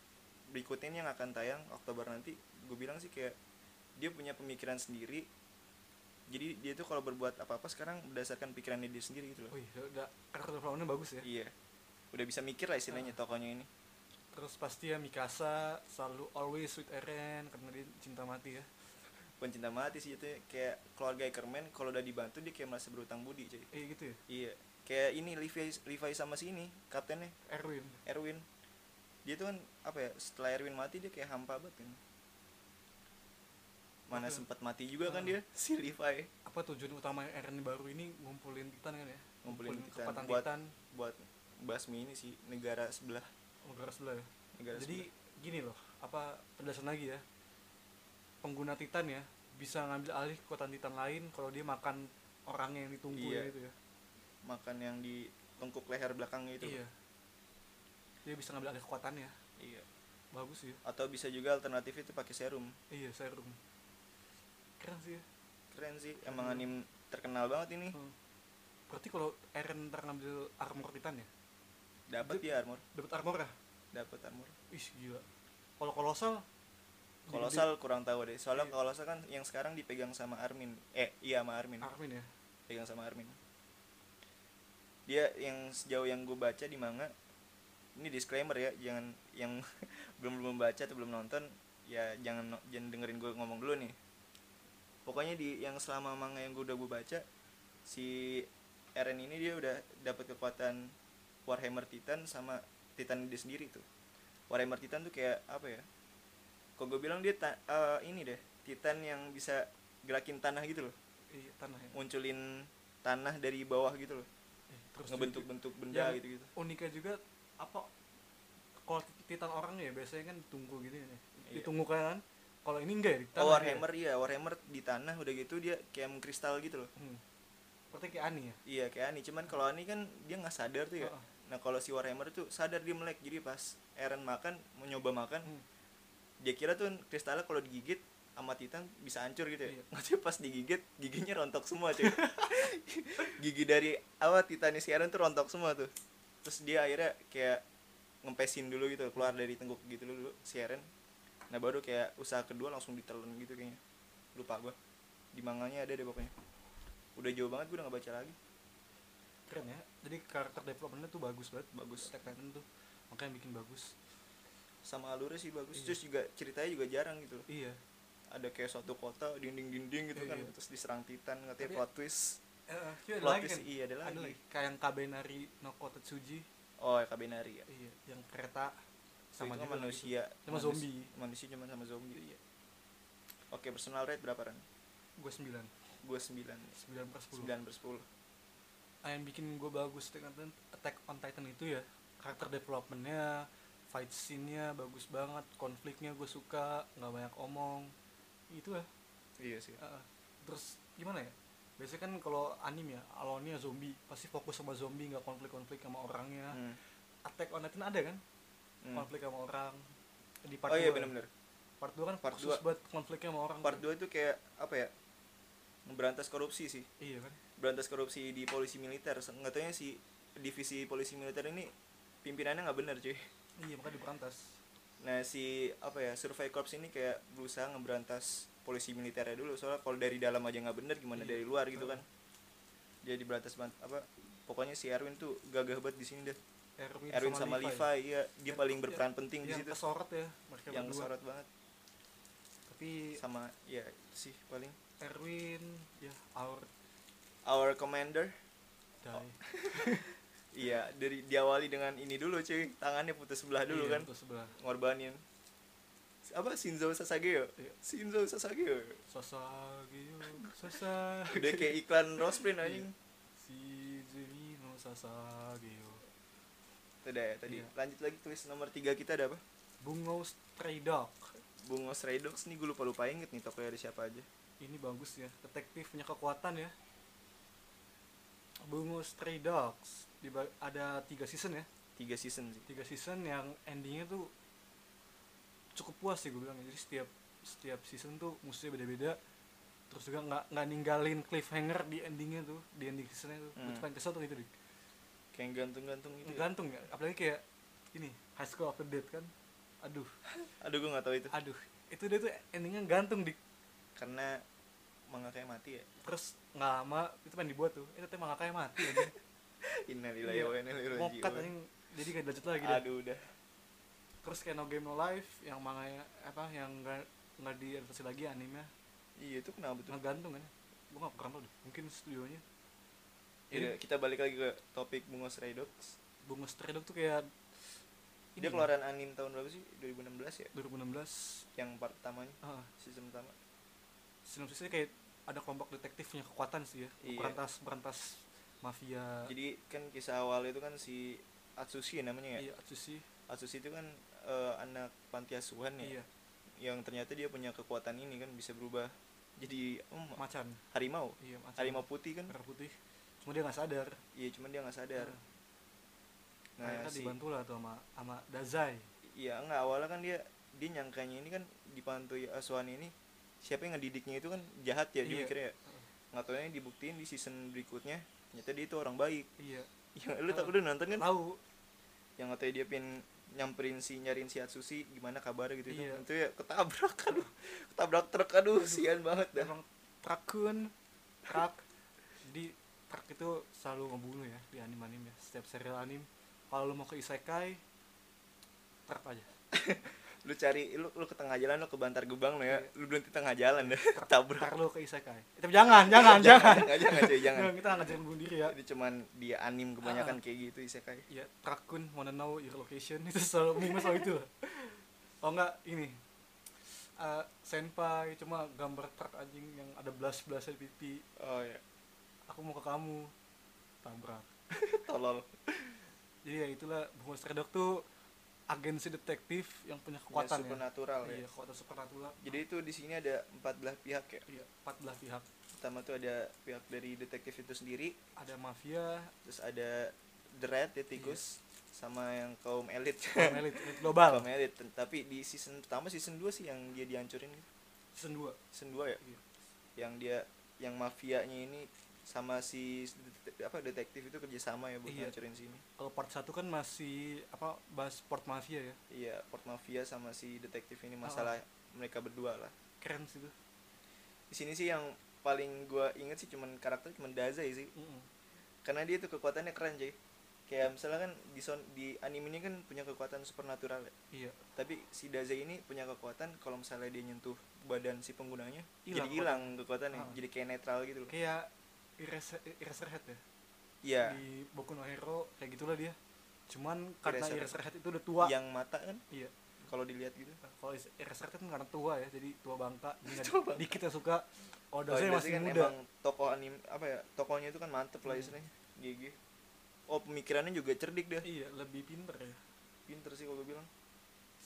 S1: berikutnya ini yang akan tayang Oktober nanti Gue bilang sih kayak dia punya pemikiran sendiri Jadi dia tuh kalau berbuat apa-apa sekarang berdasarkan pikirannya dia sendiri gitu loh
S2: wih Oh, iya, udah karakter development bagus ya
S1: Iya Udah bisa mikir lah istilahnya
S2: Ah.
S1: tokonya ini
S2: terus pasti ya Mikasa selalu always with Eren karena dia cinta mati ya
S1: bukan cinta mati sih itu kayak keluarga Ackerman kalau udah dibantu dia kayak merasa berutang budi cuy
S2: eh gitu ya
S1: iya kayak ini Levi Levi sama si ini kaptennya
S2: Erwin
S1: Erwin dia tuh kan apa ya setelah Erwin mati dia kayak hampa banget kan mana
S2: Betul.
S1: sempat mati juga kan
S2: Ah.
S1: dia si Levi
S2: apa tujuan utama Eren baru ini ngumpulin Titan kan ya
S1: Ngumpulin Titan.
S2: kekuatan
S1: Buat-
S2: Titan
S1: buat basmi ini sih negara sebelah
S2: Oh, negara sebelah ya
S1: negara
S2: Jadi gini loh, apa penjelasan lagi ya? Pengguna Titan ya bisa ngambil alih kekuatan Titan lain kalau dia makan orang yang ditunggu
S1: Iya,
S2: gitu ya.
S1: sebelah. makan yang di tengkuk leher belakangnya itu
S2: Iya. Dia bisa ngambil alih kekuatannya.
S1: Iya.
S2: Bagus sih. Ya.
S1: atau bisa juga alternatif itu pakai serum
S2: Iya, serum. Keren sih ya.
S1: keren sih emang
S2: Hmm.
S1: anim terkenal banget ini
S2: Hmm. Berarti kalau Eren ntar ngambil armor Titan ya,
S1: dapat
S2: Dia-
S1: ya armor
S2: dapat armor ya?
S1: dapat armor
S2: Ih, gila. Kalau kolosal
S1: Kolosal kurang tahu deh. Soalnya
S2: Iya.
S1: Kolosal kan yang sekarang dipegang sama Armin. Eh, iya sama Armin.
S2: digede- Armin ya.
S1: Pegang sama Armin. Dia yang sejauh yang gue baca di manga ini disclaimer ya, jangan yang belum belum baca atau belum nonton ya jangan no- jangan dengerin gue ngomong dulu nih. Pokoknya di yang selama manga yang gue udah gue baca si Eren ini dia udah dapat kekuatan Warhammer Titan sama Titan dia sendiri tuh. Warhammer Titan tuh kayak apa ya? Kok gue bilang dia ta- eh, ini deh, Titan yang bisa gerakin tanah gitu loh
S2: Iya, tanah ya.
S1: munculin tanah dari bawah gitu loh
S2: Eh, terus ya,
S1: ngebentuk-bentuk benda
S2: Yang-
S1: gitu gitu
S2: uniknya juga apa kalau titan orang ya biasanya kan ditunggu gitu kan ya
S1: Iya.
S2: ditunggu kan kalau ini enggak ya di
S1: oh
S2: tanah
S1: warhammer
S2: ya.
S1: iya warhammer di tanah udah gitu dia kayak mengkristal gitu loh
S2: Hmm. seperti kayak Ani ya
S1: iya kayak ani cuman kalau ani kan dia nggak sadar tuh ya
S2: Heeh.
S1: nah kalau si warhammer tuh sadar dia melek jadi pas Eren makan mau nyoba makan
S2: Hmm.
S1: dia kira tuh kristalnya kalau digigit sama titan bisa hancur gitu ya
S2: Iya.
S1: Maksudnya pas digigit giginya rontok semua cuy gigi dari awal titannya si Eren tuh rontok semua tuh terus dia akhirnya kayak ngempesin dulu gitu keluar dari tengkuk gitu dulu si Eren nah baru kayak usaha kedua langsung ditelan gitu kayaknya lupa gua di manganya ada deh pokoknya udah jauh banget gue udah gak baca lagi
S2: keren ya jadi karakter developmentnya tuh bagus banget
S1: Bagus.
S2: Attack Titan tuh makanya bikin bagus
S1: sama alurnya sih bagus
S2: Iya.
S1: terus juga ceritanya juga jarang gitu loh
S2: iya
S1: ada kayak suatu kota dinding-dinding gitu
S2: Iya,
S1: kan
S2: iya.
S1: terus diserang titan katanya
S2: Tapi-
S1: plot twist
S2: Eh, ada
S1: plot
S2: lagi
S1: twist
S2: kan?
S1: iya ada lagi
S2: kayak yang Kabenari no Kotetsuji
S1: oh ya Kabenari ya
S2: iya yang kereta
S1: sama itu
S2: Sama juga lagi.
S1: manusia
S2: Sama
S1: Manus-
S2: zombie.
S1: manusia cuma sama zombie
S2: Iya.
S1: oke personal rate berapa ran
S2: Gue 9.
S1: gue 9 9
S2: 9 per 10.
S1: per 10
S2: Ah, yang bikin gue bagus dengan Attack on Titan itu ya karakter developmentnya fight scene-nya bagus banget konfliknya gue suka nggak banyak omong itu ya
S1: iya sih
S2: Heeh. terus gimana ya biasanya kan kalau anime ya awalnya zombie pasti fokus sama zombie nggak konflik-konflik sama orangnya
S1: Hmm,
S2: Attack on Titan ada kan
S1: hmm.
S2: konflik sama orang di part
S1: oh iya
S2: dua. ya?
S1: benar-benar
S2: part 2 kan
S1: Part
S2: khusus
S1: dua.
S2: buat konfliknya sama orang
S1: part 2 itu kayak apa ya berantas korupsi sih
S2: iya kan
S1: berantas korupsi di polisi militer nggak taunya si divisi polisi militer ini pimpinannya nggak bener cuy
S2: iya makanya diberantas
S1: nah si apa ya survey corps ini kayak berusaha ngeberantas polisi militernya dulu soalnya kalau dari dalam aja nggak bener gimana
S2: Iya.
S1: dari luar gitu kan
S2: Heeh.
S1: dia diberantas ban- apa pokoknya si Erwin tuh gagah banget di sini deh
S2: Erwin,
S1: Erwin sama,
S2: Levi
S1: Levi iya dia
S2: Yang-
S1: paling berperan penting di
S2: yang
S1: situ
S2: kesorot ya mereka
S1: yang
S2: berdua
S1: sorot banget
S2: tapi
S1: sama ya itu sih paling
S2: Erwin ya our
S1: our commander
S2: die
S1: iya dari diawali dengan ini dulu cuy tangannya putus sebelah dulu
S2: Iya,
S1: kan
S2: untuk sebelah
S1: ngorbanin apa Shinzo Sasageo
S2: Iya.
S1: Shinzo Sasageo
S2: Sasageo Sasa
S1: udah kayak iklan Rose
S2: Iya.
S1: Print anjing
S2: si Zemino Sasageo
S1: Udah ya tadi
S2: Iya.
S1: lanjut lagi tulis nomor tiga kita ada apa
S2: Bungo Stray Dog
S1: Bungo Stray Dogs nih gue lupa lupa inget nih tokonya ada siapa aja
S2: ini bagus ya detektif punya kekuatan ya Bungo Stray Dogs Diba- ada tiga season ya
S1: tiga season sih
S2: tiga season yang endingnya tuh cukup puas sih gue bilang jadi setiap setiap season tuh musuhnya beda-beda terus juga nggak nggak ninggalin cliffhanger di endingnya tuh di ending seasonnya tuh
S1: Hmm.
S2: gue paling kesel tuh itu dik
S1: kayak yang gantung-gantung gitu ya.
S2: gantung ya apalagi kayak ini high school of the dead kan aduh
S1: aduh gue nggak tahu itu
S2: aduh itu dia tuh endingnya gantung dik
S1: karena manga kayak mati ya
S2: terus nggak lama itu pengen dibuat tuh itu emang kayak mati aja
S1: Innalillahi
S2: Iya.
S1: wa inna ilaihi
S2: mau cut
S1: raji'un.
S2: anjing, jadi gak dilanjut lagi dah.
S1: aduh udah
S2: terus kayak no game no life yang manganya apa yang nggak nggak diadaptasi lagi anime
S1: iya itu kenapa tuh
S2: Nah, gantung kan gue gak paham deh mungkin studionya
S1: Iya, kita balik lagi ke topik Bungo Stray Dogs
S2: bunga stray dog tuh kayak
S1: dia keluaran anim tahun berapa sih 2016 ya
S2: 2016
S1: yang part pertamanya
S2: ah,
S1: season pertama
S2: sinopsisnya kayak ada kelompok detektif punya kekuatan sih ya
S1: Iya.
S2: berantas berantas mafia
S1: jadi kan kisah awal itu kan si Atsushi namanya ya
S2: iya Atsushi
S1: Atsushi itu kan eh, anak panti asuhan ya
S2: iya
S1: yang ternyata dia punya kekuatan ini kan bisa berubah jadi hmm,
S2: macan
S1: harimau
S2: iya macan
S1: harimau putih kan
S2: merah putih cuma dia nggak sadar
S1: iya cuman dia nggak sadar
S2: nah,
S1: nah
S2: akhirnya
S1: si
S2: dibantu lah tuh sama sama Dazai
S1: iya nggak awalnya kan dia dia nyangkanya ini kan di panti asuhan ini siapa yang ngedidiknya itu kan jahat ya dia
S2: Iya.
S1: mikirnya ya. nggak taunya dibuktiin di season berikutnya ternyata dia itu orang baik
S2: iya
S1: yang lu tak
S2: Ah.
S1: udah nonton kan
S2: tahu
S1: yang katanya dia pin nyamperin si nyariin si Atsushi gimana kabar gitu
S2: Iya.
S1: itu ya ketabrak aduh ketabrak truk aduh sian banget dah
S2: emang trakun trak jadi trak itu selalu ngebunuh ya di anime anime ya setiap serial anime kalau lu mau ke isekai trak aja
S1: lu cari lu lu ke tengah jalan lu ke bantar gebang lo ya
S2: Iya.
S1: lu belum di tengah jalan dah
S2: ntar
S1: tabrak
S2: lu ke isekai Eh, tapi jangan jangan jangan
S1: jangan jangan cuy jangan
S2: Jangan, kita nggak ngajarin bunuh diri ya
S1: itu cuman dia anim kebanyakan kayak gitu isekai
S2: ya trakun wanna know your location itu selalu meme soal itu lah oh enggak ini Eh, senpai cuma gambar trak anjing yang ada belas belas di pipi
S1: oh ya
S2: aku mau ke kamu tabrak
S1: tolol
S2: jadi ya itulah bunga Stray Dog tuh agensi detektif yang punya
S1: Ya,
S2: kekuatan
S1: supernatural
S2: ya.
S1: ya.
S2: Iya, kekuatan supernatural.
S1: jadi itu di sini ada 14 pihak ya
S2: Iya, 14 pihak.
S1: pertama tuh ada pihak dari detektif itu sendiri
S2: Ada mafia,
S1: terus ada the red ya
S2: Iya.
S1: tikus sama yang kaum elit
S2: kaum elit, elit global.
S1: Kaum elit. Ten- tapi di season pertama season 2 sih yang dia dihancurin kan.
S2: Season 2.
S1: season 2 ya
S2: Iya.
S1: yang dia yang mafianya ini sama si det- apa detektif itu kerjasama ya buat
S2: Iya.
S1: ngancurin sini
S2: Kalau part 1 kan masih apa bahas sport mafia ya.
S1: iya port mafia sama si detektif ini masalah
S2: Oh.
S1: mereka berdua lah
S2: Keren sih itu.
S1: di sini sih yang paling gua inget sih cuman karakter cuman Dazai sih
S2: Mm-mm.
S1: karena dia tuh kekuatannya keren cuy kayak misalnya kan di son di anime ini kan punya kekuatan supernatural ya.
S2: Iya.
S1: tapi si Dazai ini punya kekuatan kalau misalnya dia nyentuh badan si penggunanya
S2: Hilang
S1: jadi hilang kekuatannya
S2: Ah.
S1: jadi kayak netral gitu loh
S2: Kayak Eraser, Eraserhead ya.
S1: iya
S2: Di Boku no Hero kayak gitulah dia. cuman karena
S1: Eraserhead.
S2: Eraserhead itu udah tua
S1: yang mata kan
S2: iya
S1: kalau dilihat gitu
S2: kalau is- Eraserhead kan karena tua ya jadi tua bangka jadi
S1: Tua bangka.
S2: dikit yang suka oh
S1: Kalau
S2: dasarnya
S1: Indonesia
S2: masih
S1: kan
S2: muda
S1: emang tokoh anim apa ya tokohnya itu kan mantep lah
S2: Hmm.
S1: istilahnya gigi oh pemikirannya juga cerdik deh
S2: iya lebih pinter ya
S1: pinter sih kalau gue bilang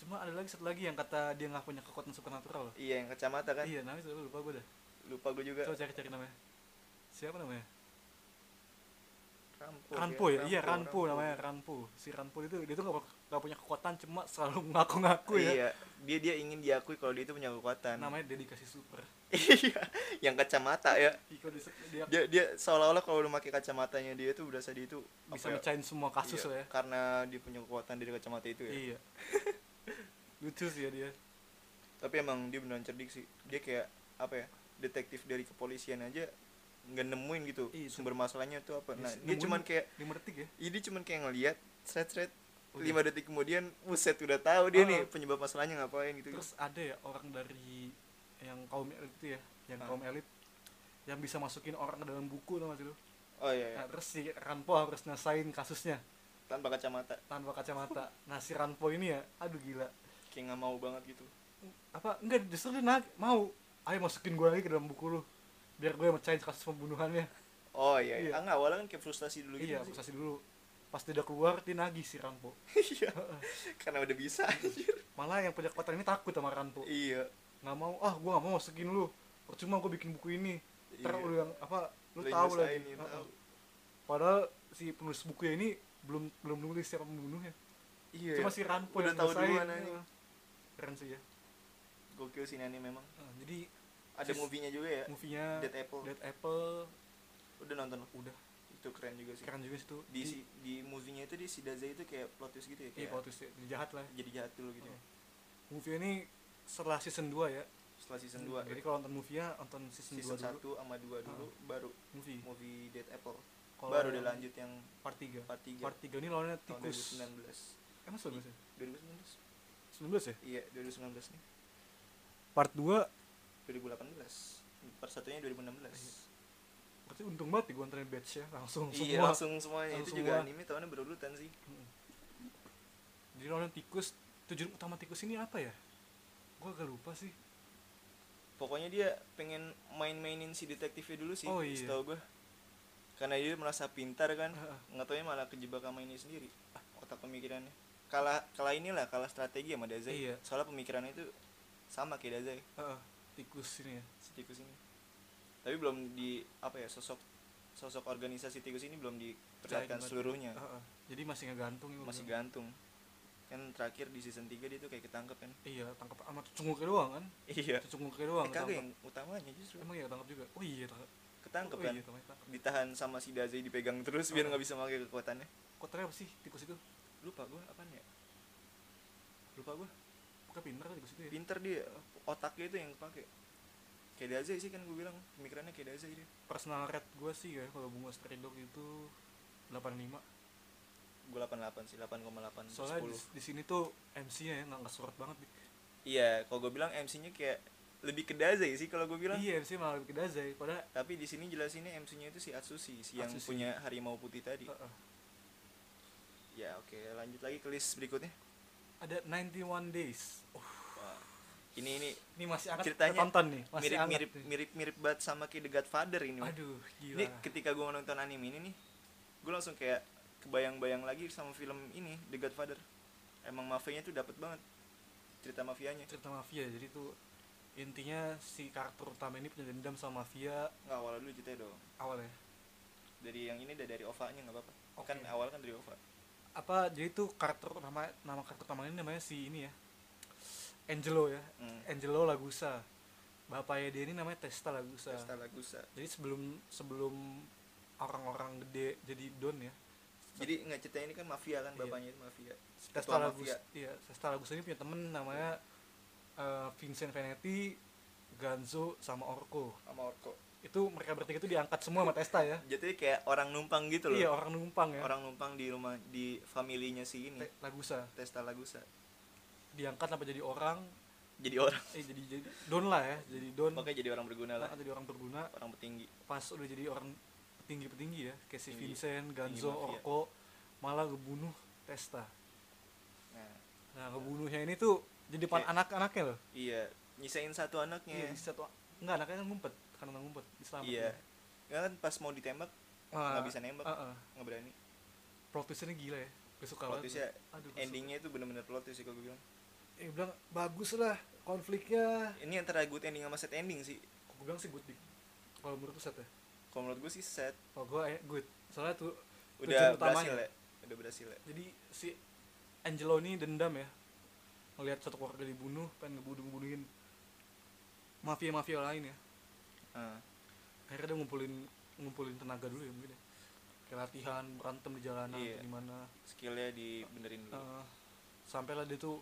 S2: cuma ada lagi satu lagi yang kata dia nggak punya kekuatan supernatural loh
S1: iya yang kacamata kan
S2: iya namanya sudah lupa gue dah
S1: lupa gue juga
S2: coba cari cari namanya siapa namanya
S1: rampo,
S2: Ranpo ya, iya Ranpo namanya Ranpo. Si Ranpo itu dia tuh gak, punya kekuatan cuma selalu ngaku-ngaku ya.
S1: iya kan? dia dia ingin diakui kalau dia itu punya kekuatan
S2: Namanya dedikasi super.
S1: iya yang kacamata ya
S2: Ih, kalau dia, dia
S1: dia dia seolah-olah kalau udah pakai kacamatanya dia tuh berasa dia itu
S2: bisa
S1: apa ya,
S2: mecahin semua kasus
S1: iya,
S2: lah ya.
S1: karena dia punya kekuatan dari kacamata itu ya
S2: Iya. Lucu sih ya dia.
S1: tapi emang dia beneran cerdik sih dia kayak apa ya detektif dari kepolisian aja nggak nemuin gitu
S2: Iya, itu.
S1: sumber masalahnya tuh apa
S2: Dia
S1: nah
S2: s-
S1: dia
S2: nemuin-
S1: cuman kayak
S2: Dia mertik ya.
S1: ini cuman kayak ngelihat seret seret
S2: Udah.
S1: lima detik kemudian buset udah tahu dia
S2: Oh.
S1: nih penyebab masalahnya ngapain gitu
S2: Terus ada ya orang dari yang kaum elit itu ya, yang
S1: Ah.
S2: kaum elit yang bisa masukin orang ke dalam buku tau gak sih lu?
S1: oh iya, iya.
S2: Nah, terus si Ranpo harus nyesain kasusnya
S1: tanpa kacamata
S2: tanpa kacamata. Nah, si Ranpo ini ya, aduh gila.
S1: kayak nggak mau banget gitu
S2: apa enggak justru dia nag- mau ayo masukin gue lagi ke dalam buku lu biar gue mecahin kasus pembunuhannya
S1: oh iya, iya.
S2: Iya.
S1: Ah, nggak awalnya kan kayak frustasi dulu
S2: iya
S1: gitu sih.
S2: kasih dulu pas dia udah keluar dia nagih si Rampo
S1: iya karena udah bisa anjir.
S2: malah yang punya kekuatan ini takut sama Rampo
S1: iya
S2: nggak mau ah gue nggak mau masukin lu percuma gue bikin buku ini ntar
S1: Iya.
S2: lu yang apa lu
S1: Lo
S2: tahu
S1: nyelesain,
S2: lagi
S1: ya,
S2: Heeh.
S1: tahu.
S2: padahal si penulis bukunya ini belum belum nulis siapa pembunuhnya
S1: iya
S2: cuma si Rampo
S1: udah
S2: yang
S1: tahu
S2: nyelesain.
S1: duluan anjing
S2: Heeh. keren sih ya
S1: gokil sih ini anime memang
S2: Heeh, Eh, jadi
S1: ada
S2: Sis-
S1: movie-nya juga ya
S2: movie-nya
S1: Dead Apple
S2: Dead Apple
S1: udah nonton lo?
S2: udah
S1: itu keren juga sih
S2: keren juga sih tuh
S1: di
S2: Di-
S1: si- di movie-nya itu di si Daza itu kayak plot twist gitu ya
S2: Iya,
S1: kayak
S2: plot twist Hmm. ya, jahat lah.
S1: jadi jahat dulu gitu ya.
S2: Movie ini setelah season 2 ya.
S1: setelah season 2
S2: Jadi kalau nonton movie-nya nonton season,
S1: season
S2: 2 dulu.
S1: 1 sama 2 dulu baru
S2: Movie.
S1: movie Dead Apple
S2: Kalau
S1: baru
S2: yang
S1: dilanjut yang
S2: part 3.
S1: part 3
S2: Part 3 ini lawannya
S1: tahun
S2: tikus.
S1: 2019
S2: Emang 19 ya?
S1: 2019
S2: 19 ya?
S1: iya 2019 nih
S2: Part 2
S1: 2018 part satunya 2016
S2: berarti untung banget ya gue nontonin batch ya langsung
S1: iya
S2: semua.
S1: langsung semuanya
S2: Langsung
S1: itu juga
S2: semua.
S1: anime tahunnya berurutan sih
S2: Mm. Jadi lawannya tikus, tujuan utama tikus ini apa ya? Gue agak lupa sih.
S1: pokoknya dia pengen main-mainin si detektifnya dulu sih
S2: Oh, iya.
S1: setahu gue karena dia merasa pintar kan
S2: Heeh.
S1: nggak taunya malah kejebak sama ini sendiri Ah, otak pemikirannya kalah kalah inilah kalah strategi sama Dazai
S2: Iya.
S1: soalnya pemikirannya itu sama kayak Dazai
S2: Heeh, tikus ini ya.
S1: si tikus ini tapi belum di apa ya sosok sosok organisasi tikus ini belum diperlihatkan
S2: Percaya
S1: seluruhnya
S2: Heeh. Jadi masih ngegantung ya, gua
S1: Iya. masih
S2: bilang.
S1: gantung kan terakhir di season 3 dia tuh kayak ketangkep kan
S2: Iya, tangkap sama cunguke doang kan?
S1: iya
S2: Cunguke
S1: eh,
S2: doang.
S1: kagak
S2: ketangkap.
S1: yang utamanya justru
S2: Emang ya ketangkap juga? Oh iya, ketangkap.
S1: ketangkep
S2: oh,
S1: kan
S2: iya, ketangkap. ketangkap.
S1: ditahan sama si Dazai dipegang terus biar nggak bisa pakai kekuatannya
S2: Kotornya apa sih tikus itu?
S1: lupa gue apaan ya lupa gue
S2: Bukan pinter kan tikus itu ya?
S1: pinter dia otaknya itu yang kepake kayak Dazai sih kan gue bilang pemikirannya kayak Dazai dia
S2: Personal rate gue sih ya kalau bunga stray dog itu 85.
S1: Hmm, gue 88 sih 8,8
S2: Soalnya di,
S1: 10
S2: di sini tuh MC-nya ya nggak ngesorot banget. Bi.
S1: iya kalau gue bilang MC-nya kayak lebih ke Dazai sih kalau gue bilang
S2: Iya MC malah lebih ke Dazai padahal
S1: tapi di sini jelasinnya MC-nya itu si Atsushi si yang
S2: Atsushi.
S1: punya harimau putih tadi
S2: uh, uh.
S1: ya oke lanjut lagi ke list berikutnya
S2: ada 91 days. Oh,
S1: Wah, ini ini
S2: ini masih anget
S1: Ceritanya
S2: tonton nih, masih
S1: mirip
S2: anget
S1: mirip
S2: nih.
S1: mirip mirip banget sama kayak The Godfather ini Wan.
S2: Aduh, gila.
S1: ini ketika gue nonton anime ini nih gue langsung kayak kebayang-bayang lagi sama film ini The Godfather emang mafianya tuh dapet banget cerita mafianya
S2: cerita mafia jadi tuh intinya si karakter utama ini punya dendam sama mafia
S1: nggak awal dulu ceritanya dong
S2: awalnya.
S1: dari yang ini udah dari OVA-nya nggak apa-apa
S2: Oke.
S1: kan awal kan dari OVA
S2: Apa jadi tuh karakter nama nama karakter utama ini namanya si ini ya. Angelo ya.
S1: hmm.
S2: Angelo Lagusa bapaknya dia ini namanya Testa Lagusa
S1: Pesta Lagusa
S2: jadi sebelum sebelum orang-orang gede jadi don ya
S1: jadi nggak cerita ini kan mafia kan
S2: Iya.
S1: bapaknya itu mafia
S2: si
S1: Ketua
S2: Testa Lagusa
S1: mafia.
S2: iya Testa Lagusa ini punya temen namanya eh, Vincent Venetti Ganzo sama Orko
S1: sama Orko
S2: itu mereka bertiga itu diangkat semua sama Testa ya
S1: jadi kayak orang numpang gitu loh
S2: iya orang numpang ya
S1: orang numpang di rumah di familinya si ini
S2: Te- Lagusa
S1: Testa Lagusa
S2: diangkat sampai jadi orang
S1: jadi orang
S2: eh jadi jadi don lah ya jadi don
S1: makanya jadi orang berguna iya lah
S2: atau jadi orang berguna
S1: orang petinggi
S2: pas udah jadi orang petinggi-petinggi ya kayak si
S1: Tinggi.
S2: Vincent, Ganzo,
S1: Iya, mafia.
S2: Orko malah ngebunuh Testa
S1: Nah,
S2: nah ngebunuhnya ini tuh di depan
S1: Kayak-
S2: anak-anaknya loh
S1: iya, nyisain satu anaknya.
S2: iya di satu enggak anaknya kan ngumpet karena ngumpet diselamat
S1: Iya. Ya kan pas mau ditembak nggak bisa nembak,
S2: uh, uh.
S1: nggak berani.
S2: plot twistnya gila ya besok
S1: Plot twistnya
S2: aduh gua
S1: Endingnya itu bener-bener plot twist sih kalau gue bilang.
S2: suka. eh bilang bagus lah konfliknya
S1: Ini antara good ending sama sad ending sih.
S2: gue bilang sih good di kalau menurut lu set ya
S1: Kalau menurut gue sih sad.
S2: kalau gue eh, good soalnya tuh
S1: Udah
S2: Tujuan
S1: berhasil
S2: utamanya.
S1: ya. Udah berhasil ya.
S2: jadi si Angelo ini dendam ya melihat satu keluarga dibunuh pengen ngebunuh bunuhin mafia mafia lain ya
S1: Ah,
S2: akhirnya dia ngumpulin ngumpulin tenaga dulu ya mungkin ya kayak latihan berantem di jalanan
S1: Iya.
S2: atau di mana
S1: skillnya dibenerin dulu.
S2: Eh, sampailah dia tuh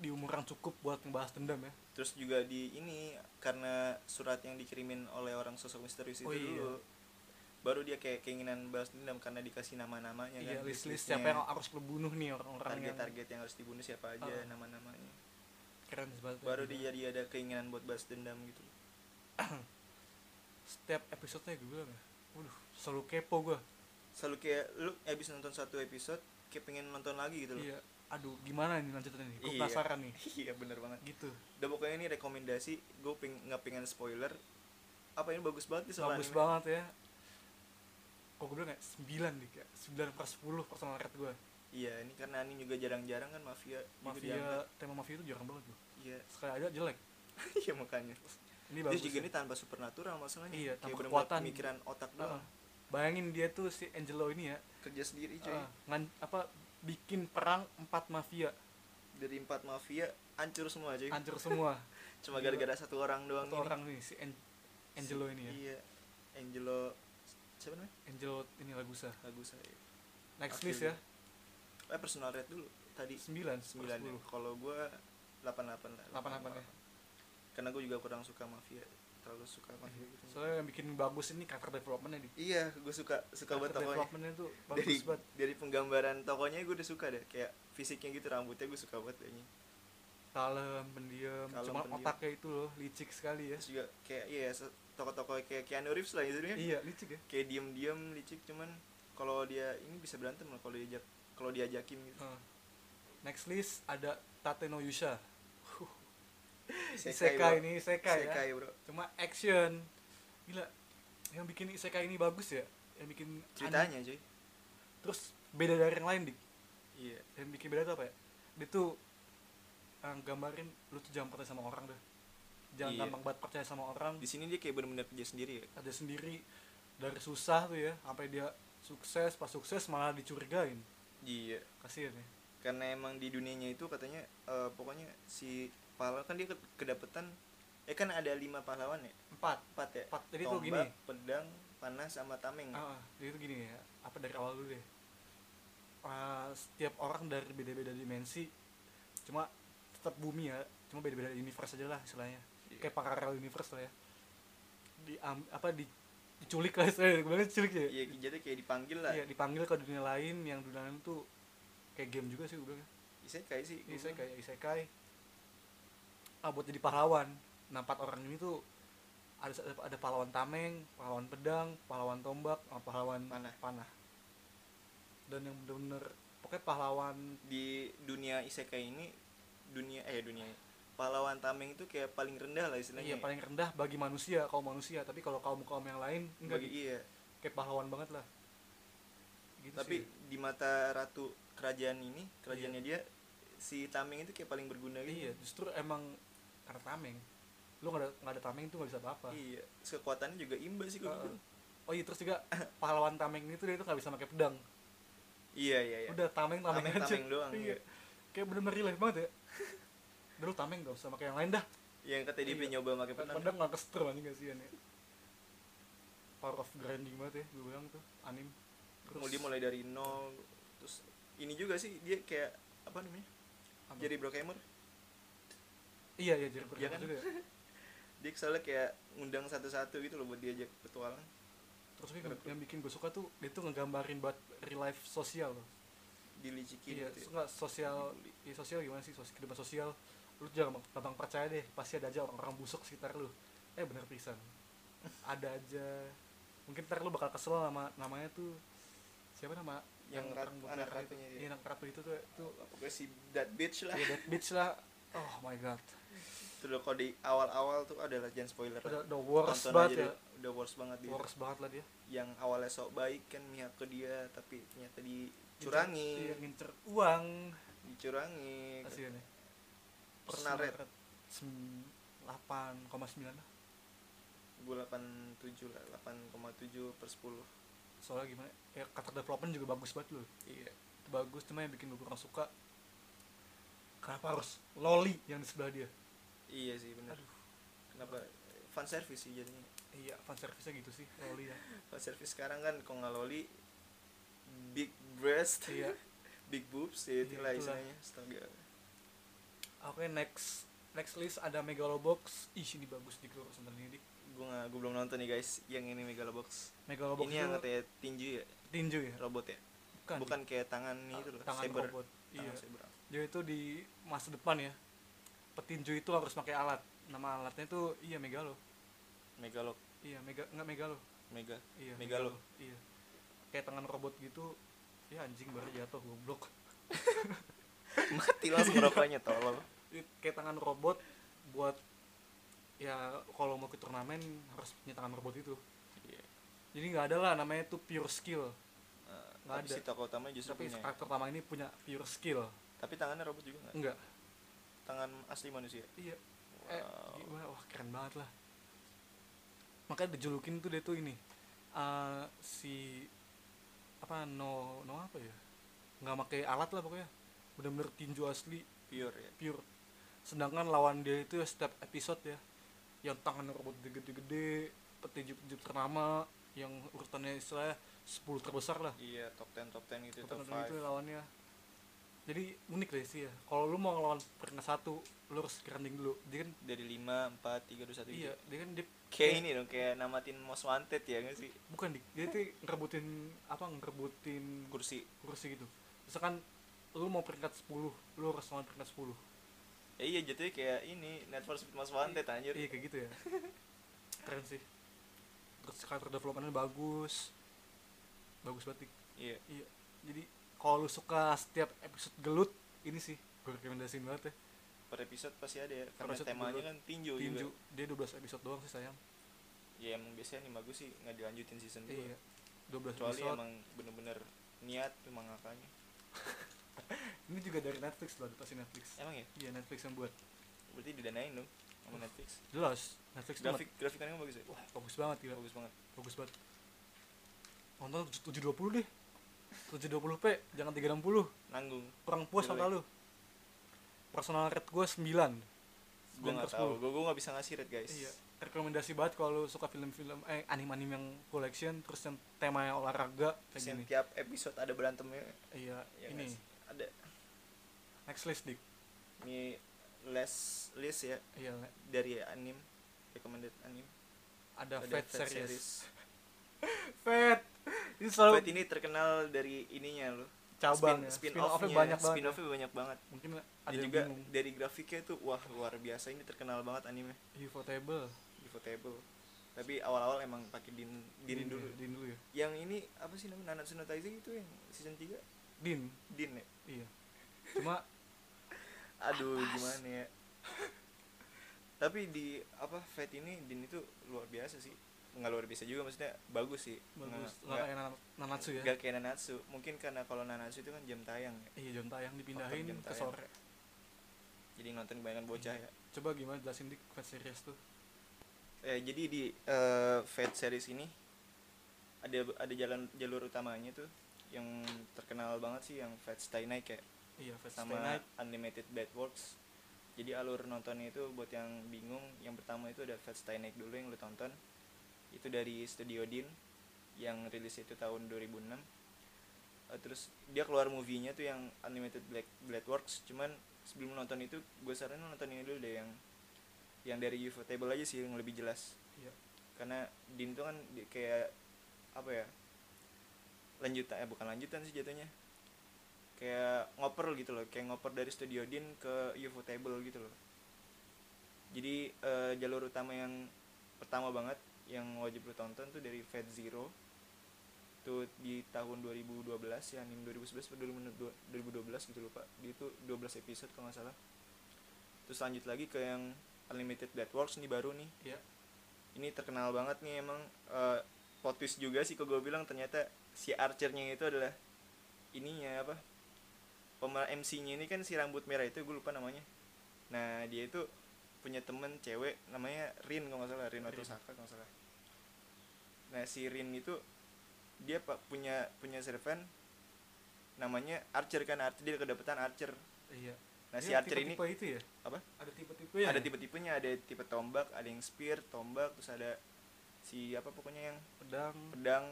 S2: di umur yang cukup buat ngebahas dendam ya
S1: Terus juga di ini karena surat yang dikirimin oleh orang sosok misterius itu
S2: Oh, iya.
S1: dulu. Baru dia kayak keinginan balas dendam karena dikasih nama-namanya kan.
S2: iya list list
S1: list-listnya.
S2: siapa yang harus kebunuh nih orang-orang yang
S1: target-target yang harus dibunuh siapa aja
S2: Ah.
S1: nama-namanya.
S2: keren banget ya.
S1: Baru dia jadi ada keinginan buat balas dendam gitu.
S2: setiap episodenya gue bilang ya waduh selalu kepo gue
S1: Selalu kayak lu abis nonton satu episode kayak pengen nonton lagi gitu loh.
S2: iya aduh gimana nih lanjutannya nih gue
S1: Iya.
S2: penasaran nih
S1: Iya bener banget.
S2: gitu
S1: Udah pokoknya ini rekomendasi, gue peng nggak pengen spoiler. Apa ini bagus banget nih soal
S2: bagus
S1: anime.
S2: banget ya kok gue bilang kayak 9 nih kayak 9 per 10 personal rate gue
S1: Iya ini karena anime juga jarang-jarang kan mafia. juga diangkat.
S2: mafia tema mafia itu jarang banget gue
S1: Iya
S2: sekali ada jelek
S1: iya makanya.
S2: ini
S1: Terus
S2: bagus
S1: juga
S2: ya.
S1: ini tanpa supernatural masalahnya.
S2: Iya,
S1: Kayak
S2: tanpa
S1: bener-bener
S2: kekuatan.
S1: Pemikiran otak
S2: Heeh.
S1: doang.
S2: bayangin dia tuh si Angelo ini ya
S1: Kerja sendiri cuy.
S2: eh, ngan- apa bikin perang empat mafia
S1: Dari empat mafia hancur semua cuy.
S2: hancur semua
S1: Cuma
S2: Gila.
S1: gara-gara satu orang doang
S2: iya. satu
S1: Iya. ini.
S2: orang nih si An- Angelo ini ya
S1: Iya. Angelo siapa namanya?
S2: Angelo ini Lagusa
S1: Lagu saya.
S2: next
S1: Oke.
S2: list ya
S1: Eh personal rate dulu. Tadi
S2: 9
S1: 9 ya.
S2: 10
S1: Kalau gua 88 lah.
S2: 88 ya.
S1: Karena gua juga kurang suka mafia. Terlalu suka mafia gitu.
S2: soalnya yang bikin bagus ini cover developmentnya di
S1: iya, gua suka suka
S2: cover
S1: banget tokonya.
S2: developmentnya tuh
S1: Dari
S2: bagus banget
S1: dari penggambaran tokonya gua udah suka deh. Kayak fisiknya gitu, rambutnya gua suka banget kayaknya.
S2: kalem pendiam
S1: Kalem,
S2: cuma
S1: pendiam.
S2: otaknya itu loh licik sekali ya
S1: Terus juga kayak iya se- tokoh-tokoh kayak Keanu Reeves lah jadinya.
S2: iya licik ya
S1: Kayak diem-diem licik cuman kalau dia ini bisa berantem lah kalau diajak kalau diajakin gitu.
S2: Heeh. next list ada Tate no Yusha
S1: Isekai,
S2: Isekai
S1: bro.
S2: ini Isekai ya
S1: Isekai, bro.
S2: cuma action gila yang bikin Isekai ini bagus ya yang bikin aneh.
S1: Ceritanya, cuy.
S2: terus beda dari yang lain dik
S1: Iya.
S2: yang bikin beda tuh apa ya dia tuh eh, gambarin lu tuh jangan percaya sama orang dah jangan
S1: Iya.
S2: gampang banget percaya sama orang
S1: Di sini dia kayak benar-benar kerja sendiri ya.
S2: ada sendiri dari susah tuh ya sampai dia sukses pas sukses malah dicurigain
S1: Iya.
S2: kasihan ya
S1: Karena emang di dunianya itu katanya eh, pokoknya si pahlawan kan dia ke- kedapetan eh kan ada lima pahlawan ya
S2: empat
S1: empat ya
S2: Empat. Jadi tuh
S1: tombak
S2: gini.
S1: pedang panas sama tameng ya?
S2: Ah, ah, jadi itu gini ya, apa dari awal dulu deh. Ah, setiap orang dari beda-beda dimensi, cuma tetap bumi ya, cuma beda-beda universe aja lah istilahnya.
S1: Iya.
S2: Kayak paralel universe lah ya. Di am- apa di diculik lah istilahnya, gue bilang diculik ya.
S1: iya jadi kayak dipanggil lah
S2: Iya, dipanggil ke dunia lain yang dunia lain tuh kayak game juga sih gue bilang. ya.
S1: isekai sih gua
S2: Iya, Isekai
S1: bilang.
S2: kayak isekai. Ah, buat jadi pahlawan. Nah, empat orang ini tuh ada ada pahlawan tameng, pahlawan pedang, pahlawan tombak, sama pahlawan
S1: Panah.
S2: panah. Dan yang bener-bener pokoknya pahlawan
S1: di dunia isekai ini dunia eh dunia pahlawan tameng itu kayak paling rendah lah istilahnya
S2: iya
S1: ya.
S2: paling rendah bagi manusia, kaum manusia. Tapi kalau kaum-kaum yang lain enggak
S1: Bagi-
S2: gitu.
S1: iya
S2: kayak pahlawan banget lah. Gitu
S1: tapi
S2: sih.
S1: di mata ratu kerajaan ini kerajaannya dia si tameng itu kayak paling berguna gitu
S2: iya, justru emang karena tameng. Lu nggak ada nggak ada tameng tuh nggak bisa apa-apa.
S1: iya kekuatannya juga imba sih gitu. gue
S2: Heeh. Oh iya terus juga pahlawan tameng itu dia tuh nggak bisa pakai pedang.
S1: iya iya iya
S2: udah tameng tameng,
S1: Tameng,
S2: aja
S1: tameng doang, iya.
S2: iya. kayak bener-bener relay banget ya udah lu tameng gak usah pakai yang lain dah
S1: yang kata dia
S2: Iya.
S1: nyoba pakai pedang
S2: pedang nggak kester anjing kasihan ya power of grinding banget ya gue bilang tuh anim terus
S1: mulai mulai dari nol terus ini juga sih dia kayak apa namanya
S2: apa?
S1: jadi Brockhamer
S2: iya iya jadi
S1: Iya
S2: berjalan
S1: kan?
S2: juga ya.
S1: dia soalnya kayak ngundang satu-satu gitu loh buat diajak petualang
S2: terus yang, yang bikin gue suka tuh dia tuh ngegambarin buat real life sosial loh
S1: dilicikin
S2: iya
S1: gitu ya.
S2: suka sosial iya sosial gimana sih sosial kehidupan sosial lu jangan gampang- gampang percaya deh pasti ada aja orang-orang busuk sekitar lu eh bener pisan ada aja mungkin ntar lu bakal kesel sama namanya tuh siapa nama
S1: yang, rat, anak ratunya
S2: itu.
S1: dia.
S2: Iya, anak ratu itu tuh itu
S1: Pokoknya si that bitch lah.
S2: ya that bitch lah. Oh my god.
S1: Itu loh kalau di awal-awal tuh adalah jangan spoiler.
S2: Udah
S1: lah.
S2: the worst
S1: Tonton
S2: banget
S1: aja deh,
S2: ya.
S1: Udah worst banget dia.
S2: Worst banget lah dia.
S1: Yang awalnya sok baik kan mihak ke dia tapi ternyata dicurangi,
S2: Iya, ngincer uang. ya.
S1: dicurangi.
S2: Kasih ini.
S1: Personal rate.
S2: 8,9 lah.
S1: Gue 87 lah, 8,7 per 10.
S2: Soalnya gimana? Ya karakter development juga bagus banget loh.
S1: Iya.
S2: Bagus cuma yang bikin gue kurang suka kenapa harus loli yang di sebelah dia.
S1: Iya sih benar.
S2: Aduh.
S1: Kenapa fan service sih jadinya?
S2: Iya, fan service-nya gitu sih, loli ya.
S1: Fan service sekarang kan kalau nggak loli big breast,
S2: iya.
S1: big boobs ya
S2: Iya,
S1: itulah
S2: itulah.
S1: istilahnya. Astaga.
S2: Oke, next next list ada Megalobox. Ih, ini bagus dik lu sebentar nih dik.
S1: Gue gue belum nonton nih guys yang ini Megalobox.
S2: Megalobox
S1: ini yang
S2: tuh
S1: katanya tinju ya,
S2: tinju ya?
S1: robot ya.
S2: Bukan. Dik.
S1: Bukan kayak tangan nih
S2: Ta-
S1: itu loh,
S2: tangan
S1: saber.
S2: robot.
S1: Tangan
S2: Iya.
S1: saber.
S2: Dia itu di masa depan ya. Petinju itu harus pakai alat. Nama alatnya itu iya Megalo.
S1: Megalog,
S2: Iya, Mega enggak Megalo.
S1: mega.
S2: Iya,
S1: Megalo.
S2: Iya. Kayak tangan robot gitu. Ya anjing baru jatuh goblok.
S1: Mati langsung rokoknya tolol.
S2: Ini Kayak tangan robot buat ya kalau mau ke turnamen harus punya tangan robot itu.
S1: Iya.
S2: Jadi nggak ada lah namanya itu pure skill.
S1: Eh,
S2: Nggak
S1: tapi
S2: ada.
S1: si tokoh utamanya justru
S2: Tapi
S1: punya. ya.
S2: karakter pertama ini punya pure skill.
S1: Tapi tangannya robot juga nggak?
S2: Enggak.
S1: Tangan asli manusia.
S2: Iya. Eh,
S1: Wow.
S2: gimana? Wah, keren banget lah. Makanya dijulukin tuh dia tuh ini. eh si apa no no apa ya? Nggak pakai alat lah pokoknya. Bener-bener tinju asli
S1: Pure ya.
S2: pure. Sedangkan lawan dia itu ya setiap episode ya yang tangan robot gede-gede, petinju-petinju ternama yang urutannya istilahnya 10 terbesar lah.
S1: Iya, top 10 top 10 gitu, top 5.
S2: Kebetulan itu ya lawannya jadi unik deh sih ya kalau lu mau ngelawan peringkat satu lu harus grinding dulu dia kan
S1: dari 5, 4, 3, 2, 1
S2: iya dia kan dia
S1: gitu. Kayak ini dong, kayak namatin most wanted ya nggak sih?
S2: bukan Dik. dia tuh ngerebutin apa ngerebutin
S1: Kursi
S2: kursi gitu misalkan lu mau peringkat 10 lu harus ngelawan peringkat 10
S1: Ya iya jatuhnya kayak ini, Net for Speed most wanted anjir
S2: iya kayak gitu ya keren sih terus karakter developmentnya bagus bagus banget Dik.
S1: Iya,
S2: iya jadi kalau lu suka setiap episode gelut ini sih gue rekomendasiin banget ya
S1: per episode pasti ada ya Karena
S2: episode
S1: temanya
S2: dulu.
S1: kan tinju,
S2: tinju
S1: juga
S2: dia 12 episode doang sih sayang
S1: Ya emang biasanya nih bagus sih, nggak dilanjutin season 2
S2: Iya. 12
S1: Kecuali
S2: episode.
S1: emang bener-bener niat tuh mangakanya
S2: Ini juga dari Netflix loh, pasti Netflix.
S1: Emang ya?
S2: Iya, Netflix yang buat.
S1: Berarti didanain dong sama Netflix
S2: Jelas, Netflix banget.
S1: Grafik, grafikannya bagus ya?
S2: Wah, bagus banget gila.
S1: Bagus banget
S2: Bagus banget. Nonton 720 deh. 720p, jangan 360.
S1: Nanggung
S2: Kurang puas
S1: Jelek.
S2: sama lu. Personal rate gue 9.
S1: Gue
S2: 9 per
S1: nggak
S2: 10.
S1: tahu gue gue nggak bisa ngasih rate guys
S2: Iya. Rekomendasi banget kalau lu suka film-film eh anime-anime yang collection terus yang temanya olahraga kayak
S1: Terus yang
S2: gini.
S1: tiap episode ada berantemnya
S2: Iya,
S1: Ya
S2: ini
S1: nggak sih? Ada
S2: next list dik.
S1: Ini less list ya
S2: Iya, le-
S1: dari anim recommended anim
S2: ada,
S1: Ada
S2: Fate
S1: Fate
S2: series.
S1: series.
S2: Fate. Ini selalu
S1: Fate ini terkenal dari ininya loh
S2: cabang
S1: spin, spin,
S2: off-nya
S1: off-nya
S2: banyak banget ya.
S1: spin off-nya banyak banget
S2: mungkin ada
S1: ada
S2: yang
S1: juga
S2: bingung
S1: dari grafiknya tuh wah luar biasa ini terkenal banget anime
S2: Ufotable
S1: Ufotable tapi awal-awal emang pakai din din, dulu
S2: ya, din dulu ya
S1: yang ini apa sih namanya Nanatsu no Taizai itu yang season 3
S2: din
S1: din ya
S2: iya cuma
S1: aduh gimana ya tapi di apa Fate ini din itu luar biasa sih nggak luar biasa juga maksudnya bagus sih
S2: bagus
S1: Nggak-
S2: nggak
S1: nggak-
S2: kayak Nan- Nanatsu ya
S1: Gak kayak Nanatsu. Mungkin karena kalau Nanatsu itu kan jam tayang ya.
S2: iya jam tayang dipindahin
S1: Faktor jam
S2: ke
S1: tayang.
S2: sore
S1: Jadi nonton kebanyakan bocah ya.
S2: coba gimana jelasin dik fat series tuh
S1: Eh, jadi di eh, Fate series ini ada ada jalan jalur utamanya tuh yang terkenal banget sih yang Fate Stay Night ya
S2: iya fat
S1: sama
S2: Stay Night
S1: Unlimited Bad Works. Jadi alur nontonnya itu buat yang bingung, yang pertama itu ada Fate Stay Night dulu yang lu tonton. Itu dari Studio Dean yang rilis itu tahun 2006. Eh, terus dia keluar movie-nya tuh yang Unlimited Black Blade Works, cuman sebelum nonton itu gue saranin nonton ini dulu deh yang yang dari UFO Table aja sih yang lebih jelas.
S2: iya
S1: Karena Dean tuh kan di- kayak apa ya? Lanjutan eh bukan lanjutan sih jatuhnya. Kayak ngoper gitu loh, kayak ngoper dari studio Dean ke UFO Table gitu loh. Jadi eh, jalur utama yang pertama banget yang wajib lu tonton tuh dari Fate Zero. Itu itu di tahun 2012 ya anime 2011 atau 2012 gitu lupa dia itu 12 episode kalau nggak salah terus lanjut lagi ke yang Unlimited Networks nih baru nih
S2: Iya.
S1: ini terkenal banget nih emang eh plot twist juga sih kok gue bilang ternyata si Archernya itu adalah ininya apa pemeran MC-nya ini kan si rambut merah itu gue lupa namanya nah dia itu punya temen cewek namanya Rin kalau nggak salah Rin atau
S2: Rin.
S1: Saka kalau nggak salah nah si Rin itu dia pa- punya punya servant namanya Archer kan Archer dia kedapetan Archer
S2: Iya.
S1: nah si
S2: Ini
S1: Archer ini
S2: tipe-tipe itu ya?
S1: apa
S2: Ada tipe-tipe ya?
S1: ada tipe-tipenya ada tipe tombak ada yang spear tombak terus ada si apa pokoknya yang
S2: pedang.
S1: pedang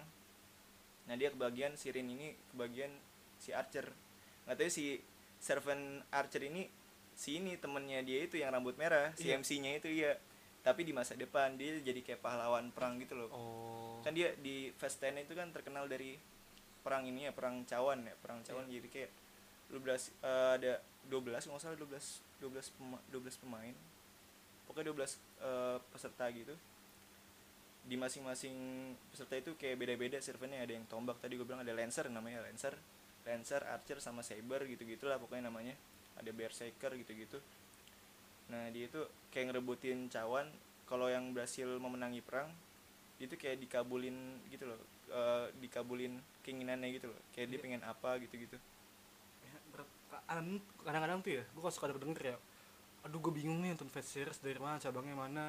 S1: nah dia kebagian si Rin ini kebagian si Archer nggak tahu ya, si servant Archer ini si ini temennya dia itu yang rambut merah si
S2: Iya.
S1: MC-nya itu iya tapi di masa depan dia jadi kayak pahlawan perang gitu loh
S2: Oh.
S1: kan dia di Fast Ten itu kan terkenal dari perang ini ya perang cawan ya perang cawan jadi kayak 12 eh, ada 12 nggak salah 12 12 pema- 12 pemain pokoknya 12 eh, peserta gitu di masing-masing peserta itu kayak beda-beda servernya ada yang tombak tadi gue bilang ada lancer namanya lancer lancer archer sama saber gitu gitulah pokoknya namanya ada berserker gitu gitu nah dia itu kayak ngerebutin cawan kalau yang berhasil memenangi perang dia tuh kayak dikabulin gitu loh eh, dikabulin keinginannya gitu loh kayak dia
S2: Iya.
S1: pengen apa gitu gitu
S2: Ya, berat. Kadang- kadang-kadang tuh ya gue kalau suka denger ya aduh gue bingung nih nonton fast series dari mana cabangnya mana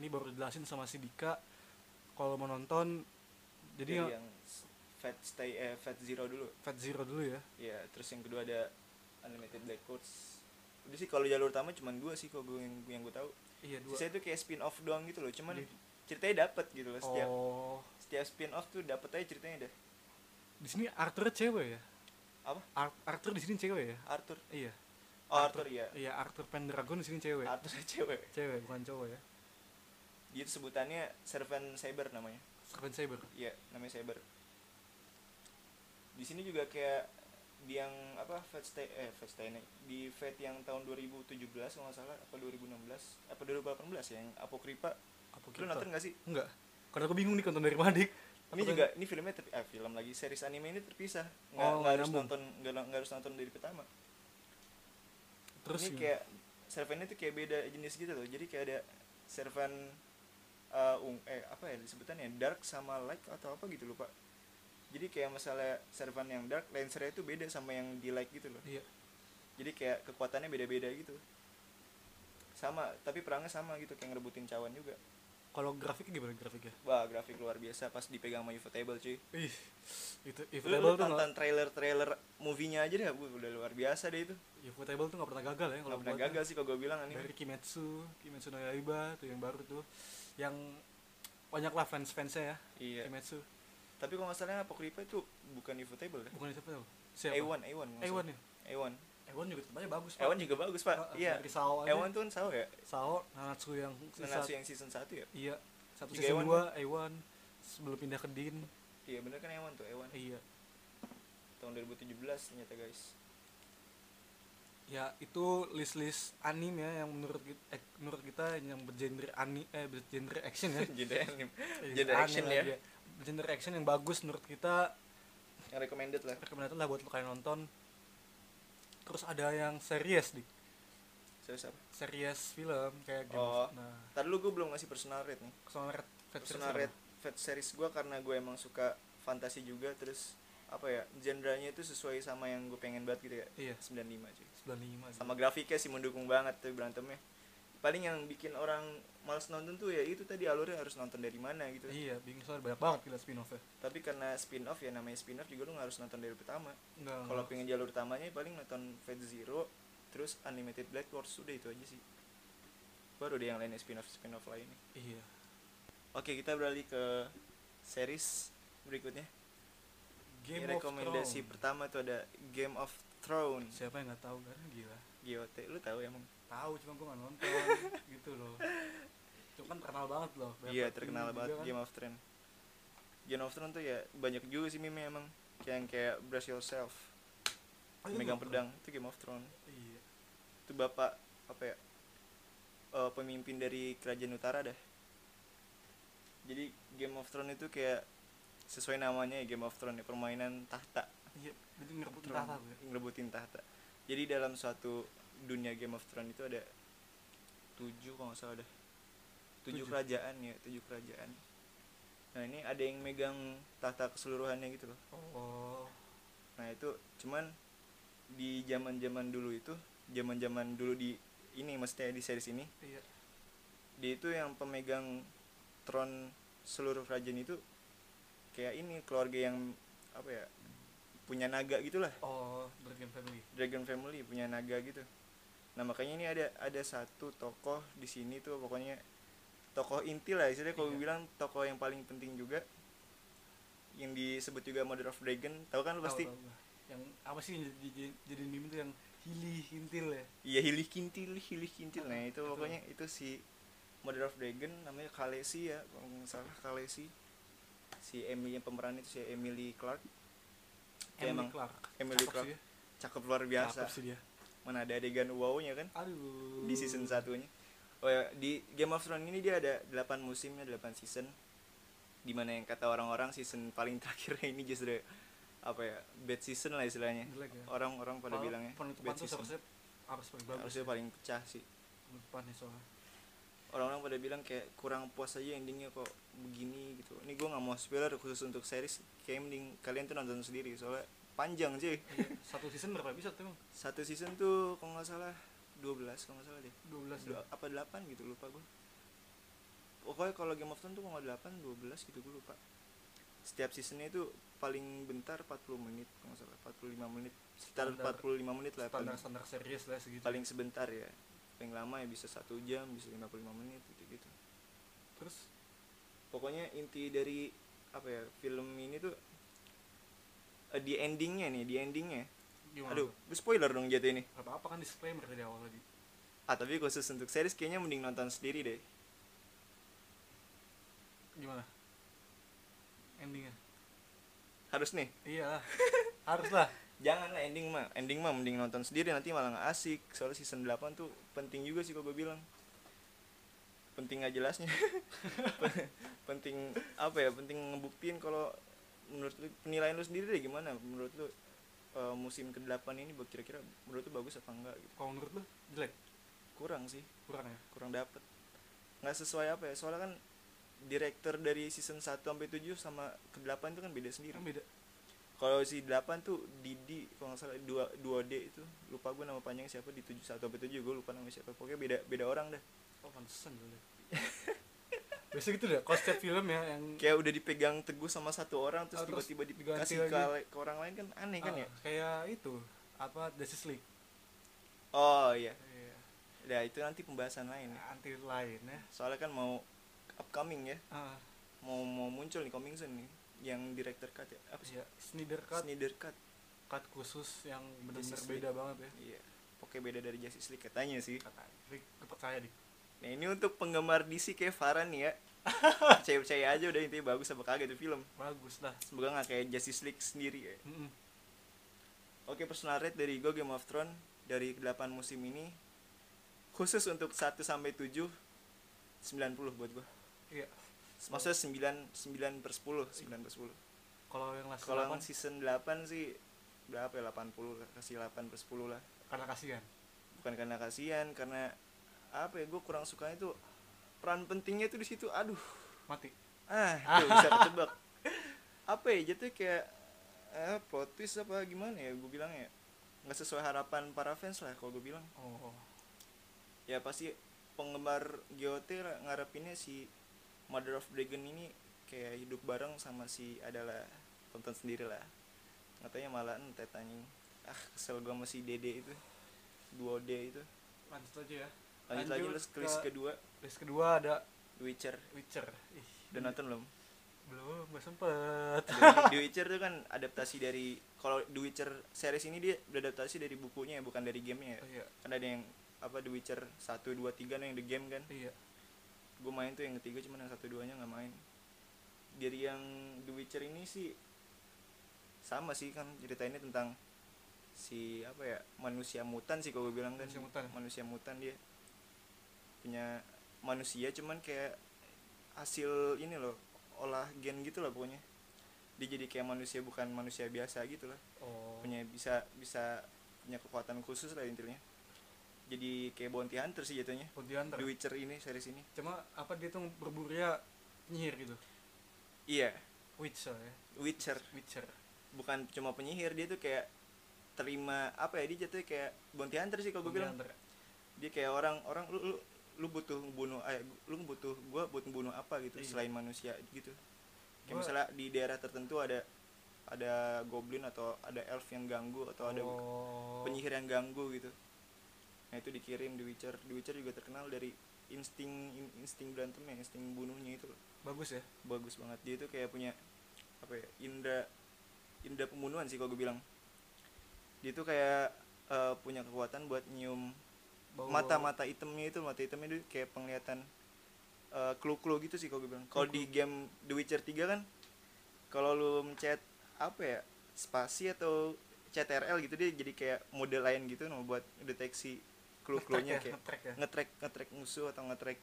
S2: ini baru dijelasin sama si Dika kalau mau nonton
S1: jadi
S2: jadi ya,
S1: yang fat stay eh, fat zero dulu
S2: Fat Zero dulu ya
S1: ya terus yang kedua ada unlimited black codes udah sih kalau jalur utama cuman dua sih kalau gue yang, yang gue tahu
S2: iya dua
S1: saya tuh kayak spin off doang gitu loh cuman
S2: Jadi-
S1: ceritanya dapat gitu loh setiap
S2: oh
S1: setiap spin off tuh dapat aja ceritanya deh
S2: di sini Arthur cewek ya
S1: apa
S2: Ar- Arthur di sini cewek ya
S1: Arthur
S2: iya
S1: oh Arthur, ya
S2: iya Arthur Pendragon di sini cewek
S1: Arthur cewek
S2: cewek bukan cowok ya
S1: dia tuh sebutannya servant cyber namanya
S2: Serpent Saber
S1: Iya, namanya Saber. Di sini juga kayak di yang apa Fate Stay eh Fate Stay Night. di Fate yang tahun 2017 kalau nggak salah apa 2016 apa 2018 ya, yang Apokripa.
S2: apa
S1: Lu nonton nggak sih?
S2: enggak karena gue bingung nih nonton dari mana dik
S1: Ini
S2: Aku
S1: juga ini filmnya ter, eh, film lagi series anime ini terpisah. Nggak,
S2: Oh,
S1: nggak
S2: nggak
S1: harus
S2: nyambung.
S1: nonton nggak, nggak harus nonton dari pertama.
S2: pengen- terus gitu.
S1: ini
S2: gimana?
S1: kayak servannya tuh kayak beda jenis gitu loh. Jadi kayak ada servan eh ung eh apa ya disebutannya dark sama light atau apa gitu lupa. Jadi kayak masalah servan yang dark lancernya itu beda sama yang di light gitu loh.
S2: iya
S1: Jadi kayak kekuatannya beda-beda gitu. Sama, tapi perangnya sama gitu kayak ngerebutin cawan juga.
S2: kalau grafiknya gimana grafiknya
S1: Wah, grafik luar biasa pas dipegang sama Ufotable cuy.
S2: Ih, itu
S1: Lu, lu
S2: Ifotable tuh
S1: tonton
S2: nggak
S1: trailer-trailer movie-nya aja deh, wuh, udah luar biasa deh itu.
S2: Ifotable Iya, tuh nggak pernah gagal ya kalau
S1: Kalau pernah
S2: buatnya.
S1: gagal sih kalau gue bilang anime.
S2: dari Kimetsu, Kimetsu no Yaiba tuh yang baru tuh yang banyak lah fans fansnya ya
S1: Iya.
S2: Kimetsu
S1: Tapi kalau nggak salah Apokripa itu bukan kan? Ufotable deh.
S2: bukan siapa tuh siapa
S1: A1, A1.
S2: A1 ya
S1: A1.
S2: A1 juga tempatnya bagus pak
S1: A1 juga bagus, Pak. Iya.
S2: dari Sao aja
S1: A1 tuh kan Sao ya?
S2: Sao Nanatsu yang
S1: Nanatsu yang season 1 ya?
S2: iya satu
S1: Juga A1
S2: season dua A1 sebelum pindah ke Din
S1: Iya, bener kan A1 tuh, A1.
S2: iya
S1: Tahun 2017 ternyata, guys.
S2: ya itu list list anime ya yang menurut kita, menurut kita yang bergenre ani eh bergenre action ya
S1: Jadi anime.
S2: Iya,
S1: Genre
S2: aneh
S1: action
S2: lagi
S1: ya.
S2: genre action yang bagus menurut kita
S1: Yang recommended lah.
S2: rekomendasi lah buat lo kalian nonton terus ada yang series di
S1: Serius apa?
S2: series film kayak Game
S1: Oh.
S2: of- nah
S1: Tadi lu gue belum ngasih personal rate nih.
S2: personal red Fat
S1: Personal
S2: Series
S1: rate Fate series gue karena gue emang suka fantasi juga terus apa ya genrenya itu sesuai sama yang gue pengen banget gitu ya
S2: apa? iya
S1: 95 cuy
S2: 95 sih.
S1: sama grafiknya sih mendukung banget tuh berantemnya paling yang bikin orang males nonton tuh ya itu tadi alurnya harus nonton dari mana gitu
S2: iya bingung soalnya banyak banget gila spin offnya
S1: tapi karena spin off ya namanya spin off juga lu nggak harus nonton dari pertama
S2: nggak
S1: kalau pengen jalur utamanya paling nonton Fate Zero terus Unlimited Black Wars sudah itu aja sih baru deh yang lainnya spin off spin off lainnya
S2: iya
S1: Oke, kita beralih ke series berikutnya.
S2: Game
S1: Ini
S2: of
S1: rekomendasi
S2: Thrones.
S1: pertama tuh ada Game of Thrones.
S2: siapa yang nggak tahu kan gila
S1: GOT, lu tahu emang?
S2: tahu cuma gue nggak nonton gitu loh cuma kan terkenal banget loh banyak
S1: Iya,
S2: banget
S1: terkenal
S2: film
S1: banget
S2: juga kan.
S1: Game of Thrones. Game of Thrones tuh ya banyak juga sih meme emang. Kayak yang kayak Brace Yourself,
S2: Oh, itu
S1: megang
S2: Game of
S1: pedang, itu Game of Thrones.
S2: Thrones. iya
S1: Itu bapak apa ya? eh, pemimpin dari kerajaan utara dah. Jadi Game of Thrones itu kayak sesuai namanya ya, Game of Thrones ya, permainan tahta
S2: Iya, jadi ngerebut ya.
S1: Throne,
S2: tahta gue.
S1: ngerebutin tahta jadi dalam suatu dunia Game of Thrones itu ada tujuh kalau nggak salah ada tujuh,
S2: Tujuh.
S1: kerajaan ya tujuh kerajaan nah ini ada yang megang tahta keseluruhannya gitu loh
S2: Oh.
S1: nah itu cuman di zaman zaman dulu itu zaman zaman dulu di ini maksudnya di series ini
S2: Iya.
S1: dia itu yang pemegang tron seluruh kerajaan itu kayak ini keluarga yang apa ya punya naga gitulah
S2: Oh, Dragon Family.
S1: dragon family punya naga gitu nah makanya ini ada ada satu tokoh di sini tuh pokoknya tokoh inti lah istilahnya kalau
S2: Iya.
S1: gue bilang tokoh yang paling penting juga yang disebut juga mother of dragon tahu kan lu
S2: Tahu,
S1: pasti
S2: tahu gue. yang apa sih yang jadi, jadi, jadiin meme tuh yang hili hintil ya?
S1: iya hilih kintil hilih kintil nah itu
S2: Betul.
S1: pokoknya itu si mother of dragon namanya Khaleesi ya kalau nggak salah Khaleesi si Emily yang pemeran itu si Emily Clark Kayak
S2: Emily
S1: emang
S2: Clark.
S1: Emily
S2: Cakep
S1: Clark.
S2: sih dia.
S1: cakep luar biasa
S2: Cakep sih dia.
S1: mana ada adegan wow-nya kan
S2: Aduh.
S1: di season satunya. Oh ya, di Game of Thrones ini dia ada 8 musimnya, 8 season. Dimana yang kata orang-orang season paling terakhirnya ini justru apa ya, bad season lah istilahnya.
S2: Jelek ya.
S1: Orang-orang pada
S2: Padahal
S1: bilangnya
S2: penutupan
S1: bad
S2: tuh
S1: season.
S2: harusnya harus paling bagus.
S1: Harusnya paling pecah sih.
S2: penutupan nih soalnya.
S1: Orang-orang pada bilang kayak kurang puas aja endingnya kok begini gitu. Ini gue nggak mau spoiler khusus untuk series. Kayak mending kalian tuh nonton sendiri soalnya panjang sih.
S2: Iya, satu season berapa episode tuh? Emang?
S1: Satu season tuh kalau nggak salah 12 kalau nggak salah deh.
S2: 12
S1: Dua- apa 8 gitu lupa gue pokoknya kalau Game of Thrones tuh kalau nggak 8 12 gitu gue lupa setiap seasonnya itu paling bentar 40 menit kalau nggak salah 45 menit sekitar
S2: Standar.
S1: 45 menit lah
S2: standar
S1: paling,
S2: standar serius lah segitu
S1: paling sebentar ya paling lama ya bisa satu jam bisa 55 menit gitu gitu
S2: terus
S1: pokoknya inti dari apa ya film ini tuh eh, di endingnya nih di endingnya
S2: gimana
S1: aduh gue spoiler dong jatuh ini
S2: apa apa kan disclaimer dari awal tadi
S1: ah tapi khusus untuk series kayaknya mending nonton sendiri deh
S2: gimana endingnya
S1: harus nih
S2: iyalah harus lah
S1: Janganlah ending mah, ending mah mending nonton sendiri nanti malah nggak asik. Soalnya season 8 tuh penting juga sih kalau gue bilang. Penting nggak jelasnya. Pe- penting apa ya? Penting ngebuktiin kalau menurut lu penilaian lu sendiri deh gimana? Menurut lu eh, musim ke-8 ini ba- kira-kira menurut lu bagus apa enggak gitu.
S2: kalau menurut lu jelek
S1: Kurang sih,
S2: kurang ya
S1: kurang dapet nggak sesuai apa ya? Soalnya kan direktur dari season 1 sampai 7 sama ke-8 itu kan beda sendiri.
S2: kan beda
S1: Kalau si 8 tuh Didi kalau nggak salah 2 2D itu lupa gue nama panjangnya siapa di 71 sampai 7 gue lupa nama siapa. Pokoknya beda beda orang dah.
S2: oh pantesan jelek biasa gitu deh kalau setiap film ya yang
S1: Kayak udah dipegang teguh sama satu orang terus
S2: Ah, terus
S1: tiba-tiba
S2: diganti
S1: dikasih ke,
S2: lagi.
S1: ke orang lain kan aneh kan
S2: ah,
S1: ya?
S2: kayak itu apa Justice League
S1: Oh iya.
S2: iya.
S1: Nah, itu nanti pembahasan lain. ya.
S2: anti lain ya
S1: Soalnya kan mau upcoming ya.
S2: ah,
S1: Mau mau muncul nih coming soon nih yang director cut ya. Apa sih?
S2: iya. Snyder Cut
S1: Snyder cut.
S2: cut khusus yang benar-benar
S1: Justice
S2: beda banget ya
S1: Iya. Pokoknya beda dari Justice League katanya sih.
S2: katanya Gue percaya nih
S1: Nah, ini untuk penggemar DC kayak Farhan nih ya. Percaya-percaya aja udah intinya bagus apa kagak itu film.
S2: bagus lah
S1: Semoga nggak kayak Justice League sendiri ya.
S2: Mm-mm.
S1: Oke personal rate dari gue Game of Thrones dari 8 musim ini khusus untuk 1 sampai 7 90 buat gue.
S2: iya
S1: Maksudnya 9 9 per 10, 9 per 10.
S2: kalau yang last
S1: Kalau yang
S2: delapan,
S1: season 8 sih berapa ya 80 lah, kasih 8 per 10 lah.
S2: karena kasihan
S1: Bukan karena kasihan, karena apa ya gue kurang sukanya tuh peran pentingnya tuh di situ. Aduh,
S2: mati Eh.
S1: ah tuh bisa ketebak apa ya jatuh kayak eh, plot twist apa gimana ya gue bilang ya nggak sesuai harapan para fans lah kalau gue bilang
S2: oh
S1: ya pasti penggemar GOT ra- ngarepinnya si Mother of Dragon ini kayak hidup bareng sama si adalah tonton sendiri lah katanya malah entet anjing ah kesel gue sama si Dede itu duo D itu
S2: lanjut aja ya
S1: lanjut lagi
S2: Lanjut
S1: terus Chris
S2: ke-
S1: kedua
S2: list kedua ada
S1: The Witcher
S2: Witcher Ih,
S1: udah nonton belum
S2: belum gak sempet
S1: The Witcher tuh kan adaptasi dari kalau The Witcher series ini dia beradaptasi dari bukunya ya, bukan dari gamenya ya.
S2: oh, iya
S1: Kan ada yang apa The Witcher 1 2 3 nah yang The Game kan.
S2: iya
S1: Gue main tuh yang ketiga cuman yang satu duanya nggak main. Dari yang The Witcher ini sih sama sih kan ceritanya tentang si apa ya manusia mutan sih kalau gue bilang kan
S2: Manusia mutan.
S1: manusia mutan dia punya manusia cuman kayak hasil ini loh olah gen gitu lah pokoknya dia jadi kayak manusia bukan manusia biasa gitu lah
S2: oh
S1: punya bisa bisa punya kekuatan khusus lah intinya jadi kayak bounty hunter sih jatuhnya
S2: Pontianak
S1: The Witcher ini series ini
S2: cuma apa dia tuh berburia penyihir gitu
S1: iya
S2: Witcher ya
S1: Witcher
S2: Witcher
S1: bukan cuma penyihir dia tuh kayak terima apa ya dia jatuhnya kayak bounty hunter sih kalau gue bilang
S2: Pontianak.
S1: dia kayak orang orang lu lu, lu butuh bunuh eh lu butuh gua butuh bunuh apa gitu
S2: Iya.
S1: selain manusia gitu kayak
S2: Gua-
S1: misalnya di daerah tertentu ada ada goblin atau ada elf yang ganggu atau ada
S2: Oh.
S1: penyihir yang ganggu gitu nah itu dikirim di Witcher di Witcher juga terkenal dari insting in- insting berantemnya insting bunuhnya itu loh.
S2: bagus ya
S1: bagus banget dia itu kayak punya apa ya indra indra pembunuhan sih kalau gue bilang dia tuh kayak eh, punya kekuatan buat nyium
S2: Bau-
S1: mata-mata itemnya itu mata itemnya itu kayak penglihatan eh, clue-clue gitu sih kalau gue bilang kalau di game The Witcher 3 kan kalau lu mencet apa ya spasi atau CTRL gitu dia jadi kayak mode lain gitu nah buat deteksi clue-clue-nya
S2: Ngetrack ya,
S1: kayak
S2: ngetrack ya
S1: ngetrack ngetrack musuh atau ngetrack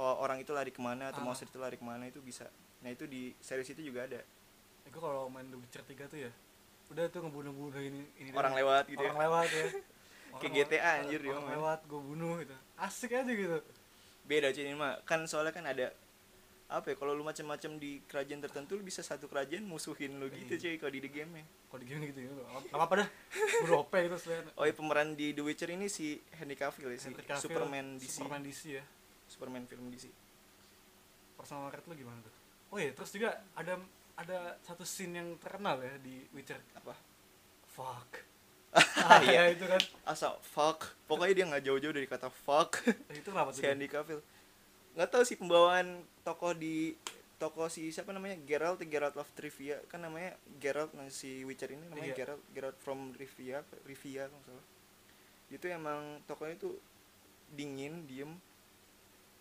S1: oh, orang itu lari kemana atau
S2: Ah.
S1: monster itu lari kemana itu bisa nah itu di series itu juga ada
S2: Eh, gua kalau main The Witcher 3 tuh ya udah tuh ngebunuh-bunuh ini, ini
S1: orang
S2: doang.
S1: lewat gitu
S2: orang
S1: ya.
S2: lewat ya
S1: Kayak
S2: Orang-
S1: GTA anjir dia
S2: orang
S1: mah.
S2: lewat gue bunuh gitu asik aja gitu
S1: beda cuy ini mah kan soalnya kan ada apa ya kalau lu macam-macam di kerajaan tertentu lu bisa satu kerajaan musuhin lu gitu
S2: Iya.
S1: cuy kalau di the game nya
S2: kalau di game gitu ya nggak apa-apa dah buru OP itu selain
S1: oh iya pemeran di The Witcher ini si Henry Cavill ya si
S2: Henry Cavill,
S1: Superman DC
S2: Superman DC ya
S1: Superman film DC
S2: personal market lu gimana tuh oh iya terus juga ada ada satu scene yang terkenal ya di Witcher
S1: apa
S2: fuck ah, iya itu kan
S1: asal fuck pokoknya dia nggak jauh-jauh dari kata fuck
S2: Eh, itu kenapa tuh
S1: si Henry Cavill nggak tahu sih pembawaan tokoh di tokoh si siapa namanya Geralt Geralt of Rivia kan namanya Geralt nah, si Witcher ini namanya
S2: Iya.
S1: Geralt Geralt from Rivia Rivia kalau nggak salah itu emang tokohnya itu dingin diem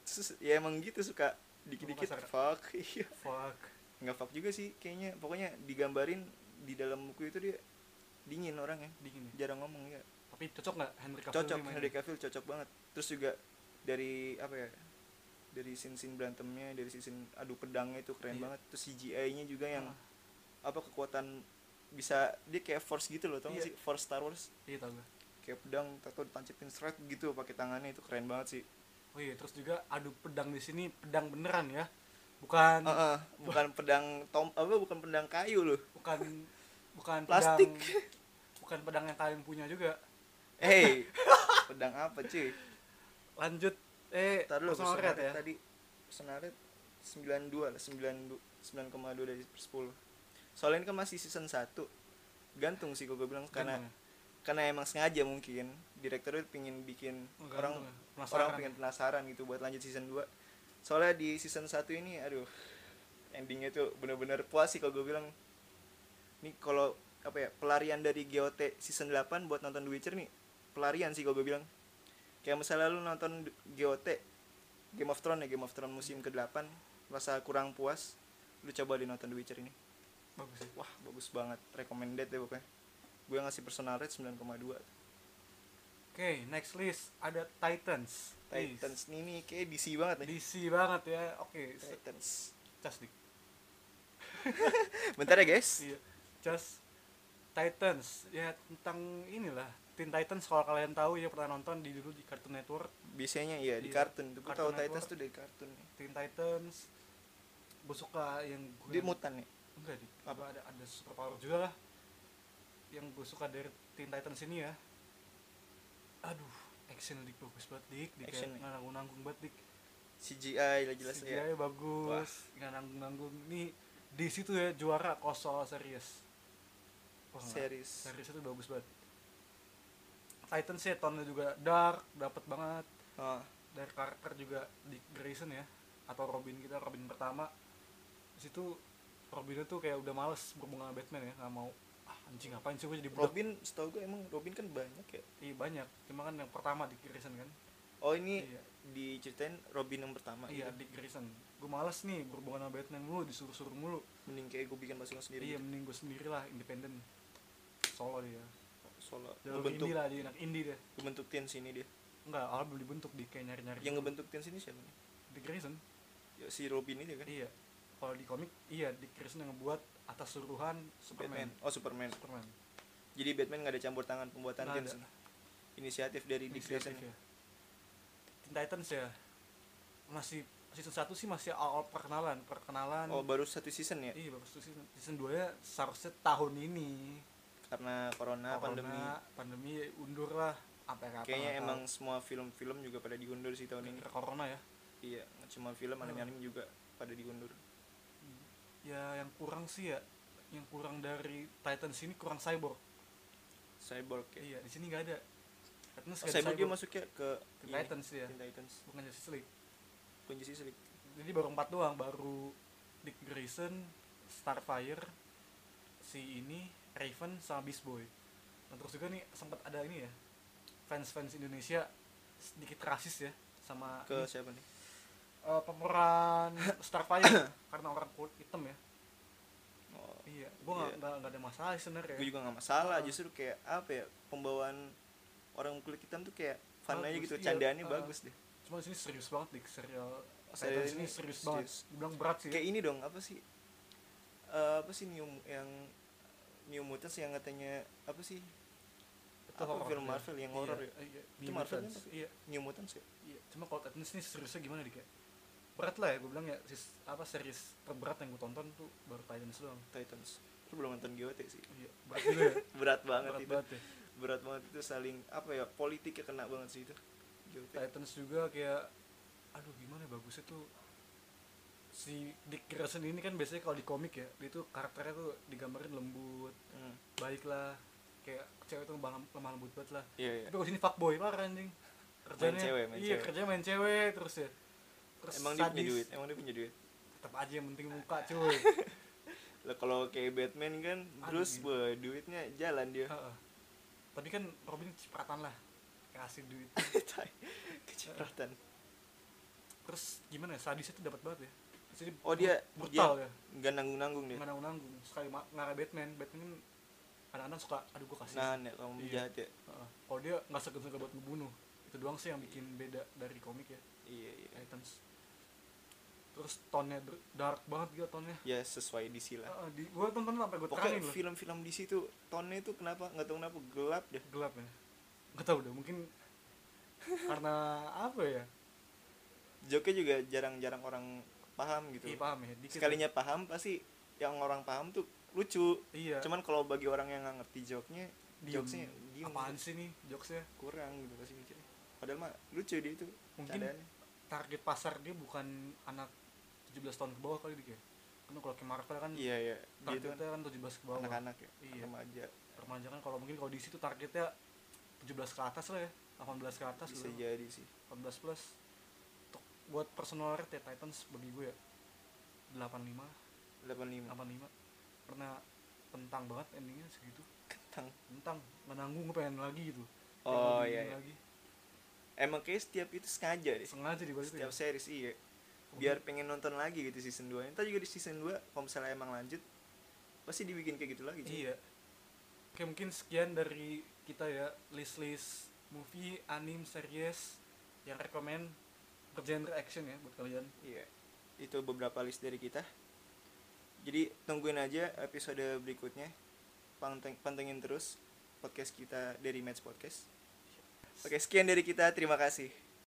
S1: Terus, ya emang gitu suka dikit-dikit
S2: kasar.
S1: fuck iya
S2: fuck
S1: nggak fuck juga sih kayaknya pokoknya digambarin di dalam buku itu dia dingin orangnya
S2: dingin ya
S1: jarang ngomong ya
S2: tapi cocok nggak Henry Cavill
S1: cocok
S2: ini main?
S1: Henry Cavill cocok banget terus juga dari apa ya dari sin sin berantemnya dari sin adu pedangnya itu keren
S2: Iya.
S1: banget terus CGI nya juga yang
S2: Ah,
S1: apa kekuatan bisa dia kayak force gitu loh tau nggak
S2: Iya.
S1: sih force Star Wars
S2: iya tau gue
S1: kayak pedang atau ditancetin seret gitu pakai tangannya itu keren banget sih
S2: oh iya terus juga adu pedang di sini pedang beneran ya bukan
S1: Heeh, bukan pedang tom apa bukan pedang kayu loh
S2: bukan bukan
S1: Plastik.
S2: pedang, bukan pedang yang kalian punya juga
S1: hey pedang apa cuy
S2: lanjut eh
S1: Ntar dulu,
S2: personal
S1: personal
S2: rate ya
S1: rate tadi personal rate 92 lah, 92 9,2 dari 10. Soalnya ini kan masih season 1. Gantung sih gue bilang karena
S2: Gantung ya?
S1: karena emang sengaja mungkin direktur itu pingin bikin
S2: Gantung
S1: orang
S2: ya? Penasaran
S1: orang pengen penasaran gitu buat lanjut season 2. Soalnya di season 1 ini aduh endingnya tuh bener-bener puas sih kalau gue bilang. Nih kalau apa ya pelarian dari GOT season 8 buat nonton The Witcher nih pelarian sih kalau gue bilang kayak misalnya lu nonton D- GOT Game of Thrones ya Game of Thrones musim ke-8 merasa kurang puas lu coba di nonton The Witcher ini
S2: bagus ya
S1: wah bagus banget recommended deh pokoknya gue ngasih personal rate 9,2
S2: oke next list ada Titans Ih,
S1: Titans ini nih kayak DC banget nih
S2: DC banget ya oke se-
S1: Titans
S2: cas dik
S1: bentar ya guys
S2: iya cas Titans ya tentang inilah Teen Titans kalau kalian tahu ya pernah nonton di dulu di Cartoon Network
S1: biasanya iya di
S2: Iya.
S1: kartun tuh gue
S2: Cartoon
S1: tahu Titans
S2: Network.
S1: tuh dari kartun
S2: Teen Titans gue suka yang gue
S1: dia mutan ya
S2: enggak di
S1: Apa?
S2: apa ada ada super power juga lah yang gue suka dari Teen Titans ini ya aduh action dik bagus banget dik dik
S1: Action,
S2: nggak nanggung nanggung banget dik
S1: CGI lah jelas ya
S2: CGI bagus nggak nanggung nanggung nih di situ ya juara kosol serius Wah, nggak-
S1: series
S2: serius itu bagus banget Titans ya tone juga dark dapat banget
S1: oh,
S2: dari karakter juga Dick Grayson ya atau Robin kita Robin pertama di situ Robinnya tuh kayak udah males berhubungan sama Batman ya nggak mau ah anjing ngapain sih gue jadi budak
S1: Robin setahu gue emang Robin kan banyak ya
S2: Iya, banyak cuma kan yang pertama Dick Grayson kan
S1: oh ini
S2: Iya.
S1: diceritain Robin yang pertama
S2: iya
S1: gitu.
S2: Dick Grayson gue males nih berhubungan sama Batman mulu disuruh-suruh mulu
S1: mending kayak gue bikin pasukan sendiri gitu.
S2: iya mending gue sendiri lah independen solo dia
S1: solo
S2: jalur
S1: ngebentuk
S2: indie lah dia anak indie dia
S1: ngebentuk tim sini dia
S2: enggak awal belum dibentuk di kayak nyari-nyari
S1: yang ngebentuk tim sini siapa nih
S2: Dick Grayson
S1: ya, si Robin itu kan
S2: iya kalau di komik iya Dick Grayson yang ngebuat atas suruhan Superman.
S1: Batman. Oh Superman.
S2: Superman.
S1: Jadi Batman nggak ada campur tangan pembuatan
S2: Nggak
S1: tim
S2: ada.
S1: sih. Inisiatif dari Dick
S2: Inisiatif
S1: Grayson.
S2: ya. Teen Titans ya. Masih season 1 sih masih awal perkenalan, perkenalan.
S1: Oh baru satu season ya?
S2: Iya, bagus tuh season, season 2 nya seharusnya tahun ini.
S1: Karena corona,
S2: Corona,
S1: Nah, pandemi.
S2: pandemi ya, undur lah sampai kapan.
S1: Kayaknya
S2: nggak
S1: emang semua film-film juga pada diundur sih
S2: tahu.
S1: tahun ini.
S2: Gara-gara corona ya.
S1: Iya, nggak cuma film,
S2: Hmm.
S1: anime-anime juga pada diundur.
S2: Ya yang kurang sih ya yang kurang dari Titans ini kurang cyborg.
S1: Cyborg ya.
S2: Iya, di sini nggak ada. Titans
S1: Oh,
S2: nggak ada
S1: Cyborg dia iya. masuknya ke
S2: Teen
S1: ini,
S2: Titans ya.
S1: Teen Titans.
S2: Bukan Justice League.
S1: Bukan Justice League.
S2: Jadi baru empat doang, baru Dick Grayson, Starfire, si ini, Raven sama Beast Boy. Nah, terus juga nih sempat ada ini ya. Fans-fans Indonesia sedikit rasis ya sama
S1: Ke
S2: ini,
S1: siapa nih?
S2: eh, pemeran Starfire karena orang kulit hitam ya.
S1: Oh,
S2: Iya, gua nggak
S1: Iya.
S2: nggak- nggak ada masalah sih sebenarnya.
S1: gue juga nggak masalah
S2: Ah.
S1: justru kayak apa ya pembawaan orang kulit hitam tuh kayak fun aja
S2: Bagus,
S1: gitu
S2: iya,
S1: candaannya
S2: ah.
S1: bagus deh
S2: Cuma di sini serius banget dik serial
S1: serial
S2: Titans ini
S1: Eh, ini
S2: serius,
S1: serius.
S2: banget. Dibilang berat sih.
S1: kayak ini dong apa sih Eh, apa sih new yang new mutants yang katanya apa sih
S2: Itu
S1: apa
S2: horor
S1: film
S2: dia.
S1: Marvel yang horor
S2: iya,
S1: ya
S2: iya.
S1: Itu
S2: New
S1: Marvel kan,
S2: Mutants.
S1: tapi-
S2: Iya.
S1: new mutants ya
S2: Iya, cuma kalau Titans ini seriusnya gimana dik ya? Berat lah ya, gue bilang ya, sis, apa series terberat yang gue tonton tuh baru Titans doang.
S1: Titans lu belum nonton GOT sih
S2: Iya, berat juga ya.
S1: berat banget
S2: berat
S1: itu
S2: banget ya.
S1: berat banget itu saling apa ya politiknya kena banget sih itu GOT
S2: Titans juga kayak, aduh gimana ya, bagusnya tuh si Dick Grayson ini kan biasanya kalau di komik ya, dia tuh karakternya tuh digambarin lembut,
S1: Hmm.
S2: baik lah, kayak cewek tuh lemah, lemah lembut banget lah.
S1: iya iya
S2: Tapi kalau di sini fuckboy parah anjing. Kerjanya,
S1: cewek, main
S2: iya
S1: cewek.
S2: kerjanya main cewek terus ya. Terus
S1: emang dia punya
S2: sadis.
S1: duit ya? Iya. emang dia punya duit
S2: Tetap aja yang penting muka cuy.
S1: lah kalau kayak Batman kan
S2: Aduh,
S1: terus
S2: iya.
S1: wah, duitnya jalan dia
S2: Heeh. Tapi kan Robin cipratan lah kasih duit.
S1: Tai. kecipratan
S2: Terus gimana ya sadisnya tuh dapat banget ya. Jadi
S1: Oh, dia-
S2: brutal ya.
S1: nggak nanggung nanggung dia
S2: Nggak nanggung-nanggung. Sekali ma- ngarah Batman, Batman kan anak-anak suka aduh gua kasih.
S1: nah ya kamu
S2: Iya.
S1: jahat ya
S2: Heeh. Kalau dia nggak segan-segan buat ngebunuh. Itu doang sih yang bikin beda dari komik ya,
S1: iya iya
S2: Titans. Terus tone-nya ber- dark banget gitu gila tone-nya.
S1: ya sesuai DC lah
S2: Heeh, di, gua tonton sampai gua
S1: pokoknya
S2: terangin loh.
S1: film-film DC tuh tone itu kenapa nggak tahu kenapa gelap deh
S2: gelap ya nggak tahu deh mungkin karena apa ya
S1: Joke juga jarang-jarang orang paham gitu
S2: iya paham ya dikit
S1: sekalinya paham pasti yang orang paham tuh lucu
S2: iya
S1: cuman kalau bagi orang yang nggak ngerti joknya
S2: diem.
S1: jokesnya diem
S2: apaan
S1: gitu.
S2: sih nih jokesnya
S1: kurang gitu pasti mikirnya padahal mah lucu dia itu
S2: Mungkin-
S1: candaannya.
S2: target pasar dia bukan anak 17 tahun ke bawah kali dia karena kalau ke Marvel kan
S1: iya iya dia itu kan
S2: targetnya kan 17 ke bawah
S1: anak-anak ya
S2: Iya.
S1: remaja
S2: remaja kan kalau mungkin kalau di situ targetnya 17 ke atas lah ya 18 ke atas
S1: bisa iya.
S2: lah
S1: jadi sih
S2: 18 plus Untuk buat personal rate ya Titans bagi gue ya 85
S1: 85
S2: 85 pernah tentang banget endingnya segitu
S1: kentang
S2: tentang menanggung gue pengen lagi gitu
S1: oh
S2: Pengen
S1: iya, iya.
S2: lagi
S1: emang kayak setiap itu sengaja deh
S2: sengaja di balik itu ya
S1: setiap series iya biar pengen nonton lagi gitu season 2 entar juga di season 2 kalau misalnya emang lanjut pasti dibikin kayak gitu lagi cuy.
S2: iya oke mungkin sekian dari kita ya list list movie anime series yang rekomend bergenre action ya buat kalian
S1: iya itu beberapa list dari kita jadi tungguin aja episode berikutnya panteng pantengin terus podcast kita dari Match Podcast oke sekian dari kita terima kasih